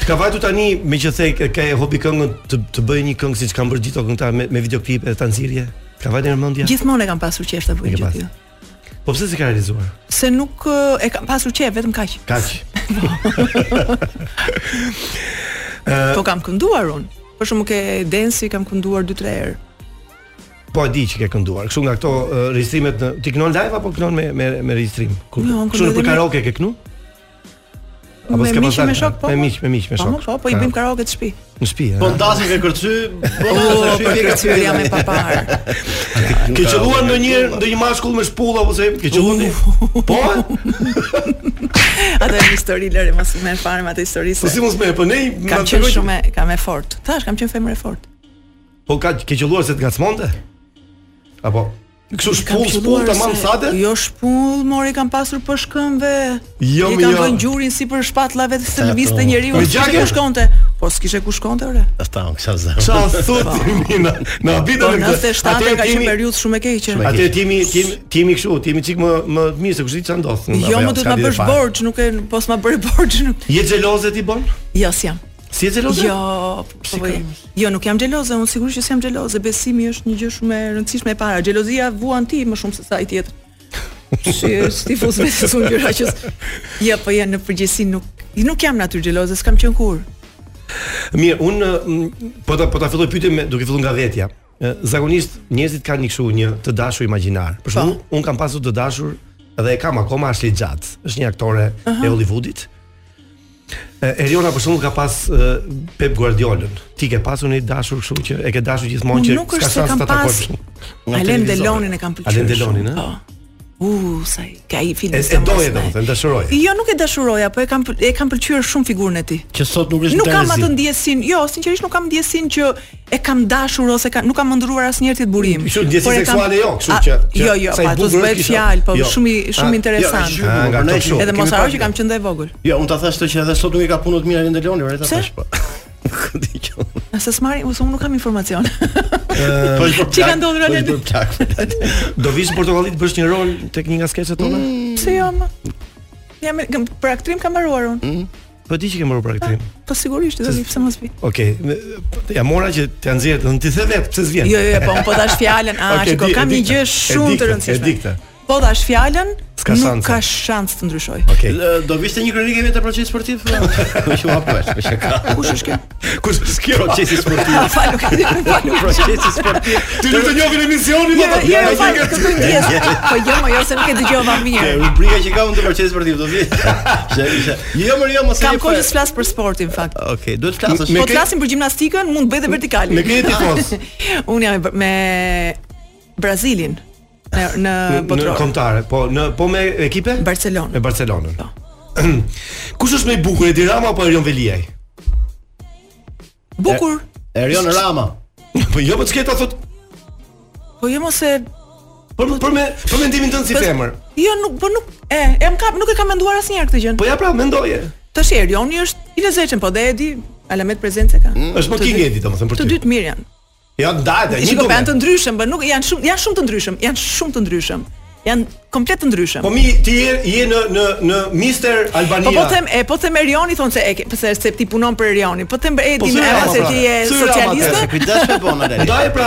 Speaker 6: Ka vajtu tani me që the ke- ke hobi këngën të të bëj një këngë siç kanë bërë gjithë ato këngëtarë me, me videoklipe dhe tanxirje. Ka vajtë në mendje?
Speaker 11: Gjithmonë e kam pasur qejf ta bëj
Speaker 6: E ke
Speaker 11: gjë
Speaker 6: pas.
Speaker 11: tillë.
Speaker 6: Po pse s'e ka realizuar?
Speaker 11: Se nuk ë, e kam pasur qejf vetëm kaq.
Speaker 6: Kaq.
Speaker 11: Po kam kënduar unë. Për shkakun ke densi kam kënduar 2-3 herë.
Speaker 6: Po e di që ke kënduar. Kështu nga këto uh, regjistrimet në ti kënon live apo kënon me me me regjistrim? Kur-
Speaker 11: Jo, unë
Speaker 6: Kështu në
Speaker 11: këndoj
Speaker 6: për
Speaker 11: me-
Speaker 6: karaoke ke kënu? Apo
Speaker 11: Me
Speaker 6: s'ke
Speaker 11: miq e
Speaker 6: pasur-
Speaker 11: me shok po.
Speaker 6: Me
Speaker 11: po.
Speaker 6: miq, me miq, me
Speaker 11: Po,
Speaker 6: shok.
Speaker 11: mo, Po, po i
Speaker 6: Ka-
Speaker 11: bëjmë karaoke të shtëpi.
Speaker 6: Në shtëpi.
Speaker 7: Po
Speaker 6: ha?
Speaker 7: ndasim ke kërcy,
Speaker 11: Po,
Speaker 7: bona, se
Speaker 11: për
Speaker 6: [laughs]
Speaker 7: shpje
Speaker 11: kërcyr jam e papar.
Speaker 6: Ke qelluar ndonjëherë ndonjë mashkull me shpull apo se ke qelluar? ndonjë- Po? e?
Speaker 11: Atë një histori lëre mos më merr fare me atë histori.
Speaker 6: Po si mos më e, po ne i- na
Speaker 11: Kam qenë
Speaker 6: tregoj-
Speaker 11: shumë e- kam e fort. Thash kam qenë femër e fort.
Speaker 6: Po ka ke qelluar se të ngacmonte? Apo Kështu Po, shpull, shpull tamam sade?
Speaker 11: Jo shpull, mori kam pasur për shkëmbë.
Speaker 6: Jo,
Speaker 11: I
Speaker 6: mi,
Speaker 11: kam
Speaker 6: jo.
Speaker 11: vënë gjurin si për shpatullave të
Speaker 7: Sa
Speaker 11: lëvizte
Speaker 7: to.
Speaker 11: njeriu.
Speaker 6: Me
Speaker 11: s'kishte
Speaker 6: gjakje?
Speaker 11: ku shkonte. Po s'kishe ku shkonte ore.
Speaker 7: Ata, kisha zë.
Speaker 6: Qa
Speaker 11: [laughs]
Speaker 6: thot Mina? Na
Speaker 11: Po
Speaker 6: bita me këtë.
Speaker 11: 97 ka
Speaker 6: Atëherë
Speaker 11: qenë
Speaker 6: kemi-
Speaker 11: periudhë shumë e keqe.
Speaker 6: Atëherë timi timi timi kështu, timi çik më më të mirë se kush di çfarë ndodh. Apo
Speaker 11: Jo, më
Speaker 6: jo,
Speaker 11: duhet
Speaker 6: s'ka
Speaker 11: ma
Speaker 6: lidhje
Speaker 11: bësh
Speaker 6: fare.
Speaker 11: borxh, nuk e po s'ma bëre borxh nuk.
Speaker 6: Je xheloze ti bon?
Speaker 11: Jo, s'jam.
Speaker 6: Si je xheloze?
Speaker 11: Jo, po bëj. Jo, nuk jam xheloze, unë sigurisht që s'jam xheloze. Besimi është një gjë shumë e rëndësishme e para. Xhelozia vuan ti më shumë se sa
Speaker 6: [laughs]
Speaker 11: i tjetër. Si ti fus vetë unë gjëra që. s- Jo, po jo, në përgjithësi nuk nuk jam natyrë xheloze, s'kam qenë kur.
Speaker 6: Mirë, un po ta po ta filloj pyetjen me duke filluar nga vetja. Ë, Zakonisht njerëzit kanë një kështu një të dashur imagjinar. Për shembull,
Speaker 11: Po.
Speaker 6: un kam pasur të dashur dhe e kam akoma Ashley Judd. Është një aktore e Hollywoodit. Ë, Eriona për shembull ka pas ë, Pep Guardiolën. Ti ke pasur një dashur kështu që e ke dashur gjithmonë
Speaker 11: Unë
Speaker 6: që
Speaker 11: nuk është se
Speaker 6: shanse
Speaker 11: kam
Speaker 6: ta takosh
Speaker 11: pas-
Speaker 6: për shembull.
Speaker 7: Nga
Speaker 11: Alen
Speaker 7: televizori.
Speaker 11: Delonin e kam pëlqyer.
Speaker 6: Alen Delonin,
Speaker 11: shumë,
Speaker 6: ë?
Speaker 11: Po. U, sa i ka i filmi.
Speaker 6: E-
Speaker 11: s'jam
Speaker 6: e doje,
Speaker 11: mos me-
Speaker 6: domethënë, dashuroje.
Speaker 11: Jo, nuk e dashuroja, po e kam pël- e kam pëlqyer shumë figurën e tij.
Speaker 7: Që sot nuk është
Speaker 11: Nuk kam
Speaker 7: interesi.
Speaker 11: atë ndjesin, jo, sinqerisht nuk kam ndjesin që e kam dashur ose kam, nuk kam ndruar asnjëherë ti të burim.
Speaker 6: Kështu ndjesi
Speaker 11: Por e kam-
Speaker 6: seksuale jo, kështu
Speaker 11: A,
Speaker 6: që, që
Speaker 11: Jo, jo,
Speaker 6: sa i
Speaker 11: pa ato
Speaker 6: bukur
Speaker 11: s'bëhet
Speaker 6: është, kisha-
Speaker 11: fjalë, po
Speaker 6: jo.
Speaker 11: shumë i-
Speaker 6: A,
Speaker 11: shumë
Speaker 6: jo,
Speaker 11: interesant.
Speaker 6: e
Speaker 7: po,
Speaker 6: shqyrë, nga ato kështu.
Speaker 11: Edhe mos
Speaker 6: Kemi
Speaker 11: haro
Speaker 6: parë
Speaker 11: që kam qenë dhe e vogël.
Speaker 7: Jo, unë ta thash këtë që edhe sot nuk i ka punë të mirë Alen Deloni, vërtet
Speaker 11: Pse?
Speaker 7: tash po. Ku di që-
Speaker 11: Nëse s'marri, ose unë nuk kam informacion.
Speaker 7: [laughs] Po është për
Speaker 11: Çi ka
Speaker 7: plak,
Speaker 11: ndodhur
Speaker 7: po
Speaker 11: Alen?
Speaker 7: është për plak.
Speaker 6: [laughs] Do vish në Portokalli të bësh një rol tek një nga skeçet tona?
Speaker 11: Pse jo? ma? Jam kam- për aktrim kam mbaruar unë.
Speaker 6: Po di që ke marrë për aktrim.
Speaker 11: Po sigurisht, do vi pse mos vi.
Speaker 6: Okej, okay. ja mora që t'ja nxjerr, do ti the vet pse s'vjen.
Speaker 11: Jo, jo, jo, po unë po dash fjalën. A, [laughs]
Speaker 6: Okej,
Speaker 11: shiko,
Speaker 6: di- e
Speaker 11: kam
Speaker 6: di
Speaker 11: një
Speaker 6: këtë,
Speaker 11: gjë
Speaker 6: e di
Speaker 11: shumë të
Speaker 6: këtë, E di
Speaker 11: rëndësishme.
Speaker 6: këtë.
Speaker 11: Po dash fjalën,
Speaker 6: S'ka
Speaker 11: nuk
Speaker 6: shanse.
Speaker 11: ka shans të ndryshoj.
Speaker 6: Okej.
Speaker 7: L- Do vishte një kronikë vetë proces sportiv? Më shumë apesh, [laughs] me shaka.
Speaker 11: Kush është
Speaker 6: [laughs]
Speaker 11: kjo?
Speaker 6: Kush është kjo?
Speaker 7: [laughs] Procesi sportiv.
Speaker 11: Ah, fal, nuk e
Speaker 6: [laughs]
Speaker 11: fal. nuk e-
Speaker 7: Procesi sportiv.
Speaker 6: Ti nuk të njohin emisionin
Speaker 11: Jo,
Speaker 6: apo?
Speaker 11: jo, fal, këtë të ndjes. Po jo, mo, jo se nuk e dëgjova
Speaker 7: Ke
Speaker 11: mirë.
Speaker 7: rubrika që kam të procesi sportiv do [laughs] vi. Jo, më jo, mos e
Speaker 11: Kam
Speaker 7: jep
Speaker 11: kohë
Speaker 7: fare.
Speaker 11: që të flas për sportin në fakt.
Speaker 7: Okej, duhet të flasësh.
Speaker 6: Me
Speaker 11: Po
Speaker 6: kë-
Speaker 11: të flasim për gjimnastikën, mund të bëj dhe vertikale.
Speaker 6: Me kë je tifoz?
Speaker 11: [laughs] Unë jam me Bra- me Brazilin në në
Speaker 6: Në
Speaker 11: botror.
Speaker 6: kombëtare, po në po me ekipe?
Speaker 11: Ah, Barcelona.
Speaker 6: Me Barcelonën. Po. [clears throat] Kush është më i bukur, Edi Rama apo Erion Veliaj?
Speaker 11: Bukur.
Speaker 7: Erion Rama.
Speaker 6: Po [laughs] jo, po çka ta thot?
Speaker 11: Po jo mos e
Speaker 6: Për për me për mendimin tënd si
Speaker 11: Po-
Speaker 6: femër.
Speaker 11: Jo, nuk, po nuk, e, e më kap, nuk e kam menduar asnjëherë këtë gjë.
Speaker 6: Po ja pra, mendoje.
Speaker 11: Tash Erioni është i lezetshëm, po dhe Edi alamet prezencë ka.
Speaker 6: Është më
Speaker 11: Të
Speaker 6: king
Speaker 11: dy-
Speaker 6: Edi domethënë për
Speaker 11: Të
Speaker 6: ty.
Speaker 11: dytë mirë janë.
Speaker 6: Ja ndajte, një
Speaker 11: Shiko, po janë të
Speaker 6: duke.
Speaker 11: ndryshëm, po nuk janë shumë janë shumë të ndryshëm, janë shumë të ndryshëm. Janë komplet të ndryshëm.
Speaker 6: Po mi ti je je në në në Mister Albania.
Speaker 11: Po po them, e po them Erioni thonë se e ke, pse se ti punon për Erioni. Po them për Edi,
Speaker 6: si
Speaker 11: po,
Speaker 6: Rama,
Speaker 11: se
Speaker 6: pra.
Speaker 11: ti je
Speaker 6: Si Rama,
Speaker 11: socialiste.
Speaker 6: atëherë.
Speaker 7: Kujdes me bona deri.
Speaker 6: Ndaje [laughs] pra.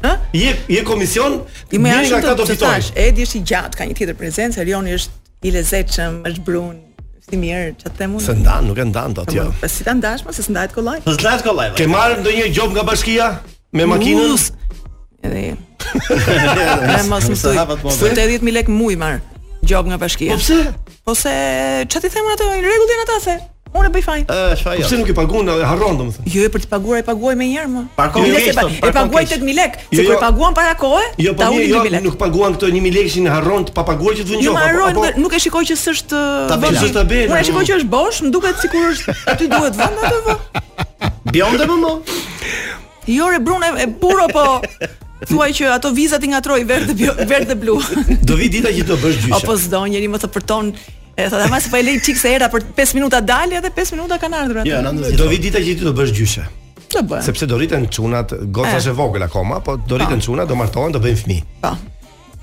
Speaker 11: Ë?
Speaker 6: Je je komision,
Speaker 11: I më
Speaker 6: mirë
Speaker 11: janë
Speaker 6: nga
Speaker 11: shumë
Speaker 6: këta
Speaker 11: të
Speaker 6: do
Speaker 11: të
Speaker 6: fitoj.
Speaker 11: thash, Edi është i gjatë, ka një tjetër prezencë, Erioni është i lezetshëm, është brun, është i mirë, ç'a them unë.
Speaker 6: Se ndan, nuk e ndan dot jo.
Speaker 11: Po si ta ndash më se s'ndahet kollaj.
Speaker 7: Po s'lajt kollaj.
Speaker 6: Ke marrë ndonjë gjob nga bashkia me makinën?
Speaker 11: Us.
Speaker 6: [laughs]
Speaker 11: Edhe e mos më thuj.
Speaker 7: Se-
Speaker 11: 80000 lekë muj marr gjob nga bashkia.
Speaker 6: Po pse?
Speaker 11: Po se ç'a ti them unë ato, në rregull janë ata se unë e bëj fajin.
Speaker 7: Ë,
Speaker 6: Po
Speaker 7: shfajo.
Speaker 6: pse nuk i paguan, e harron domethënë.
Speaker 11: Jo, e për të paguar e paguaj më njëherë më.
Speaker 7: Parkon
Speaker 11: Mile
Speaker 7: keq,
Speaker 11: se pa-
Speaker 7: thon,
Speaker 11: E
Speaker 7: parkon
Speaker 11: paguaj
Speaker 7: keq.
Speaker 11: 8000 lekë,
Speaker 6: Jo,
Speaker 11: se kur
Speaker 6: jo.
Speaker 11: paguam para kohë,
Speaker 6: Jo, po
Speaker 11: ta
Speaker 6: mirë,
Speaker 11: ulim
Speaker 6: jo,
Speaker 11: 2000 lekë.
Speaker 6: nuk paguan këto 1000 lekë që në harron të pa paguar që të vënë
Speaker 11: Jo,
Speaker 6: gjob.
Speaker 11: më
Speaker 6: apo-
Speaker 11: harroj,
Speaker 6: apo-
Speaker 11: nuk e shikoj që s'është uh,
Speaker 7: Tabela.
Speaker 11: vendi.
Speaker 7: S'është
Speaker 6: tabela,
Speaker 11: Unë e shikoj
Speaker 6: mm.
Speaker 11: që është bosh, më duket sikur është aty duhet vend atë vë.
Speaker 7: Bjonde më mo.
Speaker 11: Jo, re brune e buro po thuaj që ato vizat i ngatroj verdh dhe bio- verdh dhe blu.
Speaker 6: Do vi dita që do bësh gjyshe.
Speaker 11: Apo s'do njëri më të përton E thotë, ama se po e lej çik se era për 5 minuta dalë edhe 5 minuta kanë ardhur atë.
Speaker 7: Jo, në ndonjë.
Speaker 6: Do vi dita që ti do bësh gjyshe.
Speaker 11: Ç'të bëj?
Speaker 6: Sepse do rriten çunat, goca
Speaker 11: E.
Speaker 6: është e vogël akoma, po do rriten çunat, do martohen, do bëjnë fëmijë.
Speaker 11: Po,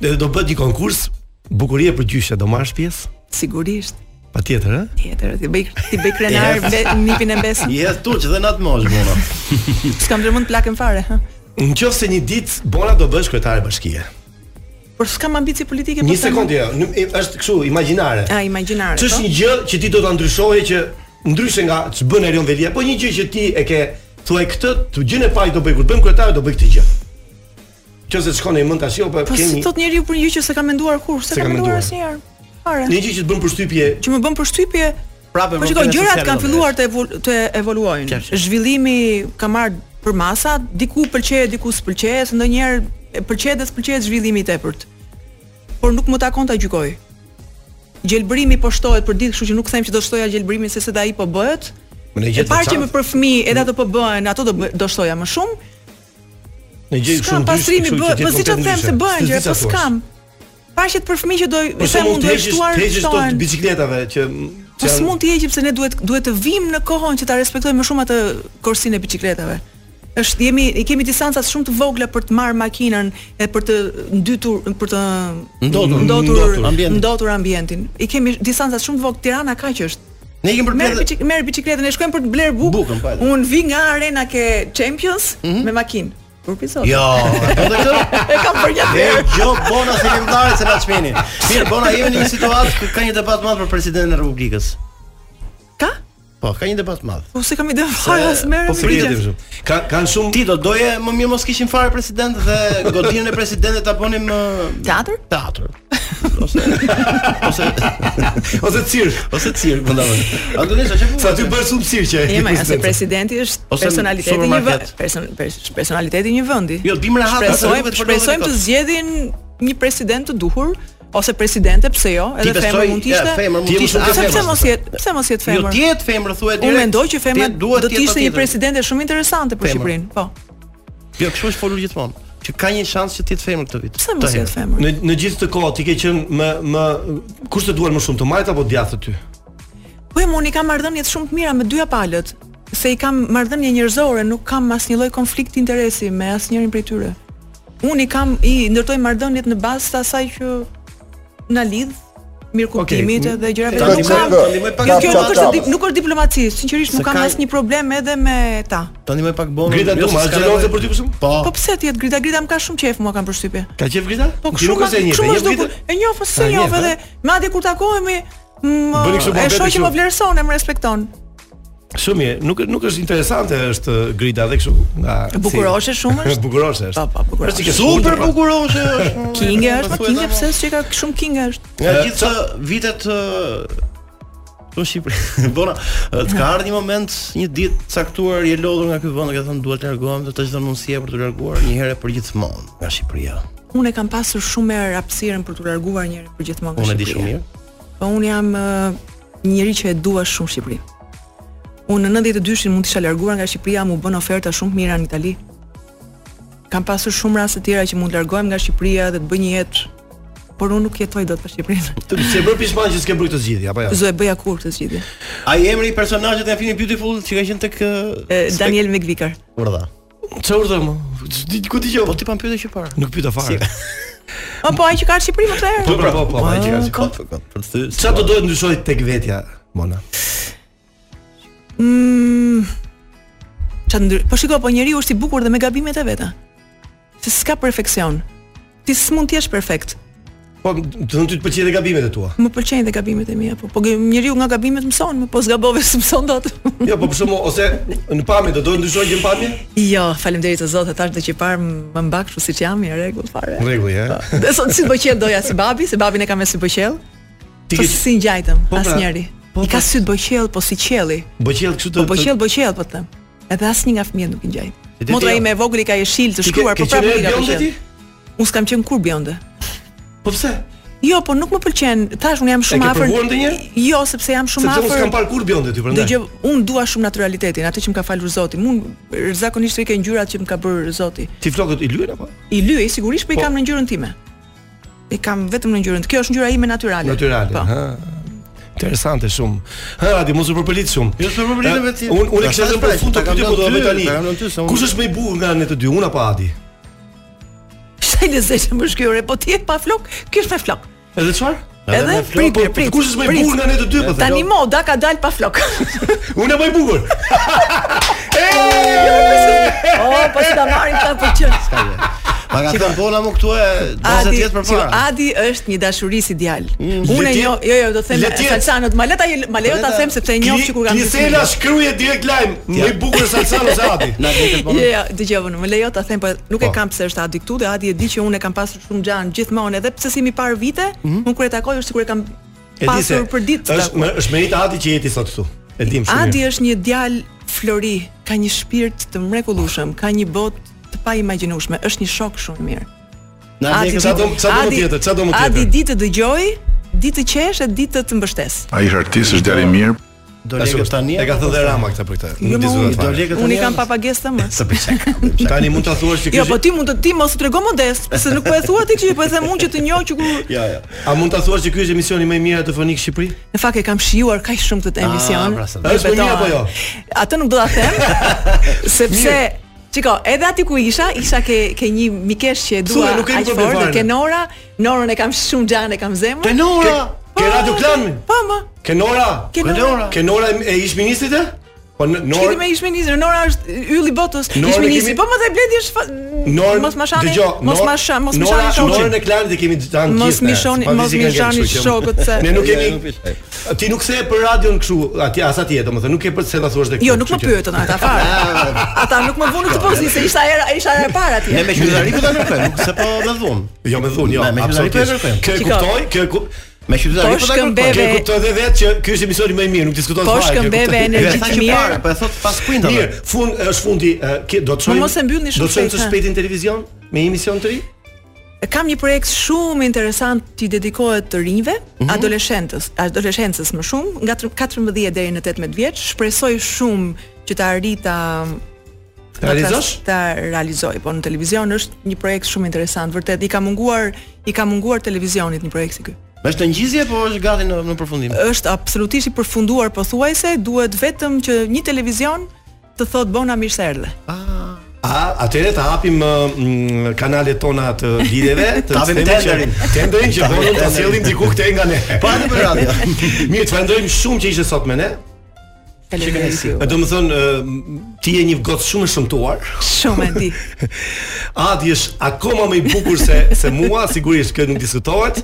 Speaker 6: Dhe do bëhet një konkurs bukurie për gjyshe, do marrësh pjesë?
Speaker 11: sigurisht.
Speaker 6: Patjetër, ë?
Speaker 11: Tjetër, ti bëj ti bëj krenar
Speaker 7: Yes.
Speaker 11: be, nipin e mbes.
Speaker 7: Je turç dhe nat mosh bona.
Speaker 11: S'kam dhe mund të plakën fare, ha.
Speaker 6: Në qoftë se një ditë Bona do bësh kryetare bashkie.
Speaker 11: Por s'kam ambicie politike po.
Speaker 6: Një
Speaker 11: s'kam-
Speaker 6: sekondë, jo, në- e- është kështu imagjinare.
Speaker 11: A imagjinare.
Speaker 6: Që është
Speaker 11: po?
Speaker 6: një gjë që ti do ta ndryshoje që ndryshe nga ç'bën Erion Velia, po një gjë që ti e ke thuaj këtë, të gjën e parë do bëj kur bëjmë kryetar do bëj këtë gjë. Qëse të shkon në mend tash, jo, po
Speaker 11: Po si
Speaker 6: keni
Speaker 11: thot njeriu për një gjë që s'ka menduar kur, s'ka
Speaker 6: S'e ka menduar.
Speaker 11: menduar asnjëherë. Fare.
Speaker 6: një Pra gjë që të bën përshtypje.
Speaker 11: Që më bën përshtypje.
Speaker 7: Prapë
Speaker 11: Po shikoj,
Speaker 7: evolucione
Speaker 11: gjërat
Speaker 7: sociale
Speaker 11: kanë
Speaker 7: do
Speaker 11: filluar të evol të evoluojnë.
Speaker 7: Qartë.
Speaker 11: Zhvillimi ka marrë për masa, diku pëlqej, diku s'pëlqej, se ndonjëherë e pëlqej dhe s'pëlqej zhvillimi i tepërt. Por nuk më takon ta gjykoj. Gjelbërimi po shtohet për ditë, kështu që nuk them që do shtoja gjelbërimin se se da i po bëhet.
Speaker 6: Në
Speaker 11: E
Speaker 6: gjë të
Speaker 11: parë që më për fëmijë, edhe ato po bëhen, ato do bë, do shtoja më shumë.
Speaker 6: Në gjë
Speaker 11: S'kam pastrimi bë, po si çfarë them se bëhen gjë, po s'kam. Paqet për fëmijë që do
Speaker 6: Po
Speaker 11: i
Speaker 6: se
Speaker 11: them unë
Speaker 6: mund
Speaker 11: do
Speaker 6: të
Speaker 11: e
Speaker 6: heqësh
Speaker 11: shtuar
Speaker 6: të heqësh to
Speaker 11: shtohen.
Speaker 6: bicikletave që
Speaker 11: Po s'mund të heqim se ne duhet duhet të vim në kohën që ta respektojmë më shumë atë korsinë e bicikletave. Është jemi i kemi distanca shumë të vogla për të marrë makinën e për të ndytur për të
Speaker 7: Ndotur.
Speaker 11: ndotur
Speaker 7: Ndotur ambientin.
Speaker 11: ndotur ambientin. I kemi distanca shumë të vogla. Tirana kaq është.
Speaker 7: Ne ikim për
Speaker 11: Merr
Speaker 7: pjesë.
Speaker 11: bicik merr bicikletën e shkojmë për të bler buk.
Speaker 7: Bukën, po, edhe.
Speaker 11: Un vi nga arena ke Champions me makinë. Kur pisoj.
Speaker 7: Jo, do të këtë?
Speaker 11: E kam për një
Speaker 7: Dhe
Speaker 11: herë.
Speaker 7: jo bona se lëndari se na çmeni. Mirë, bona jemi në një situatë ku ka një debat madh për presidentin e Republikës.
Speaker 11: Ka?
Speaker 7: Po, ka një debat madh.
Speaker 11: Po se kam ide fare as merr.
Speaker 6: Po fritet shumë. Ka kanë shumë
Speaker 7: Ti do doje më mirë mos kishim fare president dhe godinën e presidentit ta bënim ë,
Speaker 11: Teatr?
Speaker 7: teatr. Ose ose
Speaker 6: ose
Speaker 11: [laughs]
Speaker 6: cirk.
Speaker 7: ose po cirk mundave. Antonisha çfarë?
Speaker 6: Sa ty bën shumë cirk që.
Speaker 11: E
Speaker 6: je
Speaker 11: ma, ja, se
Speaker 6: president.
Speaker 11: Jo, presidenti është
Speaker 7: Ose në
Speaker 11: personaliteti i një
Speaker 7: supermarket.
Speaker 11: vëndi, person, pers- personaliteti i një vendi.
Speaker 7: Jo, bim rehat, atë duhet
Speaker 11: Shpresojmë,
Speaker 7: të përdorim
Speaker 11: shpresojmë
Speaker 7: këtë.
Speaker 11: të zgjedhin një president të duhur ose presidente, pse jo?
Speaker 7: Ti
Speaker 11: Edhe
Speaker 7: besoj,
Speaker 11: femër mund të
Speaker 7: ja,
Speaker 11: ishte.
Speaker 7: femër mund
Speaker 6: Ti je
Speaker 7: t'ishte, a,
Speaker 6: shumë
Speaker 11: Pse
Speaker 6: femër.
Speaker 11: pse mos jet, pse mos jet
Speaker 7: Jo,
Speaker 11: femër?
Speaker 7: ti je femër thuhet
Speaker 11: Unë mendoj që femra
Speaker 7: Ti duhet
Speaker 11: do të ishte një
Speaker 7: tjetër.
Speaker 11: presidente shumë interesante për
Speaker 7: Femër.
Speaker 11: Shqipërinë. Po.
Speaker 7: Jo, kështu është folur gjithmonë, që ka një shans që ti të femër këtë vit.
Speaker 11: Pse mos
Speaker 7: Të
Speaker 11: jet
Speaker 7: herë.
Speaker 11: femër?
Speaker 6: Në në gjithë këtë kohë ti ke qenë më më kush të duan më shumë të majt apo djathtë ty?
Speaker 11: Po e unë i kam marrëdhëniet shumë të mira me dyja palët, se i kam marrëdhënie njerëzore, nuk kam asnjë lloj konflikti interesi me asnjërin prej tyre. Unë i kam i ndërtoj marrëdhëniet në bazë të asaj që na lidh mirëkuptimit
Speaker 6: Okej,
Speaker 11: edhe gjërave
Speaker 6: ta
Speaker 11: të
Speaker 6: ndihmoj
Speaker 11: kam-
Speaker 6: kë? Ta ndihmoj pak
Speaker 11: Jo,
Speaker 6: kap,
Speaker 11: kjo
Speaker 6: kap,
Speaker 11: nuk është
Speaker 6: kap.
Speaker 11: di- nuk është diplomaci, sinqerisht
Speaker 6: Se
Speaker 11: nuk kam
Speaker 6: ka-
Speaker 11: asnjë problem edhe me ta.
Speaker 7: Tani më pak Jo, bon.
Speaker 6: Grita Duma, është xheloze për ty për shkak? Po.
Speaker 11: Po pse ti jetë grida grida më ka shumë qejf mua kanë përshtypje.
Speaker 6: Ka qef Grita?
Speaker 11: Po
Speaker 6: Ti nuk
Speaker 11: shumë
Speaker 6: është e njëjtë.
Speaker 11: shumë
Speaker 6: jep
Speaker 11: është
Speaker 6: Grita?
Speaker 11: dukur. E njoh po
Speaker 6: A,
Speaker 11: se
Speaker 6: e
Speaker 11: njoh
Speaker 6: njeh,
Speaker 11: edhe madje kur takohemi më
Speaker 6: Bëni kështu
Speaker 11: e
Speaker 6: mohabete
Speaker 11: shoh që
Speaker 6: kështu.
Speaker 11: më vlerëson e më respekton.
Speaker 6: Shumë mirë, nuk nuk është interesante është Grita edhe kështu nga
Speaker 11: E bukuroshe shumë është?
Speaker 6: Bukuroshe është. Po, po,
Speaker 11: bukuroshe.
Speaker 6: Është i ke
Speaker 11: Super
Speaker 7: pra.
Speaker 6: shkurtër, po.
Speaker 7: bukuroshe është. [laughs]
Speaker 11: Kinge është, po kinge pse s'e ka shumë kinge është.
Speaker 7: Nga gjithë të vitet ë, këtu në Shqipëri. [laughs] Bona, ë, të ka ardhur një moment, një ditë caktuar je lodhur nga ky vend, ke thënë duhet të largohem, do të çdo mundësia për të larguar një herë për gjithmonë nga Shqipëria.
Speaker 11: Unë e kam pasur shumë herë hapësirën për të larguar njëri për gjithmonë. nga
Speaker 7: Unë e di
Speaker 11: Shqipëria.
Speaker 7: shumë mirë.
Speaker 11: Po unë jam ë, njëri që e dua shumë Shqipërinë. Unë në 92-shin mund të isha larguar nga Shqipëria, mu bën oferta shumë të mira në Itali. Kam pasur shumë raste të tjera që mund të largohem nga Shqipëria dhe të bëj një jetë, por unë nuk jetoj dot për Shqipërinë. [laughs]
Speaker 6: Të se bër pishman që s'ke bërë këtë zgjidhje apo jo?
Speaker 11: Zë e bëja kur këtë zgjidhje.
Speaker 7: Ai emri i personazhit nga filmi Beautiful që ka qenë tek
Speaker 11: E, Daniel Megvikar.
Speaker 7: Urdha.
Speaker 6: Çfarë urdhë më? Di ku ti qev?
Speaker 7: Po ti pa pyetur që para.
Speaker 6: Nuk pyeta fare.
Speaker 11: Po po ai që ka në Shqipëri më herë.
Speaker 6: Po pra, po, po, ai që ka
Speaker 7: Kot, kot, për ty.
Speaker 6: Çfarë do dohet ndryshoj tek vetja, Mona?
Speaker 11: Mm. Çfarë ndry... Po shiko, po njeriu është i bukur dhe me gabimet e veta. Se s'ka perfeksion. Ti s'mund të jesh perfekt.
Speaker 6: Po, të thonë ty të pëlqejnë dhe gabimet e tua.
Speaker 11: Më pëlqejnë dhe gabimet e mia, po po ge- njeriu nga gabimet mëson, më po zgabove [laughs] s'mëson dot.
Speaker 6: Jo, po për shkakun ose në pamje do dohet ndryshoj gjë në pamje?
Speaker 11: jo, faleminderit të Zotit, tash do që parë më mbak kështu siç jam, në rregull fare.
Speaker 6: [laughs] Në rregull, ja.
Speaker 11: Dhe sot si po qell doja si babi, se babin e kam me si po qell.
Speaker 6: Ti
Speaker 11: Po
Speaker 6: ke
Speaker 11: si ngjajtëm,
Speaker 6: Po, pra.
Speaker 11: asnjëri. I ka sy të bëqell, po si qelli.
Speaker 6: bëqell kështu të.
Speaker 11: Po po qell, po qell, po të them. Edhe asnjë nga fëmijët nuk i ngjaj.
Speaker 6: E ti
Speaker 11: Motra
Speaker 6: ti jo.
Speaker 11: ime e vogël i ka jeshil të
Speaker 6: Ti ke-
Speaker 11: shkruar,
Speaker 6: ke
Speaker 11: po
Speaker 6: qenë
Speaker 11: prapë nuk i ka
Speaker 6: bjonde ti?
Speaker 11: pëlqyer. Unë s'kam qenë kur bjonde.
Speaker 6: Po pse?
Speaker 11: Jo, po nuk më pëlqen. Tash unë jam
Speaker 6: E
Speaker 11: shumë
Speaker 6: ke
Speaker 11: afër.
Speaker 6: provuar ndonjëherë?
Speaker 11: Jo, sepse jam shumë
Speaker 6: Sepse
Speaker 11: afër.
Speaker 6: unë s'kam parë kur bjonde ty prandaj.
Speaker 11: Dëgjoj, unë dua shumë naturalitetin, atë që më ka falur Zoti. Unë zakonisht i ke ngjyrat që më ka bërë Zoti.
Speaker 6: Ti flokët i lyen apo?
Speaker 11: I lyej sigurisht, po i
Speaker 6: Po.
Speaker 11: kam në ngjyrën time. I kam vetëm në ngjyrën. Kjo është ngjyra ime natyrale.
Speaker 6: Natyrale.
Speaker 11: Po.
Speaker 6: Ha. Interesante shumë. Ha, ti mos u përpëlit shumë.
Speaker 7: Jo, s'u përpëlitem
Speaker 6: Ha,
Speaker 7: vetë.
Speaker 6: Unë unë e kisha
Speaker 7: Ta
Speaker 6: thënë për
Speaker 7: shpesh,
Speaker 6: fund
Speaker 7: ta
Speaker 6: të
Speaker 7: kam
Speaker 6: pyetje
Speaker 7: dhënë
Speaker 6: po do
Speaker 7: ty,
Speaker 6: bëj tani.
Speaker 7: ta kam dhënë ty, se unë-
Speaker 6: Kush është më i bukur nga ne të dy, unë apo Adi?
Speaker 11: Sa i lezetshëm është kjo, re, po ti je pa flok, ky është me flok.
Speaker 6: Edhe çfarë?
Speaker 11: Edhe prit,
Speaker 7: po
Speaker 11: prit, prit.
Speaker 6: Kush është më i
Speaker 11: prit.
Speaker 6: bukur nga ne të dy po them?
Speaker 11: Tani moda ka dal pa flok.
Speaker 6: Unë jam më i bukur.
Speaker 11: oh, po s'ta marrin ta për çfarë?
Speaker 7: Pa ka thënë bona mu këtu e 20 vjet
Speaker 11: shiko,
Speaker 7: përpara.
Speaker 11: Adi është një dashuri si djalë.
Speaker 6: Mm, le
Speaker 11: Unë
Speaker 6: tjetë-
Speaker 11: jo, jo, jo, do të
Speaker 6: le
Speaker 11: them
Speaker 6: tjetë.
Speaker 11: Salsanot, ma le ta ma lejo ta them sepse e njoh që kur kam.
Speaker 6: Nisela shkruaj direkt lajm, më i bukur është Alsano se Adi.
Speaker 7: Na di telefonin.
Speaker 11: Jo, jo, dëgjoj unë, më lejo ta them, po nuk
Speaker 6: Po.
Speaker 11: e kam pse është Adi këtu, dhe Adi e di që unë e kam pasur shumë xhan gjithmonë, edhe pse si mi par vite, unë kur e takoj është sikur e kam
Speaker 6: Mhm. E di se
Speaker 11: pasur për ditë. të
Speaker 6: Është
Speaker 11: takuar.
Speaker 6: më- është merit Adi që jeti sot këtu. E dim shumë.
Speaker 11: Adi
Speaker 6: mirë.
Speaker 11: është një djalë flori, ka një shpirt të mrekullueshëm, ka një botë të pa imagjinueshme, është një shok shumë i mirë.
Speaker 7: Na di
Speaker 6: Adi-
Speaker 7: këtë.
Speaker 6: do- ça do më tjetër, ça do më
Speaker 11: Adi
Speaker 6: tjetër?
Speaker 11: di të dëgjoj, di të qesh e di të të mbështes.
Speaker 9: Ai është artist, është djalë i mirë.
Speaker 7: Do lekët tani.
Speaker 6: Pra
Speaker 7: po
Speaker 6: E ka thënë dhe Rama këtë për këtë.
Speaker 11: Jo,
Speaker 6: Nuk
Speaker 11: ma,
Speaker 6: dizuat
Speaker 11: unë-
Speaker 7: Do
Speaker 6: fare.
Speaker 7: lekët tani.
Speaker 11: Unë i kam papagesë të
Speaker 6: [laughs]
Speaker 11: më.
Speaker 7: Sa pëlqen.
Speaker 11: [laughs]
Speaker 6: Tani mund ta thuash që
Speaker 11: Jo,
Speaker 6: kështë-
Speaker 11: po ti mund të ti mos u trego modest, se nuk po e thua ti që po e them unë që të njoh që
Speaker 6: [laughs]
Speaker 11: ku
Speaker 7: Jo, jo.
Speaker 6: A mund ta thuash që ky është emisioni më i mirë radiofonik në Shqipëri?
Speaker 11: Në fakt e kam shijuar kaq shumë këtë emision.
Speaker 7: pra, se-
Speaker 11: që
Speaker 6: Ah, Është më mirë
Speaker 11: betohem.
Speaker 6: apo jo?
Speaker 11: Atë nuk do
Speaker 6: [laughs]
Speaker 11: ta them, sepse Çiko, edhe aty ku isha, isha ke ke një mikesh që e dua
Speaker 6: Thuaj, nuk kemi
Speaker 11: aq
Speaker 6: problem
Speaker 11: fort, dhe
Speaker 6: fare.
Speaker 11: Kenora, Norën e kam shumë xhan, e kam zemër.
Speaker 6: Kenora! Ke, ke Radio Klan?
Speaker 11: Po, më.
Speaker 6: Kenora!
Speaker 11: Kenora.
Speaker 6: Kenora e e ish ministrit e? Po n-
Speaker 11: Nor...
Speaker 6: Nor
Speaker 11: me ish ministri, Nora është ylli botës.
Speaker 6: Norën e
Speaker 11: Ish ministri,
Speaker 6: kemi-
Speaker 11: po më thaj bledi është fa...
Speaker 6: Nor
Speaker 11: mos ma shani,
Speaker 6: dëgjo,
Speaker 11: mos
Speaker 6: Nor-
Speaker 11: ma shani, mos ma
Speaker 6: Nora-
Speaker 11: shani shoqin.
Speaker 6: Norën e Klanit e kemi tan gjithë.
Speaker 11: Mos
Speaker 6: ne,
Speaker 11: mi shoni-
Speaker 6: s'pa
Speaker 11: mos
Speaker 6: fizik
Speaker 11: mi
Speaker 6: e kemi
Speaker 11: shani
Speaker 6: kështu që-
Speaker 11: shokët, se-
Speaker 6: Ne nuk
Speaker 7: Jo,
Speaker 6: kemi
Speaker 7: nuk ishte.
Speaker 6: Ti nuk se për radion kështu, aty as atje domethënë, nuk e për se ta thuash tek.
Speaker 11: Jo, nuk më pyetën ata
Speaker 6: [laughs]
Speaker 11: fare. Ata nuk më vunë këtë pozitë, se isha era, isha era e parë atje.
Speaker 7: Ne me qytetari po ta kërkojmë, nuk se po me dhun.
Speaker 6: Jo, më dhun, jo,
Speaker 7: Me- me
Speaker 6: absolutisht.
Speaker 7: qytetari po e kërkojmë.
Speaker 6: Kë e
Speaker 11: Shiko.
Speaker 6: kuptoj, kë e kup-
Speaker 7: Me qytetari
Speaker 11: Po
Speaker 7: po ta
Speaker 11: shkëmbeve-
Speaker 7: kërkojmë.
Speaker 6: Kë e kuptoj edhe vetë që ky është emisioni më i mirë, nuk diskuton
Speaker 11: Po
Speaker 6: fare. kë e
Speaker 11: shkëmbeve
Speaker 6: kuptoj.
Speaker 11: energji
Speaker 7: Tha
Speaker 11: të
Speaker 7: që
Speaker 11: mirë.
Speaker 7: para, po e thot pas printave.
Speaker 6: Mirë, fund është fundi, e, ke, do të shojmë.
Speaker 11: Po, mos e mbyllni shumë
Speaker 6: Do të shojmë të
Speaker 11: shpejt, ha.
Speaker 6: shpejtin televizion me një emision të ri.
Speaker 11: Kam një projekt shumë interesant që i dedikohet të rinjve,
Speaker 6: Mhm.
Speaker 11: adoleshentës, adoleshencës më shumë, nga tr- 14 deri në 18 vjeç. Shpresoj shumë që ta arrit ta
Speaker 6: Ta realizosh?
Speaker 11: Ta realizoj, po në televizion është një projekt shumë interesant, vërtet. I ka munguar, i ka munguar televizionit një projekt si ky.
Speaker 7: Është në ngjizje po është gati në në përfundim.
Speaker 11: Është absolutisht i përfunduar pothuajse, duhet vetëm që një televizion të thotë bona mirë se erdhe.
Speaker 6: A, atëre të hapim mm, kanalet tona të
Speaker 11: [laughs]
Speaker 6: lidhjeve, të
Speaker 7: T'hapim
Speaker 6: themi që-
Speaker 7: tenderin.
Speaker 6: tenderin që
Speaker 7: T'hapim
Speaker 6: vonën ta
Speaker 7: tenderin.
Speaker 6: sjellim diku këtej nga ne.
Speaker 11: [laughs]
Speaker 7: Po, hajde për radio.
Speaker 6: Mirë, të falenderojmë shumë që ishe sot me ne.
Speaker 11: Faleminderit ju.
Speaker 6: Do të thonë ë, ti je një gocë shumë e shëmtuar.
Speaker 11: Shumë e
Speaker 6: [laughs]
Speaker 11: di.
Speaker 6: Adi është akoma më i bukur se se mua, sigurisht kjo nuk diskutohet.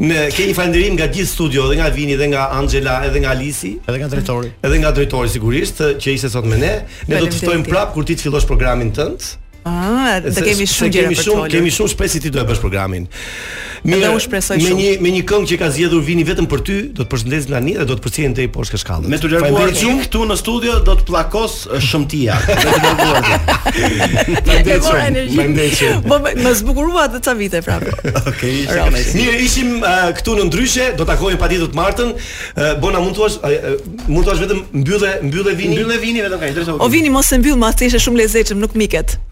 Speaker 6: Ne ke një falënderim nga gjithë studio, edhe nga Vini, edhe nga Angela, edhe nga Alisi,
Speaker 7: edhe nga drejtori.
Speaker 6: Edhe nga drejtori sigurisht që ishte sot me ne. Ne do të ftojmë prap kur ti të fillosh programin tënd.
Speaker 11: Ah, do
Speaker 6: Se-
Speaker 11: kemi
Speaker 6: se
Speaker 11: shumë gjëra
Speaker 6: kemi
Speaker 11: për të
Speaker 6: shumë,
Speaker 11: folur.
Speaker 6: kemi shumë shpresë se ti do e bësh programin. Mirë,
Speaker 11: unë shpresoj
Speaker 6: me
Speaker 11: shumë.
Speaker 6: një me një këngë që ka zgjedhur Vini vetëm për ty, do të përshëndesim tani dhe do të përcjellim deri poshtë shkallës.
Speaker 7: Me të larguar shumë këtu në studio do të pllakos
Speaker 6: [laughs]
Speaker 7: shëmtia. Me të larguar.
Speaker 6: Faleminderit
Speaker 11: E mora
Speaker 6: shumë. Faleminderit
Speaker 11: energji.
Speaker 6: shumë.
Speaker 11: Po më- më zbukurua atë ca vite prapë.
Speaker 7: Okej,
Speaker 11: ishte kënaqësi.
Speaker 6: Mirë, ishim uh, këtu në ndryshe, do takohemi patjetër të martën. Uh, bona mund thuash, uh, mund thuash vetëm mbyllë mbyllë vini.
Speaker 7: Mbyllë vini vetëm kaq, drejtë.
Speaker 11: O vini mos e mbyll më atë ishte shumë lezetshëm, nuk miket.